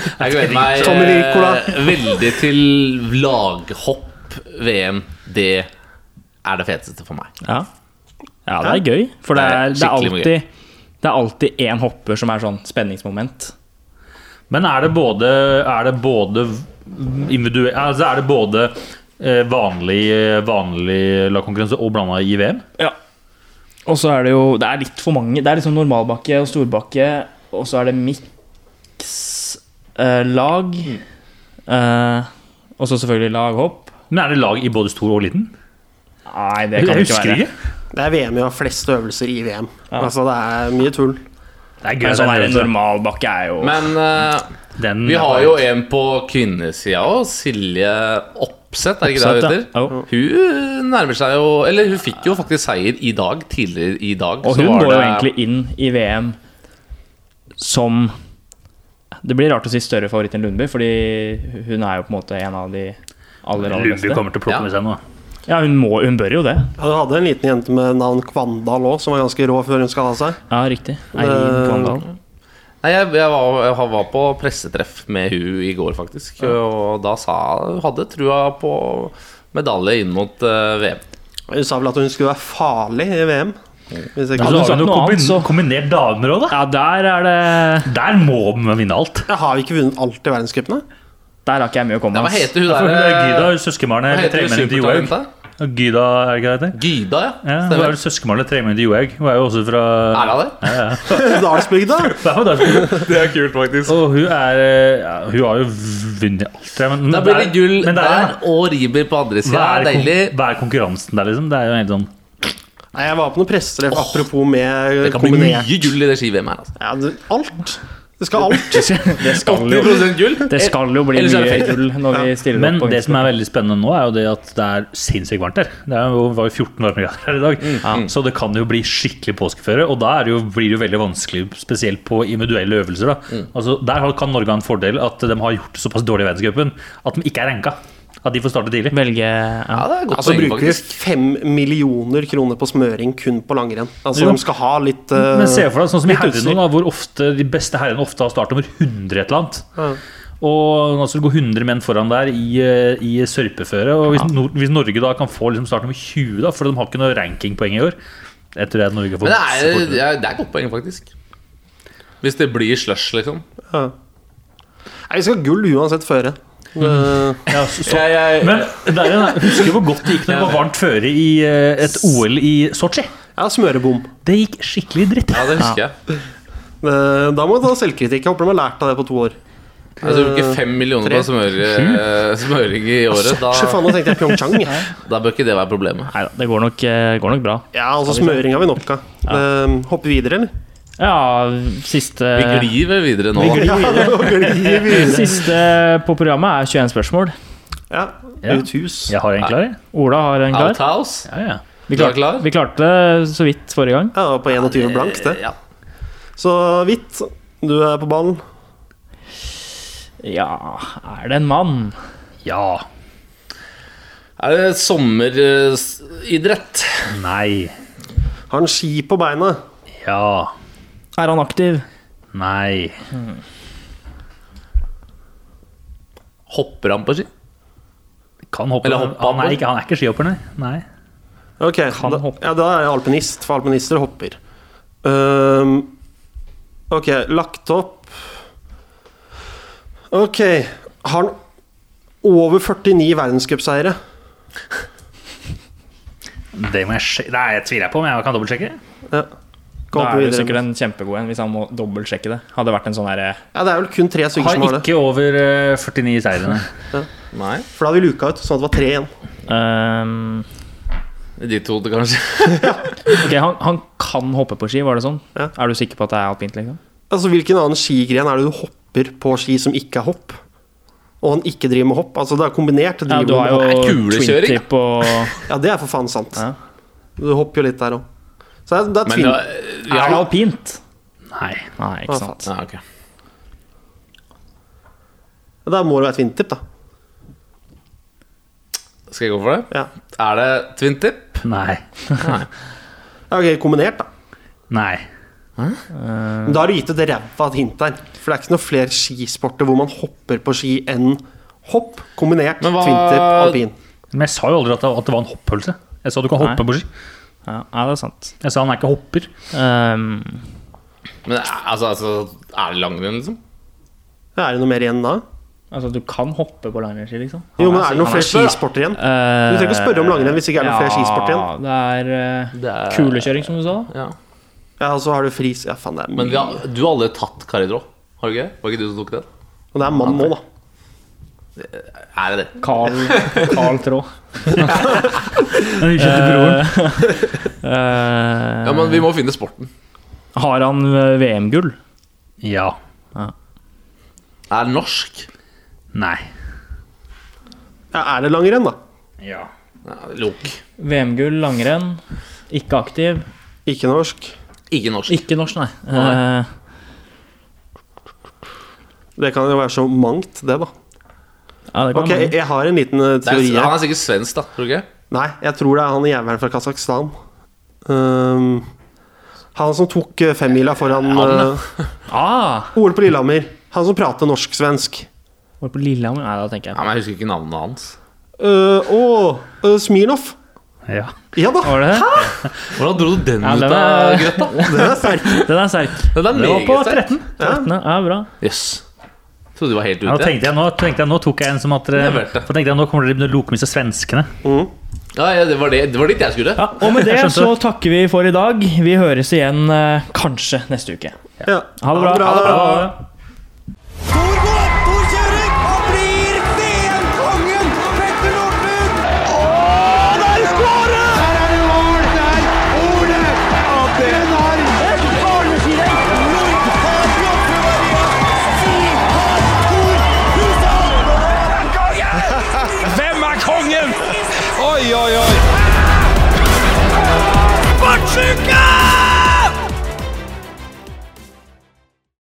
[SPEAKER 2] jeg gleder meg
[SPEAKER 4] Tommy Ricola.
[SPEAKER 2] eh, veldig til laghopp-VM. Det er det feteste for meg.
[SPEAKER 1] Ja. ja, det er gøy. For det er, det er
[SPEAKER 2] Skikkelig mye.
[SPEAKER 1] alltid det er alltid én hopper som er sånn spenningsmoment.
[SPEAKER 3] Men er det både, er det både individue- altså Er det både eh, vanlig, vanlig lagkonkurranse og blanda i VM?
[SPEAKER 1] Ja. Og så er det jo Det er litt for mange. Det er liksom normalbakke og storbakke, og så er det miks-lag. Eh, og så selvfølgelig laghopp.
[SPEAKER 3] Men er det lag i både stor og liten?
[SPEAKER 1] Nei, det kan det
[SPEAKER 3] jeg
[SPEAKER 1] ikke
[SPEAKER 3] husker
[SPEAKER 1] være.
[SPEAKER 3] ikke.
[SPEAKER 4] Det er VM vi har flest øvelser i VM. Altså, det er mye tull.
[SPEAKER 3] Det er gøy.
[SPEAKER 1] Men
[SPEAKER 3] det
[SPEAKER 1] sånn
[SPEAKER 3] er
[SPEAKER 1] er det
[SPEAKER 3] en øvelse.
[SPEAKER 1] normalbakke er jo
[SPEAKER 2] Men eh,
[SPEAKER 4] Mm.
[SPEAKER 3] Den-
[SPEAKER 2] vi har jo en på kvinnesida òg. Silje Oppsett, er det ikke det hun
[SPEAKER 1] Oppsett, ja.
[SPEAKER 2] heter? Hun nærmer seg jo Eller hun fikk jo faktisk seier i dag. Tidligere i dag.
[SPEAKER 1] Og
[SPEAKER 2] så
[SPEAKER 1] hun
[SPEAKER 2] var
[SPEAKER 1] går jo
[SPEAKER 2] det-
[SPEAKER 1] egentlig inn i VM som Det blir rart å si større favoritt enn Lundby, fordi hun er jo på en måte en av de aller, aller
[SPEAKER 3] Lundby
[SPEAKER 1] beste.
[SPEAKER 3] kommer til å plukke
[SPEAKER 2] Ja.
[SPEAKER 3] med seg noe.
[SPEAKER 1] Ja, hun, må, hun bør jo det.
[SPEAKER 4] Ja, Du hadde en liten jente med navn Kvandal òg, som var ganske rå før hun skada seg.
[SPEAKER 1] Ja, riktig. Eirin Kvandal.
[SPEAKER 2] Nei, jeg, jeg, var, jeg var på pressetreff med hun i går, faktisk. Og da sa hun hadde trua på medalje inn mot eh, VM.
[SPEAKER 4] Hun sa vel at hun skulle være farlig i VM. Hvis jeg,
[SPEAKER 1] Ja,
[SPEAKER 3] Og
[SPEAKER 1] du sa
[SPEAKER 4] ikke...
[SPEAKER 3] så har vi
[SPEAKER 1] noe
[SPEAKER 3] noe
[SPEAKER 1] annet,
[SPEAKER 3] kombin
[SPEAKER 1] så-
[SPEAKER 3] kombinert damer òg, da.
[SPEAKER 1] Ja, der er det
[SPEAKER 3] Der må man vinne alt.
[SPEAKER 4] jeg har ikke vunnet alt i verdenscupene.
[SPEAKER 1] Der har ikke jeg mye å komme
[SPEAKER 2] Ja, hva
[SPEAKER 1] med. ass.
[SPEAKER 2] heter hun
[SPEAKER 3] For hun er Gyda,
[SPEAKER 2] der? eh,
[SPEAKER 3] søskenbarnet
[SPEAKER 2] Hva
[SPEAKER 3] eller
[SPEAKER 2] heter hun
[SPEAKER 3] tremenningen til Johaug.
[SPEAKER 2] supertalenta?
[SPEAKER 3] Gyda, er det ikke det det heter?
[SPEAKER 2] Gyda, ja.
[SPEAKER 3] Ja, hun er
[SPEAKER 2] Stemmer.
[SPEAKER 3] vel søskenbarnet eller tremenningen til Johaug. Hun er jo også fra
[SPEAKER 2] Er hun det?
[SPEAKER 4] Dalsbygda!
[SPEAKER 3] Hun er fra Dalsbygda.
[SPEAKER 2] Det er kult, faktisk.
[SPEAKER 3] Og hun er ja, Hun har jo vunnet alt. tror jeg, Men,
[SPEAKER 2] Da blir det
[SPEAKER 3] der-
[SPEAKER 2] gull
[SPEAKER 3] men der,
[SPEAKER 2] der og Riiber på andre
[SPEAKER 3] hva,
[SPEAKER 2] sida.
[SPEAKER 3] er kon-
[SPEAKER 2] Deilig.
[SPEAKER 3] hva er konkurransen der, liksom? Det er jo helt sånn
[SPEAKER 4] Nei, jeg var på noe pressetreff apropos med
[SPEAKER 2] Det kan bli
[SPEAKER 4] kombinert
[SPEAKER 2] mye gull i det ski-VM her. altså.
[SPEAKER 4] ja, du, Alt! Det skal alt.
[SPEAKER 1] Det skal jo,
[SPEAKER 2] 80% gull?
[SPEAKER 1] det skal jo bli
[SPEAKER 2] Ellers er det
[SPEAKER 1] mye
[SPEAKER 2] fake.
[SPEAKER 1] gull når vi stiller
[SPEAKER 3] Men
[SPEAKER 1] opp. på
[SPEAKER 3] det som er veldig spennende nå, er jo det at det er sinnssykt varmt der. Det er jo, var jo 14 varmegrader her i dag,
[SPEAKER 1] Mm.
[SPEAKER 3] så det kan jo bli skikkelig påskeføre. Og da er det jo, blir det jo veldig vanskelig, spesielt på individuelle øvelser. Da.
[SPEAKER 1] Mm.
[SPEAKER 3] Altså, der har- kan Norge ha en fordel at de har gjort det såpass dårlig i verdenscupen at de ikke er ranka. At de får starte tidlig.
[SPEAKER 1] Velge ja.
[SPEAKER 2] Ja, det er godt
[SPEAKER 4] Altså
[SPEAKER 2] poeng,
[SPEAKER 4] bruker vi
[SPEAKER 2] faktisk.
[SPEAKER 4] fem millioner kroner på smøring kun på langrenn. Altså,
[SPEAKER 3] Jo.
[SPEAKER 4] de skal ha lilitt eh,
[SPEAKER 3] Men se for deg sånn som i
[SPEAKER 4] litt utstyr.
[SPEAKER 3] herrene, da, hvor ofte de beste herrene ofte har startnummer 100 et eller annet. Og nå skal det gå 100 menn foran der i, eh, i sørpeføre. Og hvis, Nor hvis Norge da kan få liksom startnummer 20, da, for de har ikke noe rankingpoeng i år Jeg tror jeg Norge får
[SPEAKER 2] Men det
[SPEAKER 3] masse
[SPEAKER 2] er,
[SPEAKER 3] fordeler.
[SPEAKER 2] ja, det er godt poeng, faktisk. Hvis det blir slush, liksom.
[SPEAKER 4] ja. Nei, vi skal ha gull uansett føre. Eh, Det-
[SPEAKER 3] ja, så, så.
[SPEAKER 2] Jeg, jeg,
[SPEAKER 3] Men det er, en- husker du hvor godt det gikk når det var varmt føre i eh, et OL i Sotsji?
[SPEAKER 4] Ja, smørebom.
[SPEAKER 3] Det gikk skikkelig dritt.
[SPEAKER 2] ja, det husker jeg.
[SPEAKER 4] Det- Eh, Da må du ta selvkritikk. Jeg håper de har lært av det på to år.
[SPEAKER 2] Jeg tror ikke fem millioner
[SPEAKER 4] Tre.
[SPEAKER 2] på smør, eh, smøring i året.
[SPEAKER 4] Sj,
[SPEAKER 2] Da,
[SPEAKER 4] faen, nå tenkte jeg Pyeongchang. jeg.
[SPEAKER 2] da bør ikke det være problemet.
[SPEAKER 1] Neida, det går nok, eh, går nok bra.
[SPEAKER 4] Ja, altså smøring har vi nok av. Eh, Hoppe videre, eller?
[SPEAKER 1] Ja, siste
[SPEAKER 2] Eh, Vi glir vel videre nå. da.
[SPEAKER 4] Ja, det var glir videre.
[SPEAKER 1] Siste på programmet er 21 spørsmål.
[SPEAKER 4] Ja,
[SPEAKER 3] Ja.
[SPEAKER 4] Ut hus.
[SPEAKER 3] Jeg har en klar, jeg.
[SPEAKER 1] Ola har en klar.
[SPEAKER 2] Outhouse.
[SPEAKER 3] Ja, ja.
[SPEAKER 1] Vi
[SPEAKER 2] Du er
[SPEAKER 1] klarte-
[SPEAKER 2] klar?
[SPEAKER 1] Vi klarte det så vidt forrige gang.
[SPEAKER 4] Ja, det var på 21 blank, det.
[SPEAKER 2] Ja.
[SPEAKER 4] Så hvitt, du er på ballen.
[SPEAKER 1] Ja Er det en mann?
[SPEAKER 3] ja.
[SPEAKER 2] Er det eh, sommeridrett?
[SPEAKER 3] Nei.
[SPEAKER 4] Har han ski på beina?
[SPEAKER 3] Ja.
[SPEAKER 1] Er han aktiv?
[SPEAKER 3] Nei.
[SPEAKER 2] Hopper han på ski?
[SPEAKER 3] Kan hoppe.
[SPEAKER 2] Eller hoppe
[SPEAKER 3] han,
[SPEAKER 2] opp.
[SPEAKER 3] er ikke, han er ikke skihopper, nei. nei.
[SPEAKER 4] Ok,
[SPEAKER 1] Kan
[SPEAKER 4] da,
[SPEAKER 1] hoppe.
[SPEAKER 4] ja, da er jeg alpinist, for alpinister hopper. Ehm, ok, lagt opp Ok, har han over 49 verdenscupseiere?
[SPEAKER 3] Det må jeg sj- Nei, jeg tviler jeg på, men jeg kan dobbeltsjekke.
[SPEAKER 4] Ja.
[SPEAKER 1] Da
[SPEAKER 4] Kan hoppe
[SPEAKER 1] er det
[SPEAKER 4] videre.
[SPEAKER 1] sikkert en kjempegod en, hvis han må dobbeltsjekke det. Hadde vært en sånn herre
[SPEAKER 4] Ja, det er vel kun tre stykker som
[SPEAKER 3] Har
[SPEAKER 4] har det.
[SPEAKER 3] ikke over eh, 49 seirene.
[SPEAKER 2] Nei.
[SPEAKER 4] For da hadde vi luka ut, sånn at det var tre igjen.
[SPEAKER 1] ehm,
[SPEAKER 2] De to, det kanskje.
[SPEAKER 1] Ok, han, han kan hoppe på ski, var det sånn?
[SPEAKER 4] Ja.
[SPEAKER 1] Er du sikker på at det er alpint? liksom?
[SPEAKER 4] Altså, Hvilken annen skigren er det du hopper på ski som ikke er hopp? Og han ikke driver med hopp? Altså, Det er kombinert.
[SPEAKER 1] Ja,
[SPEAKER 4] driver
[SPEAKER 1] du har
[SPEAKER 4] med
[SPEAKER 1] jo
[SPEAKER 2] Det er kulekjøring,
[SPEAKER 1] twintip og
[SPEAKER 4] hopp. ja, det er for faen sant.
[SPEAKER 1] Ja.
[SPEAKER 4] Du hopper jo litt der òg. Så det er, det er
[SPEAKER 2] Men
[SPEAKER 4] tvil.
[SPEAKER 2] ja, ja.
[SPEAKER 1] Er det alpint?
[SPEAKER 3] Nei.
[SPEAKER 1] Nei,
[SPEAKER 4] Ah,
[SPEAKER 1] ikke sant.
[SPEAKER 2] ja, ok.
[SPEAKER 4] Da må det være twintip, da.
[SPEAKER 2] Skal jeg gå for det?
[SPEAKER 4] Ja.
[SPEAKER 2] Er det twintip?
[SPEAKER 3] Nei.
[SPEAKER 4] Ja, ok, Kombinert, da.
[SPEAKER 3] Nei.
[SPEAKER 4] Men da har du gitt et ræva hint der. For det er ikke noen flere skisporter hvor man hopper på ski enn hopp kombinert
[SPEAKER 2] Men hva-
[SPEAKER 4] twintip alpin.
[SPEAKER 3] Men jeg sa jo aldri at det, at det var en hopphølse. Jeg sa du kan hoppe
[SPEAKER 1] Nei.
[SPEAKER 3] på ski.
[SPEAKER 1] Ja, ja, det er sant.
[SPEAKER 3] Jeg sa han er ikke hopper.
[SPEAKER 1] Ehm,
[SPEAKER 2] Men altså, altså Er det langrenn, liksom?
[SPEAKER 4] Er det noe mer igjen da?
[SPEAKER 1] altså, du kan hoppe på langrennsski, liksom. Han
[SPEAKER 4] Jo, men er det noen
[SPEAKER 1] han
[SPEAKER 4] flere
[SPEAKER 1] spør, da.
[SPEAKER 4] skisporter igjen?
[SPEAKER 1] Eh,
[SPEAKER 4] Du trenger ikke spørre om langrenn hvis det ikke er noen flere skisporter igjen.
[SPEAKER 1] altså, Ja, det er,
[SPEAKER 2] Det er-
[SPEAKER 1] eh, kulekjøring, som du sa. da.
[SPEAKER 2] Ja.
[SPEAKER 4] Ja, og så har du fris Ja, faen, det er
[SPEAKER 2] Men vi
[SPEAKER 4] mye.
[SPEAKER 2] har, du har aldri tatt Caridro? Har du ikke? Var ikke du som tok den?
[SPEAKER 4] Og det er mann nå, da.
[SPEAKER 2] Er det det?
[SPEAKER 1] Carl, Carl Trå.
[SPEAKER 3] Den ukjente broren.
[SPEAKER 1] Eh,
[SPEAKER 2] Ja, men vi må finne sporten.
[SPEAKER 1] har han eh, VM-gull?
[SPEAKER 3] Ja.
[SPEAKER 2] Er det norsk?
[SPEAKER 3] Nei.
[SPEAKER 4] Ja, er det langrenn, da?
[SPEAKER 3] Ja.
[SPEAKER 2] Ja, Lok.
[SPEAKER 1] VM-gull, langrenn. Ikke aktiv.
[SPEAKER 4] Ikke norsk.
[SPEAKER 2] Ikke norsk.
[SPEAKER 1] Ikke norsk, nei.
[SPEAKER 2] Nei.
[SPEAKER 1] Eh,
[SPEAKER 4] Det kan jo være så mangt, det, da.
[SPEAKER 1] ja, det kan
[SPEAKER 4] Ok, jeg
[SPEAKER 1] være.
[SPEAKER 4] jeg har en liten eh,
[SPEAKER 2] Det er,
[SPEAKER 4] teori
[SPEAKER 2] han
[SPEAKER 4] her.
[SPEAKER 2] er sikkert svensk, da. Tror du ikke?
[SPEAKER 4] Nei, jeg tror det er han jævelen fra Kasakhstan. Ehm, han som tok eh, femmila foran
[SPEAKER 2] Han,
[SPEAKER 4] eh,
[SPEAKER 1] Ah,
[SPEAKER 4] OL på Lillehammer. Han som prater norsk-svensk.
[SPEAKER 1] var det på Lillehammer? Nei, da tenker
[SPEAKER 2] Ja,
[SPEAKER 1] jeg.
[SPEAKER 2] men Jeg husker ikke navnet hans.
[SPEAKER 4] Uh, Å, eh, Smirnov.
[SPEAKER 3] ja.
[SPEAKER 4] Ja da,
[SPEAKER 1] Var det det?
[SPEAKER 2] Hvordan dro du den
[SPEAKER 1] Ja,
[SPEAKER 2] ut
[SPEAKER 1] den
[SPEAKER 2] av
[SPEAKER 1] er-
[SPEAKER 2] grøtta?
[SPEAKER 4] den er sterk.
[SPEAKER 1] Den er sterk.
[SPEAKER 2] Den er
[SPEAKER 1] Det var på
[SPEAKER 2] meget sterk.
[SPEAKER 1] 13. 13. Ja, bra.
[SPEAKER 2] Jøss. Trodde du var helt
[SPEAKER 3] Ja, da
[SPEAKER 2] ute.
[SPEAKER 3] tenkte jeg, nå, tenkte jeg, nå tok jeg en som at
[SPEAKER 2] Jeg
[SPEAKER 3] dere
[SPEAKER 2] vet det.
[SPEAKER 3] For tenkte jeg, Nå kommer dere til å loke med seg svenskene.
[SPEAKER 2] Ja, ja, det, var det. det var dit jeg skulle.
[SPEAKER 1] Ja, og med det
[SPEAKER 3] Jeg skjønte.
[SPEAKER 1] så takker vi for i dag. Vi høres igjen eh, kanskje neste uke.
[SPEAKER 4] Ja.
[SPEAKER 1] Ha det bra.
[SPEAKER 4] Ha det bra.
[SPEAKER 1] Ha det bra.